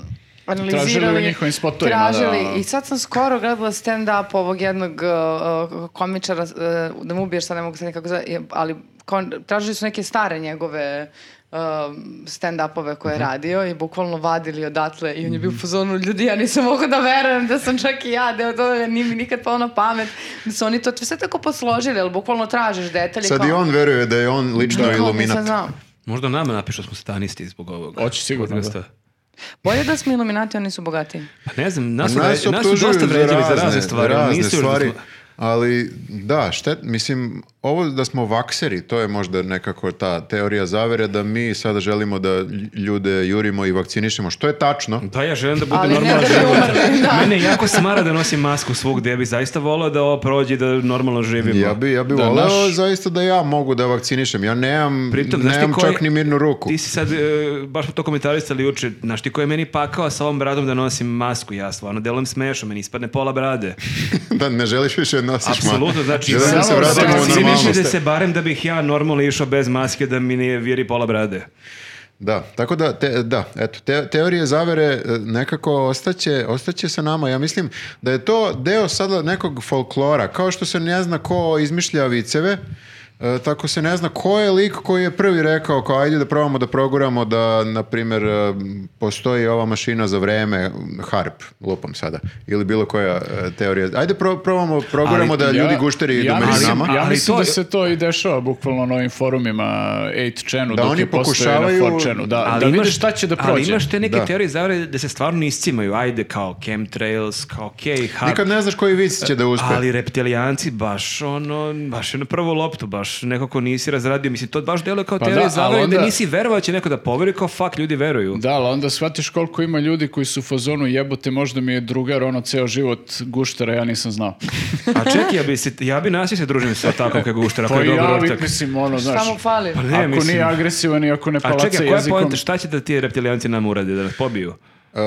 S4: analizirali...
S2: Tražili u njihovim spotovima,
S4: tražili.
S2: da.
S4: I sad sam skoro gledala stand-up ovog jednog uh, uh, komičara, uh, da mu ubiješ, sad ne mogu sad nikako zove, je- ali kao, tražili su neke stare njegove uh, stand-upove koje je
S1: Mhm.
S4: radio i bukvalno vadili odatle i on je bio u fazonu ljudi, ja nisam mogao da verujem da sam čak i ja, da je to nije mi nikad palo na pamet, da su oni to sve tako posložili, ali bukvalno tražiš detalje.
S1: Sad
S4: kao-
S1: i on veruje da je on lično
S4: Kao, nisam
S1: iluminat.
S4: znao.
S3: Možda nama napišu da smo satanisti zbog ovog.
S2: Hoće sigurno,
S3: podcasta.
S4: Bolje da smo iluminati, oni su bogatiji.
S3: Pa ne znam, nas, su
S1: E, nas
S3: vre- nas su
S1: optužuju
S3: dosta vređali za razne stvari. ali
S1: razne
S3: nisu još da
S1: stvari.
S3: smo-
S1: Ali da, štet, mislim, ovo da smo vakseri, to je možda nekako ta teorija zavere da mi sada želimo da lj- ljude jurimo i vakcinišemo, što je tačno.
S3: Da, ja želim da budem
S4: Ali ne
S3: normalan
S4: da bi
S3: život.
S4: umrli, da.
S3: Mene jako smara da nosim masku svugdje, ja bih zaista volao da ovo prođe i da normalno živimo.
S1: Ja bi, ja bi
S2: Da,
S1: voleo
S2: naš-
S1: zaista da ja mogu da vakcinišem. Ja nemam,
S3: Pritom, znaš ti
S1: nemam
S3: koji-
S1: čak ni mirnu ruku.
S3: Ti si sad, e, baš smo to komentarisali juče, znaš ti ko je meni pakao sa ovom bradom da nosim masku, ja stvarno delujem smešno, meni ispadne pola brade.
S1: [LAUGHS] da ne želiš više da nosiš masku.
S3: Apsolutno, znači,
S1: Želim da se
S2: samo
S1: vratimo
S2: se
S1: u
S2: vakcinišite.
S1: normalnost.
S3: se barem da bih ja normalno išao bez maske da mi ne viri pola brade.
S1: Da, tako da, te, da, eto, te- teorije zavere e, nekako ostaće, ostaće sa nama. Ja mislim da je to deo sada nekog folklora. Kao što se ne zna ko izmišlja viceve, e, tako se ne zna ko je lik koji je prvi rekao kao ajde da probamo da proguramo da, na primjer, e, postoji ova mašina za vreme, m, harp, lupam sada, ili bilo koja e, teorija. Ajde pro, probamo, proguramo da ljudi gušteri idu među
S2: mislim,
S1: nama.
S2: Ja
S3: Ali
S2: mislim
S3: to
S2: da
S3: je-
S2: se to i dešava bukvalno na ovim forumima 8chanu,
S1: Da
S2: dok
S1: oni
S2: je postoje na
S1: pokušavaju-
S2: 4chanu. Da, da vidiš šta će da prođe.
S3: Ali imaš te neke
S1: Da.
S3: teorije zavere da se stvarno iscimaju, ajde kao chemtrails, kao okej, harp,
S1: Nikad ne znaš koji vic će da uspe.
S3: ali reptilijanci baš ono, baš je na prvu loptu, baš baš nekako nisi razradio. Mislim, to baš deluje kao
S2: Pa
S3: teorija
S2: da,
S3: zavere,
S2: ali
S3: onda
S2: onda-
S3: nisi verovao da će neko da poveri, kao fuck, ljudi veruju.
S2: Da, ali onda shvatiš koliko ima ljudi koji su u fazonu jebote, možda mi je drugar ono ceo život guštara, ja nisam znao.
S3: A čekaj, ja bi, se, ja bi nastavio se družim sa takvom kako guštara,
S2: Pa
S3: koji
S2: i
S3: je dobar
S2: ja uvijek
S3: ortak.
S2: mislim ono, znaš,
S4: Samo fali.
S3: Pa ne,
S2: ako
S3: mislim.
S2: nije agresivan i ako ne
S3: A
S2: palaca
S3: čekaj, koja je
S2: jezikom...
S3: pojenta, šta će da ti reptilijanci nam urade, da nas pobiju?
S1: Uh,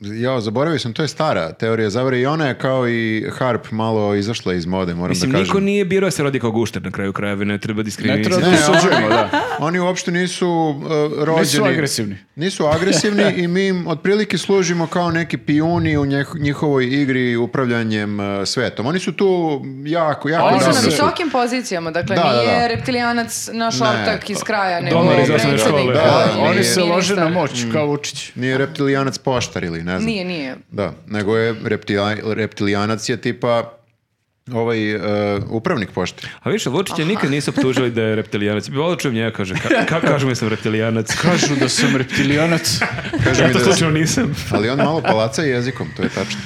S1: jao, zaboravio sam, to je stara teorija zavere i ona je kao i Harp malo izašla iz mode, moram
S3: Mislim,
S1: da kažem.
S3: niko nije birao da se rodi kao guštar na kraju krajeva, ne treba
S2: Ne treba
S3: diskriminirati.
S2: da
S1: Ne,
S2: osuđujemo,
S1: oni-
S2: da.
S1: Oni uopšte nisu uh, rođeni.
S2: Nisu agresivni.
S1: Nisu agresivni i mi im otprilike služimo kao neki pijuni u njeh- njihovoj igri upravljanjem uh, svetom. Oni su tu jako, jako
S2: Oni su
S4: Oni su
S1: dobro
S4: na
S1: su.
S2: nam
S4: visokim pozicijama, dakle
S1: Da, da,
S4: nije
S1: da.
S4: reptilijanac naš
S1: Ne.
S4: ortak iz kraja, nego
S3: Dobar iz osnovne
S4: predsjednik.
S3: škole.
S1: Da,
S2: Da,
S1: nije.
S2: oni se lože na
S4: Ministar.
S2: moć, kao Vučić.
S1: Nije reptilijanac poštar ili ne znam.
S4: Nije, nije.
S1: Da, nego je reptila- reptilijanac je tipa ovaj uh, upravnik pošte.
S3: A više, Vučića nikad nisu optužili da je reptilijanac. Bi volio da čujem njega, kaže, ka, ka, kažu mi sam reptilijanac.
S2: Kažu da sam reptilijanac.
S1: Kaže
S3: Ja
S1: mi
S3: to [LAUGHS]
S1: da-
S3: slučajno nisam.
S1: ali on malo palaca jezikom, to je tačno.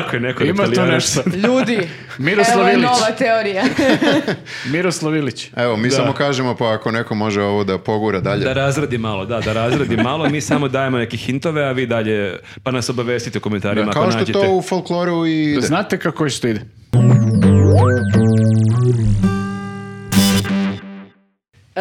S3: Ako je neko
S2: Ima tu
S3: reptilijanac.
S2: nešto.
S4: Ljudi,
S2: Miroslav
S4: evo je
S2: Ilić.
S4: nova teorija.
S2: Miroslav Ilić.
S1: Evo, mi samo kažemo pa ako neko može ovo da pogura dalje.
S3: Da razradi malo, da, da
S1: [LAUGHS]
S3: razradi malo. Mi samo dajemo neke hintove, a vi dalje, pa nas obavestite u komentarima ako
S1: Kao što
S3: nađete.
S1: to u folkloru i ide.
S2: Znate kako isto ide?
S4: Uh,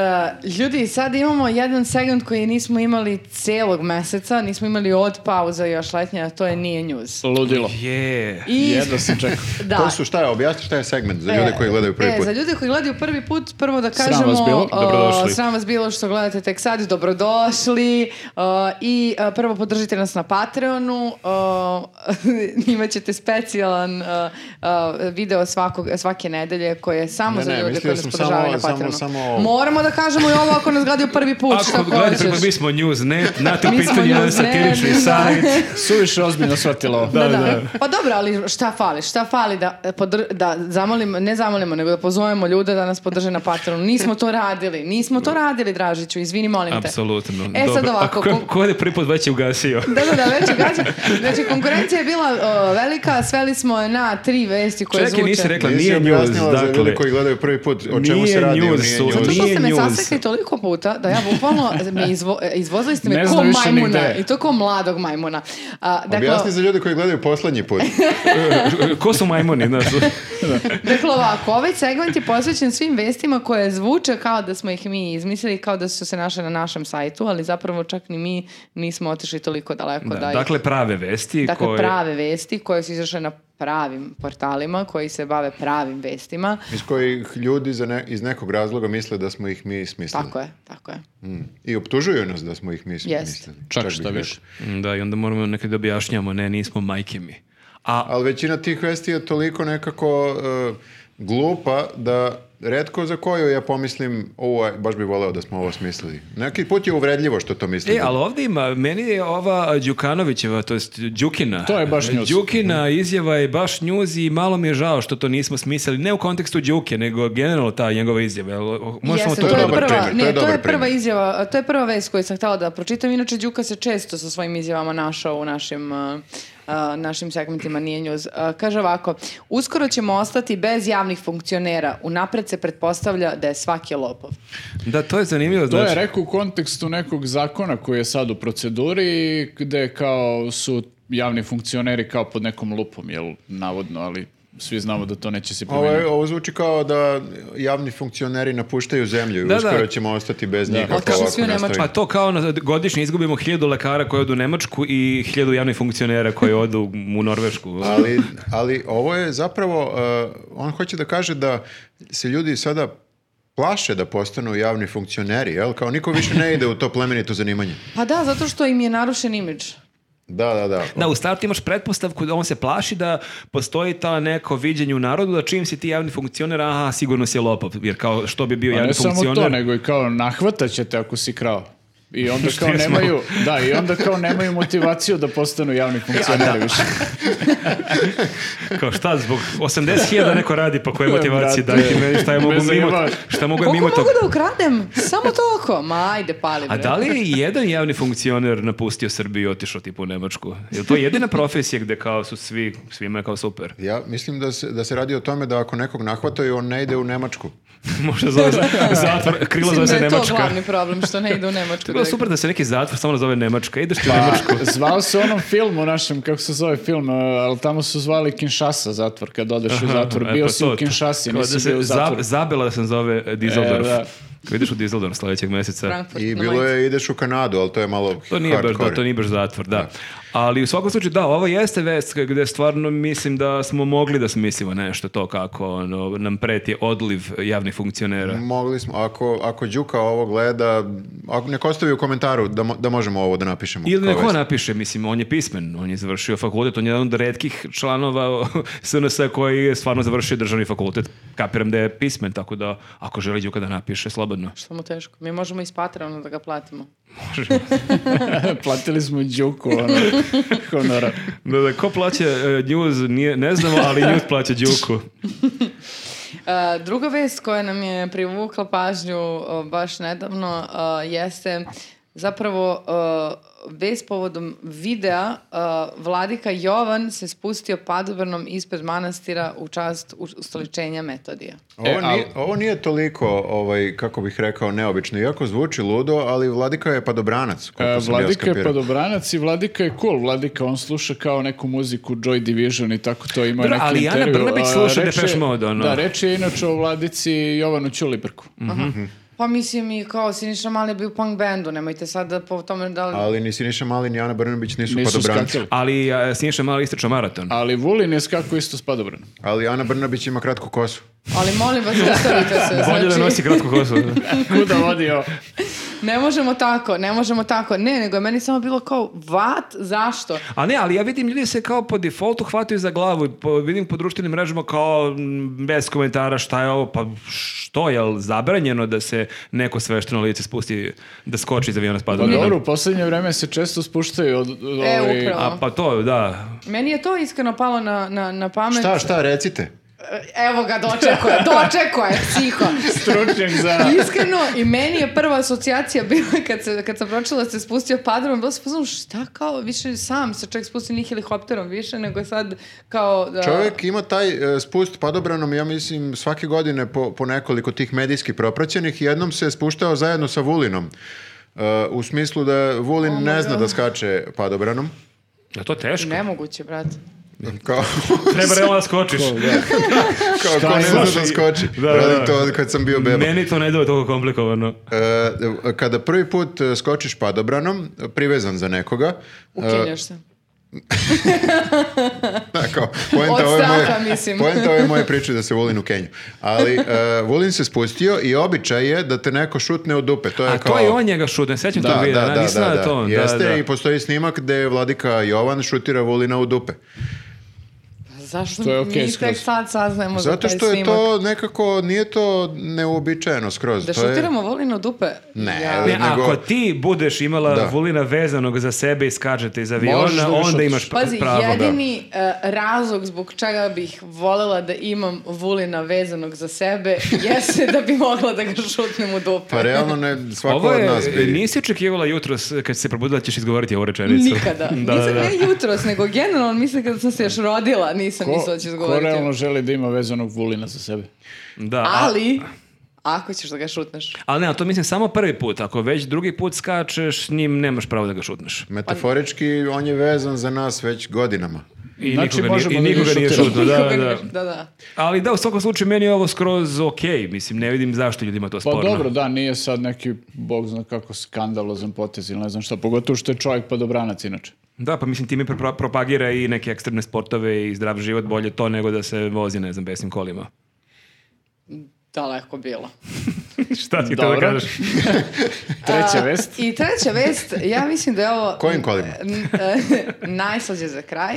S4: ljudi, sad imamo jedan segment koji nismo imali celog meseca, nismo imali od pauza još letnja, a to je Nije News.
S2: Ludilo.
S3: Je.
S4: I,
S2: Jedva sam čekao.
S4: da.
S1: To su šta je, objasni šta je segment za ljude koji gledaju prvi
S4: E,
S1: put.
S4: za ljude koji gledaju prvi put, prvo da
S2: Sram
S4: kažemo...
S2: vas bilo,
S4: o,
S3: dobrodošli.
S4: Sram vas bilo što gledate tek sad, dobrodošli. o, I a, prvo podržite nas na Patreonu. o, [LAUGHS] imaćete specijalan a, a, video svakog, svake nedelje koje je samo
S1: Ne,
S4: za
S1: ne,
S4: ljude
S1: mislio
S4: koji nas
S1: sam
S4: podržavaju
S1: samo-
S4: na Patreonu.
S1: samo- samo ovo.
S4: Moramo da kažemo i ovo ako nas gledaju prvi put. šta
S3: Ako gledate,
S4: hoćeš.
S3: pa mi smo Newsnet, znate u
S4: Mi smo
S3: pitanju jedan
S4: Newsnet,
S3: satirični
S4: [LAUGHS] da.
S3: sajt.
S2: Suviše ozbiljno shvatilo ovo.
S4: Da, da, Pa dobro, ali šta fali? Šta fali da, e, podr- da zamolim, ne zamolimo, nego da pozovemo ljude da nas podrže na Patreonu. Nismo to radili. Nismo to radili, Dražiću. Izvini, molim te.
S3: Apsolutno.
S4: E, sad
S3: Dobro.
S4: ovako,
S3: Ako ko,
S4: kom-
S3: ko je prvi put već je
S4: [LAUGHS]
S3: ugasio?
S4: Da, da, da, već ugađa. Znači, konkurencija je bila o, velika, sveli smo je na tri vesti koje
S3: Čekaj,
S4: zvuče.
S3: nisi rekla,
S1: Nisi
S3: Dakle, nije news,
S1: objasnila za ljude
S3: dakle.
S1: koji gledaju prvi put o čemu
S3: Nije
S1: se radi. o
S3: news,
S1: nije
S3: su-
S1: news.
S4: Zato što
S3: Nije
S4: ste me
S3: news.
S4: sasekli toliko puta da ja bukvalno me izvo, e, izvozili ste me
S2: Ne
S4: ko
S2: zna više ni
S4: majmuna
S2: gde.
S4: i to ko mladog majmuna. A, dakle,
S1: Objasni za ljude koji gledaju poslednji put.
S3: ko su majmuni,
S4: [LAUGHS]
S3: znaš?
S4: Dakle ovako, ovaj segment je posvećen svim vestima koje zvuče kao da smo ih mi izmislili, kao da su se našle na našem sajtu, ali zapravo čak ni mi nismo otišli toliko daleko da,
S3: Da,
S4: ih-
S3: dakle, prave vesti.
S4: Pa dakle,
S3: koje...
S4: prave vesti koje su izašle na pravim portalima, koji se bave pravim vestima.
S1: Iz kojih ljudi za ne- iz nekog razloga misle da smo ih mi smislili.
S4: Tako je, tako je.
S1: Mm. I optužuju nas da smo ih mi smislili.
S4: Jest.
S2: Čak
S1: bih
S2: šta
S1: rekao.
S2: više.
S3: Da, i onda moramo nekad da objašnjamo, ne, nismo majke mi. A,
S1: Ali većina tih vesti je toliko nekako e, glupa da redko za koju ja pomislim ovo, je- baš bi voleo da smo ovo smislili. Neki put je uvredljivo što to mislim.
S3: e, ali ovdje ima, meni je ova Đukanovićeva, to jest Đukina.
S2: To je baš Mhm. njuz.
S3: Đukina izjava je baš njuz i malo mi je žao što to nismo smislili, ne u kontekstu Đuke, nego generalno ta njegova izjava. Jel, Možeš samo
S4: Jeste,
S3: to,
S1: to je
S3: da-
S1: dobar
S4: prva,
S1: primer, to
S4: ne,
S1: je
S4: to
S1: dobar
S4: je prva
S1: primer.
S4: izjava, a, to je prva vest koju sam htjela da pročitam. Inače, Đuka se često sa svojim izjavama našao u našim a, a, našim segmentima nije njuz. A, Kaže ovako, uskoro ćemo ostati bez javnih funkcionera. Unapred se pretpostavlja da je svaki lopov.
S3: Da, to je zanimljivo.
S2: To je
S3: Znači,
S2: rekao u kontekstu nekog zakona koji je sad u proceduri, gde kao su javni funkcioneri kao pod nekom lupom, jel, navodno, ali svi znamo da to neće se
S1: Ovo, je-
S2: promijeniti.
S1: Ovaj, ovo zvuči kao da javni funkcioneri napuštaju zemlju i
S3: Da, da.
S1: uskoro ćemo ostati bez njih. ako
S4: Otišli
S1: ovako
S4: svi u Nemačku.
S1: nastavimo.
S3: Pa to kao na, godišnje izgubimo hiljadu lekara koji odu u Nemačku i hiljadu javnih funkcionera koji odu u Norvešku.
S1: ali, ali ovo je zapravo, uh, on hoće da kaže da se ljudi sada plaše da postanu javni funkcioneri, jel? Kao niko više ne ide u to plemenito zanimanje.
S4: Pa da, zato što im je narušen imidž.
S1: Da, da, da.
S3: Da, u startu imaš pretpostavku da on se plaši da postoji ta neko viđenje u narodu da čim si ti javni funkcioner, aha, sigurno si lopov, jer kao što bi bio
S2: A
S3: javni
S2: Pa ne samo
S3: funkcioner.
S2: to, nego i kao nahvataćete ako si krao. I
S3: [LAUGHS]
S2: onda kao
S3: Šli smo.
S2: nemaju, da, i onda kao nemaju motivaciju da postanu
S3: [LAUGHS]
S2: javni funkcioneri više.
S3: Kao šta, zbog 80.000 neko radi, pa koje motivacije
S2: Brate,
S3: dajte meni, šta ja mogu
S2: me
S3: mimo,
S2: zajebaš.
S3: šta mogu ja
S4: Koliko
S3: mimo
S4: mogu
S3: toga.
S4: da ukradem? Samo toliko. Ma, ajde, pali bre.
S3: A da li je i jedan javni funkcioner napustio Srbiju i otišao tipu u Nemačku? Je to jedina profesija gde kao su svi, svima je kao super? [LAUGHS]
S1: Ja mislim da se, da se radi o tome da ako nekog nahvataju, on ne ide u Nemačku.
S3: Možda zove se zatvor, krilo
S4: Mislim
S3: zove
S4: da
S3: se
S4: je to
S3: Nemačka.
S4: glavni problem, što ne
S3: [LAUGHS]
S4: ide u Nemačku.
S3: To je bilo
S4: direkt.
S3: super da se neki zatvor samo nazove Nemačka. Ideš ti u
S2: Pa,
S3: Nemačku.
S2: zvao se u onom filmu našem, kako se zove film, e, ali tamo su zvali Kinshasa zatvor, kad odeš u zatvor.
S3: E,
S2: Bio
S3: pa
S2: si
S3: to,
S2: u Kinshasi,
S3: kao da
S2: nisi
S3: se
S2: bio u
S3: za-
S2: zatvoru.
S3: zabela da se zove e, Düsseldorf.
S2: E, da.
S3: Kad ideš u Düsseldorf sledećeg meseca.
S4: Frankfurt
S1: I
S4: na
S1: bilo
S4: majici.
S1: je ideš u Kanadu, ali to je malo
S3: To nije baš, da,
S1: hardcore.
S3: to nije baš zatvor, da. Ali u svakom slučaju, da, ovo jeste vest gde stvarno mislim da smo mogli da smislimo nešto to kako ono, nam preti odliv javnih funkcionera.
S1: Mogli smo, ako, ako Đuka ovo gleda, ako nek ostavi u komentaru da, mo- da možemo ovo da napišemo.
S3: Ili
S1: kao
S3: neko
S1: vest.
S3: napiše, mislim, on je pismen, on je završio fakultet, on je jedan od redkih članova [LAUGHS] SNS koji je stvarno završio državni fakultet. Kapiram da je pismen, tako da ako želi Đuka da napiše, slobodno.
S4: Što mu teško. Mi možemo iz Patreona da ga platimo.
S2: [LAUGHS] Platili smo Đuku, ono, honora.
S3: [LAUGHS] Da, da, ko plaća e, news, nije, ne znamo, ali news plaća Đuku.
S4: E, druga vest koja nam je privukla pažnju e, baš nedavno e, jeste zapravo e, vest povodom videa e, vladika Jovan se spustio padobranom ispred manastira u čast u- ustoličenja Metodija.
S1: Ovo,
S2: E, al-
S1: nije, ovo nije toliko, ovaj, kako bih rekao, neobično. Iako zvuči ludo, ali Vladika je padobranac.
S2: E,
S1: koliko sam ja
S2: Vladika je
S1: skapirao.
S2: padobranac i Vladika je cool. Vladika, on sluša kao neku muziku Joy Division i tako to ima
S3: Dobro,
S2: neki
S3: ali Ana
S2: intervju.
S3: Brnabić
S2: A,
S3: sluša
S2: reč je-
S3: Depeche Mode, ono.
S2: Da, reč je inače o Vladici Jovanu Ćulibrku.
S1: Mm,
S4: Pa mislim i kao Siniša Mali je bio u punk bandu, nemojte sad da po tome da li...
S1: Ali ni Siniša Mali, ni Ana Brnabić nisu,
S2: Nisu
S1: padobranci.
S2: skakali.
S3: Ali e, Siniša Mali istračao maraton.
S2: Ali Vulin je skako isto s
S3: [LAUGHS]
S2: padobranom.
S1: Ali Ana Brnabić ima kratku kosu.
S4: Ali molim vas, zaustavite se.
S3: [LAUGHS] Bolje da
S4: znači-
S3: nosi kratko kosu.
S2: Kuda
S1: Pa
S2: vodio?
S4: Ne možemo tako, ne možemo tako. Ne, nego je meni samo bilo kao, vat, zašto?
S3: A ne, ali ja vidim ljudi se kao po defaultu hvataju za glavu. Po, vidim po društvenim mrežama kao m, bez komentara šta je ovo, pa što je zabranjeno da se neko svešteno lice spusti, da skoči iz aviona s
S2: Pa
S3: padobranom?
S2: dobro, u poslednje vreme se često spuštaju od... od
S4: E,
S2: ovaj-
S4: upravo.
S3: A pa to, da.
S4: Meni je to iskreno palo na, na, na pamet.
S1: Šta, šta, recite?
S4: E, Evo ga, dočeko
S1: [LAUGHS]
S4: je, dočeko je, psiho.
S2: Stručnjak za...
S3: [LAUGHS]
S4: Iskreno, i meni je prva asocijacija bila kad, se, kad sam pročula da se spustio padrom, bilo sam poznala šta kao, više sam se čovjek spustio ni helikopterom više, nego sad kao... Da,
S1: Čovjek ima taj e, spust padobranom, ja mislim, svake godine po, po nekoliko tih medijski propraćenih. Jednom se je spuštao zajedno sa Vulinom. E, u smislu da
S4: Oh
S1: Vulin ne zna da skače
S4: [LAUGHS]
S1: padobranom.
S3: Je to teško?
S4: Nemoguće,
S1: E,
S4: brate.
S1: Kao,
S3: [LAUGHS] Treba realno da skočiš.
S1: kao ko ne zna da skoči.
S3: Da, da, da.
S1: Radim to od kad sam bio beba.
S3: Meni to ne dao toliko komplikovano.
S1: E, kada prvi put e, skočiš padobranom, e, privezan za nekoga, e,
S4: Ukinjaš se.
S1: da, kao, poenta
S4: Od
S1: ove moje,
S4: straha, mislim.
S1: poenta ove moje priče je da se Vulin u Kenju. Ali e,
S4: [LAUGHS]
S1: Vulin se spustio i običaj je da te neko šutne u dupe. To je
S3: A
S1: kao,
S3: to je on njega
S1: [LAUGHS]
S3: šutne, sećam
S1: Da,
S3: tog
S1: da,
S3: videa,
S1: da,
S3: da, nisam
S1: da,
S3: znao
S1: da.
S3: to on, da,
S1: Jeste
S3: da.
S1: i pa- postoji snimak gde vladika Jovan šutira Vulina u dupe.
S4: Pa Zašto
S2: To je okej
S4: mi tek
S2: skroz.
S4: sad saznajemo Pa za
S1: Zato
S4: taj
S1: što je
S4: snimak?
S1: to nekako, nije to neuobičajeno skroz.
S4: Da
S1: to je,
S4: šutiramo volino dupe?
S1: Ne,
S4: Ja.
S3: Ne,
S1: nego-
S3: ako ti budeš imala
S1: Da.
S3: Vulina vezanog za sebe i skačete iz aviona,
S2: Možeš da ga
S3: onda
S2: šutiš.
S3: imaš pra-
S4: Pazi,
S3: pravo. da.
S4: jedini eh, razlog zbog čega bih volela da imam Vulina vezanog za sebe jeste da bi mogla da ga šutnem u dupe.
S1: Pa
S4: [LAUGHS]
S1: realno ne, svako
S3: Ovo
S1: od
S3: je,
S1: nas bi...
S3: nisi očekivala jutros kad si se probudila da ćeš izgovoriti ovu rečenicu.
S4: Nikada.
S3: [LAUGHS] da, da,
S4: nisam
S3: da.
S4: ne jutros, nego generalno mislim kada sam se još rodila, nisam
S2: Ko,
S4: mislila da ću
S2: ko
S4: izgovoriti.
S2: realno želi da ima vezanog Vulina za sebe?
S3: Da, a-
S4: Ali, ako ćeš da ga šutneš.
S3: ali ne, a to mislim samo prvi put. Ako već drugi put skačeš, s njim nemaš pravo da ga šutneš.
S1: Metaforički, on je vezan za nas već godinama.
S3: I
S2: Znači,
S3: nikoga, nije,
S2: možemo
S3: i
S2: da ga
S3: nikoga nije
S2: šutiramo.
S3: šutno. Da,
S4: Nikoga
S3: da.
S4: ne- da, da.
S3: Ali da, u svakom slučaju meni je ovo skroz okej. Mislim, ne vidim zašto ljudima to
S2: Pa
S3: sporno.
S2: dobro, da, nije sad neki, bog zna kako, skandalozan potez ili ne znam šta, pogotovo što je čovjek padobranac inače.
S3: Da, pa mislim time pro- propagira i neke ekstremne sportove i zdrav život, bolje to nego da se vozi, ne znam, besnim kolima.
S4: Daleko bilo.
S3: [LAUGHS] Šta ti to da
S2: Dobro.
S3: kažeš?
S2: Treća vest.
S4: I treća vest, ja mislim da je ovo...
S1: Kojim kolima?
S4: n- [LAUGHS] e, najslađe za kraj.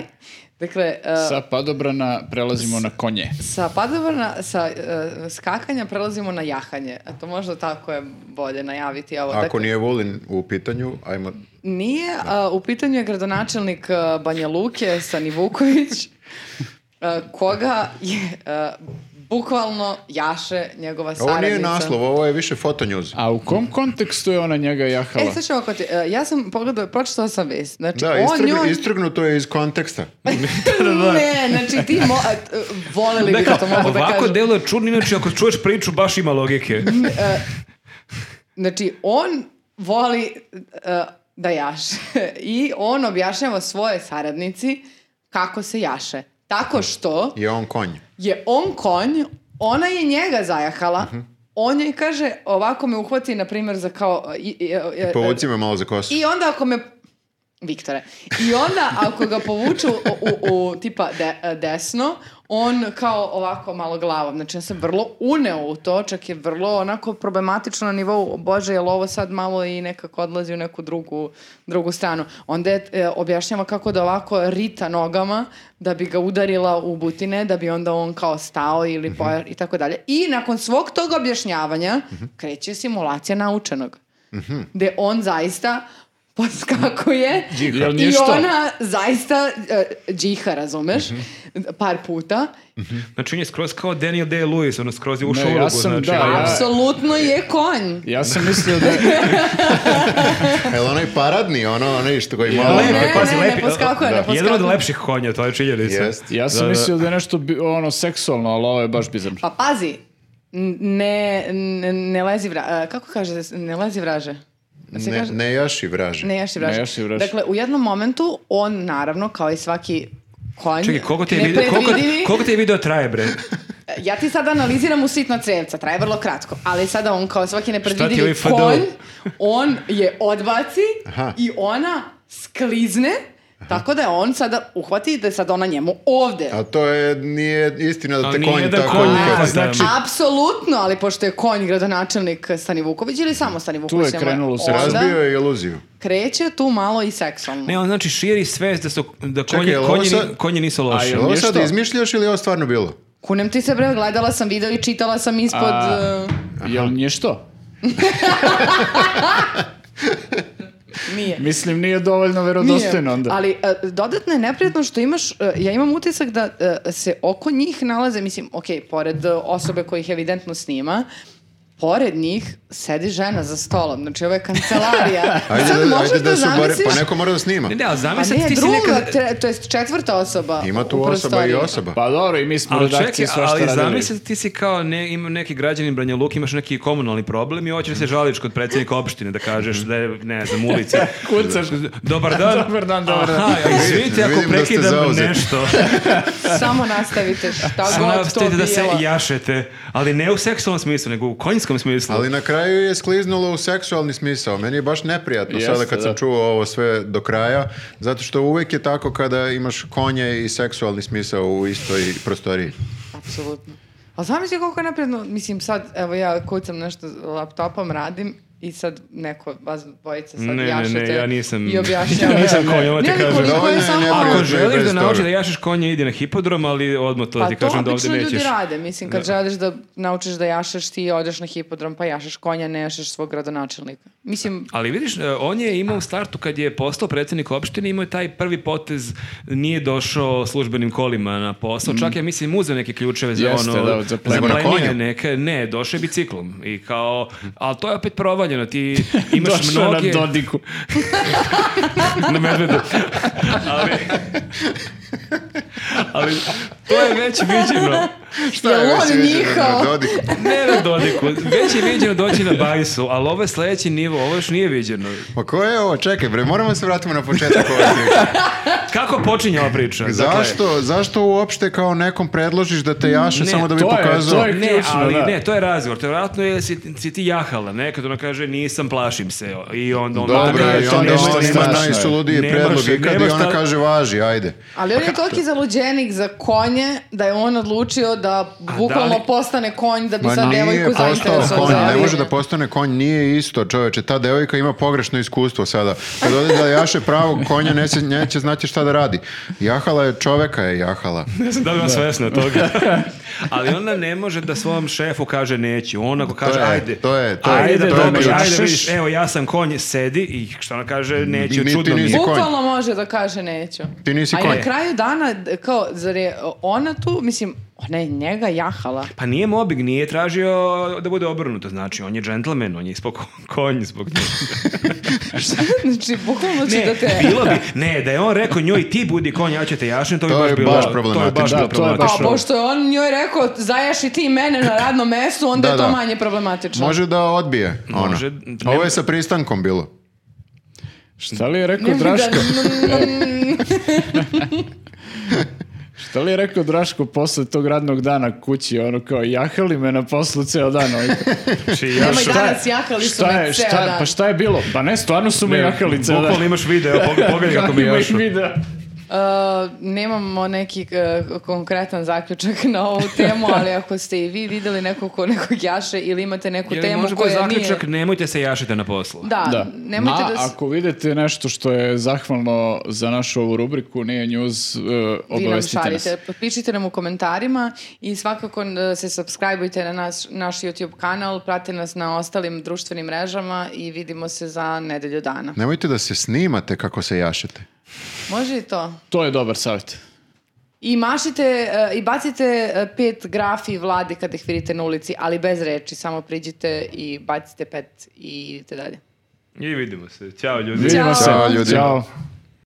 S4: Dakle, e,
S2: Sa padobrana prelazimo na konje.
S4: sa padobrana, sa e, skakanja prelazimo na jahanje. A to možda tako je bolje najaviti ovo.
S1: Ako
S4: Dakle,
S1: nije Vulin u pitanju, ajmo...
S4: Nije, a, u pitanju je gradonačelnik a, Banja Luke, Sani
S1: [LAUGHS]
S4: Vuković, a, koga je a, bukvalno jaše njegova
S1: Ovo
S4: saradnica.
S1: nije naslov, ovo je više fotonjuz.
S2: A u kom kontekstu je ona njega jahala?
S4: E, sad ću ovako ti- e, ja sam pogledala, pročitala sam vest. Znači,
S1: Da,
S4: on
S1: istrgnu-
S4: njoj-
S1: istrgnuto je iz konteksta.
S4: [LAUGHS] ne, znači ti mo... a, t- voleli bi
S3: Dakle,
S4: to, mogu da
S3: ovako
S4: kažem.
S3: deluje čudno, inače ako čuješ priču baš ima
S4: [LAUGHS]
S3: logike.
S4: Znači, on voli e, da jaše [LAUGHS] i on objašnjava svoje saradnici kako se jaše. Tako što...
S1: Je on konj.
S4: je on konj, ona je njega zajahala, on joj kaže, ovako me uhvati, na primjer, za kao... I, i, i-
S1: Povuci me malo za kosu.
S4: I onda ako me... Viktore. I onda ako ga povuču u, u, u, tipa de- desno, on kao ovako malo glavom. Znači, on se vrlo uneo u to, čak je vrlo onako problematično na nivou, "O bože, jel ovo sad malo i nekako odlazi u neku drugu, drugu stranu. Onda je, e, objašnjava kako da ovako rita nogama, da bi ga udarila u butine, da bi onda on kao stao ili poja- i tako dalje. I nakon svog tog objašnjavanja kreće simulacija naučenog. Gde on zaista poskakuje
S2: Jel nije
S4: i
S2: što?
S4: ona zaista e, džiha, razumeš, par puta.
S3: Znači on je skroz kao Daniel Day-Lewis, ono skroz je ušao
S2: Ne,
S3: u
S2: ja
S3: ulogu.
S2: sam,
S3: znači,
S2: da,
S3: ono-
S2: ja-
S4: Apsolutno je konj.
S2: Ja sam mislio da je...
S1: Jel onaj paradni, ono, onaj što koji malo...
S3: lepi,
S4: Ne, ne,
S3: pazi,
S4: ne,
S3: lepi,
S4: poskakuje, ne
S3: da. Jedan od
S4: poskakuje.
S3: lepših konja, to je činjenica.
S1: Jest.
S2: Ja sam
S3: Da, da.
S2: mislio da je nešto bi- ono seksualno, ali ovo je baš bizarno.
S4: Pa pazi, n- ne, ne, ne lezi vra... e, Kako kaže? se? Ne lezi vraže. Jel se
S1: Ne,
S4: kaže?
S1: ne jaši vraže.
S4: Ne jaši vraže.
S2: Ne jaši vraže.
S4: Dakle, u jednom momentu on, naravno, kao i svaki konj,
S3: Čekaj, koliko ti je video, koliko,
S4: nepredvidivi,
S3: koliko ti je video traje, bre?
S4: Ja ti sada analiziram u sitno crevca, traje vrlo kratko, ali sada on kao
S3: Šta
S4: svaki
S3: ti ovi
S4: nepredvidivi
S3: FDO?
S4: konj, on je odbaci
S1: Aha.
S4: i ona sklizne, tako da je on sada uhvati da je sada ona njemu ovde.
S1: A to je, nije istina da
S3: A
S1: te
S3: nije
S1: konj
S3: da
S1: tako
S3: konj
S1: uhvati.
S3: neko,
S2: A,
S3: znači-
S4: Apsolutno, ali pošto je konj gradonačelnik Stani Vuković ili samo Stani Vuković.
S2: je
S4: njemu
S2: krenulo se
S4: onda
S1: Razbio je iluziju.
S4: Kreće tu malo i seksualno.
S3: Ne, on znači širi svest da, su, da
S1: Čekaj,
S3: konje,
S1: jel ovo
S3: konje, ni-
S1: sad-
S3: konje nisu
S2: A
S3: loši.
S2: jel-
S1: Jel ovo
S2: nije
S1: sad
S2: što?
S1: izmišljaš ili je ovo stvarno bilo?
S4: Kunem ti se bre, gledala sam video i čitala sam ispod...
S2: A-
S4: uh,
S2: Jel nije što?
S4: nije.
S2: Mislim, nije dovoljno verodostojno
S4: Nije.
S2: onda.
S4: Ali e, dodatno je neprijatno što imaš, e, ja imam utisak da e, se oko njih nalaze, mislim, ok, pored e, osobe koja ih evidentno snima, pored njih sedi žena za stolom. Znači, ovo je kancelarija.
S1: [LAUGHS] Ajde,
S4: Pa Sad
S1: da,
S4: možeš
S1: ajde da, su bare,
S4: zamisliš-
S1: pa neko mora da snima.
S3: Ne, ne, ali
S4: A
S3: zamisli
S4: ne,
S3: ti si
S4: druga,
S3: nekad...
S4: tre- to jest četvrta osoba
S1: Ima tu
S4: u
S1: osoba i
S4: prostoriji.
S1: osoba.
S2: Pa dobro, i mi smo u
S3: Ali čekaj,
S2: redakciji svašta
S3: ali
S2: radili.
S3: zamisli ti si kao ne, ima neki građanin Branja Luk, imaš neki komunalni problem i hoćeš da se žališ kod predsjednika opštine da kažeš da je, ne znam, ulici.
S2: [LAUGHS] Kucaš.
S3: Dobar dan.
S2: Dobar dan, dobar dan.
S3: Aha, ja, izvinite ako
S1: Vidim da ste
S3: prekidam
S1: zauzeti.
S2: [LAUGHS]
S3: nešto.
S4: Samo nastavite šta
S3: Samo
S4: god to
S3: nastavite
S4: bilo.
S3: da se jašete, ali ne u seksualnom smislu, nego u konjskom smislu.
S1: Ali na kraju je skliznula u seksualni smisao. Meni je baš neprijatno
S2: Jeste,
S1: sada kad sam
S2: da.
S1: čuo ovo sve do kraja, zato što uvek je tako kada imaš konje i seksualni smisao u istoj prostoriji.
S4: Apsolutno. A zamisli koliko je napredno, mislim sad, evo ja kucam nešto laptopom, radim i sad neko, vas dvojica sad
S3: Ne, ne,
S4: jašete
S3: ne, [LAUGHS] ja nisam-
S4: i objašnjava.
S3: ja nisam konj, ovo ti
S4: Ne, ali
S3: kažem.
S4: koliko je
S1: Ne, ne,
S4: samo- ono-
S1: ne,
S4: A,
S1: ne,
S3: Ako
S1: Bez-
S3: želiš da
S1: bez
S3: naučiš
S1: toga.
S3: da jašeš konje, idi na hipodrom, ali odmah to
S4: Pa
S3: ti
S4: to
S3: kažem da ovdje
S4: obično ljudi
S3: nećeš.
S4: rade, mislim, kad želiš da naučiš da jašeš, ti odeš na hipodrom pa jašeš konja, ne jašeš svog gradonačelnika. Mislim,
S3: Ali vidiš, e, on je imao u startu kad je postao predsjednik opštine, imao je taj prvi potez, nije došao službenim kolima na posao, čak ja mislim uzeo neke ključeve za
S2: Mm. Jeste,
S3: ono,
S2: da, za plen.
S1: Nego na
S3: plenine
S1: konju?
S3: neke, ne, došao je biciklom i kao, ali to je opet provaljeno,
S2: [LAUGHS]
S3: ti imaš
S2: Došao je
S3: mnoge...
S2: na Dodiku.
S3: na medvedu. ali, ali to je već viđeno.
S1: Šta
S4: Jel
S1: već
S4: on
S1: viđeno na
S4: njihao?
S1: Dodiku?
S3: Ne na Dodiku, već je viđeno doći na Bajsu, ali ovo je sledeći nivo, ovo još nije viđeno. [LAUGHS]
S1: Pa ko je ovo? Čekaj, bre, moramo da se vratiti na početak ove priče.
S3: Kako počinje ova priča? Dakle,
S1: Pa Zašto, zašto uopšte kao nekom predložiš da te jaše
S3: Ne,
S1: samo da bi
S2: to je-
S1: pokazao?
S2: to je-
S3: Ne,
S2: ključno,
S3: ali
S2: da.
S3: ne, to je razgovor. To je vjerojatno je si, si ti jahala, ne? Kad ona kaže nisam, plašim se. I onda on...
S1: Pa Dobro,
S2: Ne,
S1: i
S2: to
S1: onda
S2: nema
S1: on
S2: šta
S1: ima
S2: strašno je.
S1: najsuludiji
S3: Nema
S1: predlog
S3: šta-
S1: ikad
S3: nema
S1: i ona
S3: šta-
S1: kaže važi, ajde.
S4: Ali
S3: Pa
S4: on je toliki zaluđenik za konje da je on odlučio da bukvalno
S3: da li-
S4: postane konj da bi
S1: Ma
S4: sad
S1: nije
S4: devojku
S1: postao
S4: zainteresovao.
S1: konj,
S4: za
S1: ne
S4: dalje.
S1: može da postane konj, nije isto čoveče, ta devojka ima pogrešno iskustvo sada. Kad ode da jaše pravog konja, neće, neće znati šta da radi. Jahala je, čoveka je jahala.
S3: Ne znam [LAUGHS] da li vam svesna
S1: [LAUGHS]
S3: toga. ali ona ne može da svom šefu kaže neću. Ona ako kaže
S1: je,
S3: ajde.
S1: to je- to je-
S3: ajde,
S1: to je
S3: dobro,
S1: ključ.
S3: ajde, vidiš, evo ja sam konj, sedi i što ona kaže neću,
S1: Ni ti
S3: čudno mi je.
S1: nisi-
S4: Bukvalno može da kaže neću.
S1: Ti nisi
S4: A
S1: konj.
S4: na kraju dana, d- kao, zar je ona tu, mislim, ona je njega jahala. [LAUGHS]
S3: Pa nije mobing, nije tražio da bude obrnuto, znači on je džentlmen, on je ispao ko- konj zbog toga.
S4: znači, bukvalno će da
S3: Ne,
S4: te...
S3: bilo bi, ne, da je on rekao njoj ti budi konj, ja ću te jašim, to bi
S1: To
S3: baš
S1: je
S3: bilo.
S1: baš
S3: To je baš ono.
S1: problematično.
S3: bilo
S2: Da, to je baš
S4: Pa,
S3: problematično.
S4: pošto je on njoj rekao, zajaši ti mene na radnom mestu, onda
S1: Da,
S4: je to
S1: da.
S4: manje problematično.
S1: Može da odbije. Ono.
S3: Može,
S1: Ovo je sa pristankom bilo.
S2: Šta li je rekao
S4: Ne bi da-
S2: Draško?
S4: Mm,
S2: Šta li je rekao Draško posle tog radnog dana kući? Ono kao, jahali me na poslu ceo dan. Ono,
S3: Znači, ja
S4: Nemoj
S2: šta
S4: danas,
S2: je-
S4: jahali su
S2: šta
S4: me
S2: je,
S4: ceo
S2: šta,
S4: dan.
S2: Pa šta je bilo? Pa ne, stvarno su me jahali ceo dan.
S3: Bukvalno imaš video, pog- pogledaj kako mi
S2: Ima
S3: imaš.
S2: ih videa.
S4: [LAUGHS] Uh, nemamo neki uh, konkretan zaključak na
S1: [LAUGHS]
S4: ovu temu, ali ako ste i vi videli nekog ko nekog jaše ili imate neku
S3: Jel
S4: temu
S3: može bude
S4: koja nije...
S3: zaključak, nemojte se jašiti na poslu.
S4: Da,
S2: Da.
S4: Pa, nemojte
S2: Ma,
S4: da... s-
S2: ako vidite nešto što je zahvalno za našu ovu rubriku, nije news, e,
S4: vi nam
S2: obavestite nas.
S4: šaljite. Pišite nam u komentarima i svakako e, se subscribeujte na naš, naš YouTube kanal, pratite nas na ostalim društvenim mrežama i vidimo se za nedelju dana.
S1: Nemojte da se snimate kako se jašete.
S4: Može i to?
S2: To je dobar savjet.
S4: I mašite e, i bacite e, pet grafi vlade kad ih vidite na ulici, ali bez reči, samo priđite i bacite pet i idite dalje.
S3: I vidimo se. Ćao ljudi.
S2: Vidimo se.
S1: Ćao, ljudi.
S2: Ćao.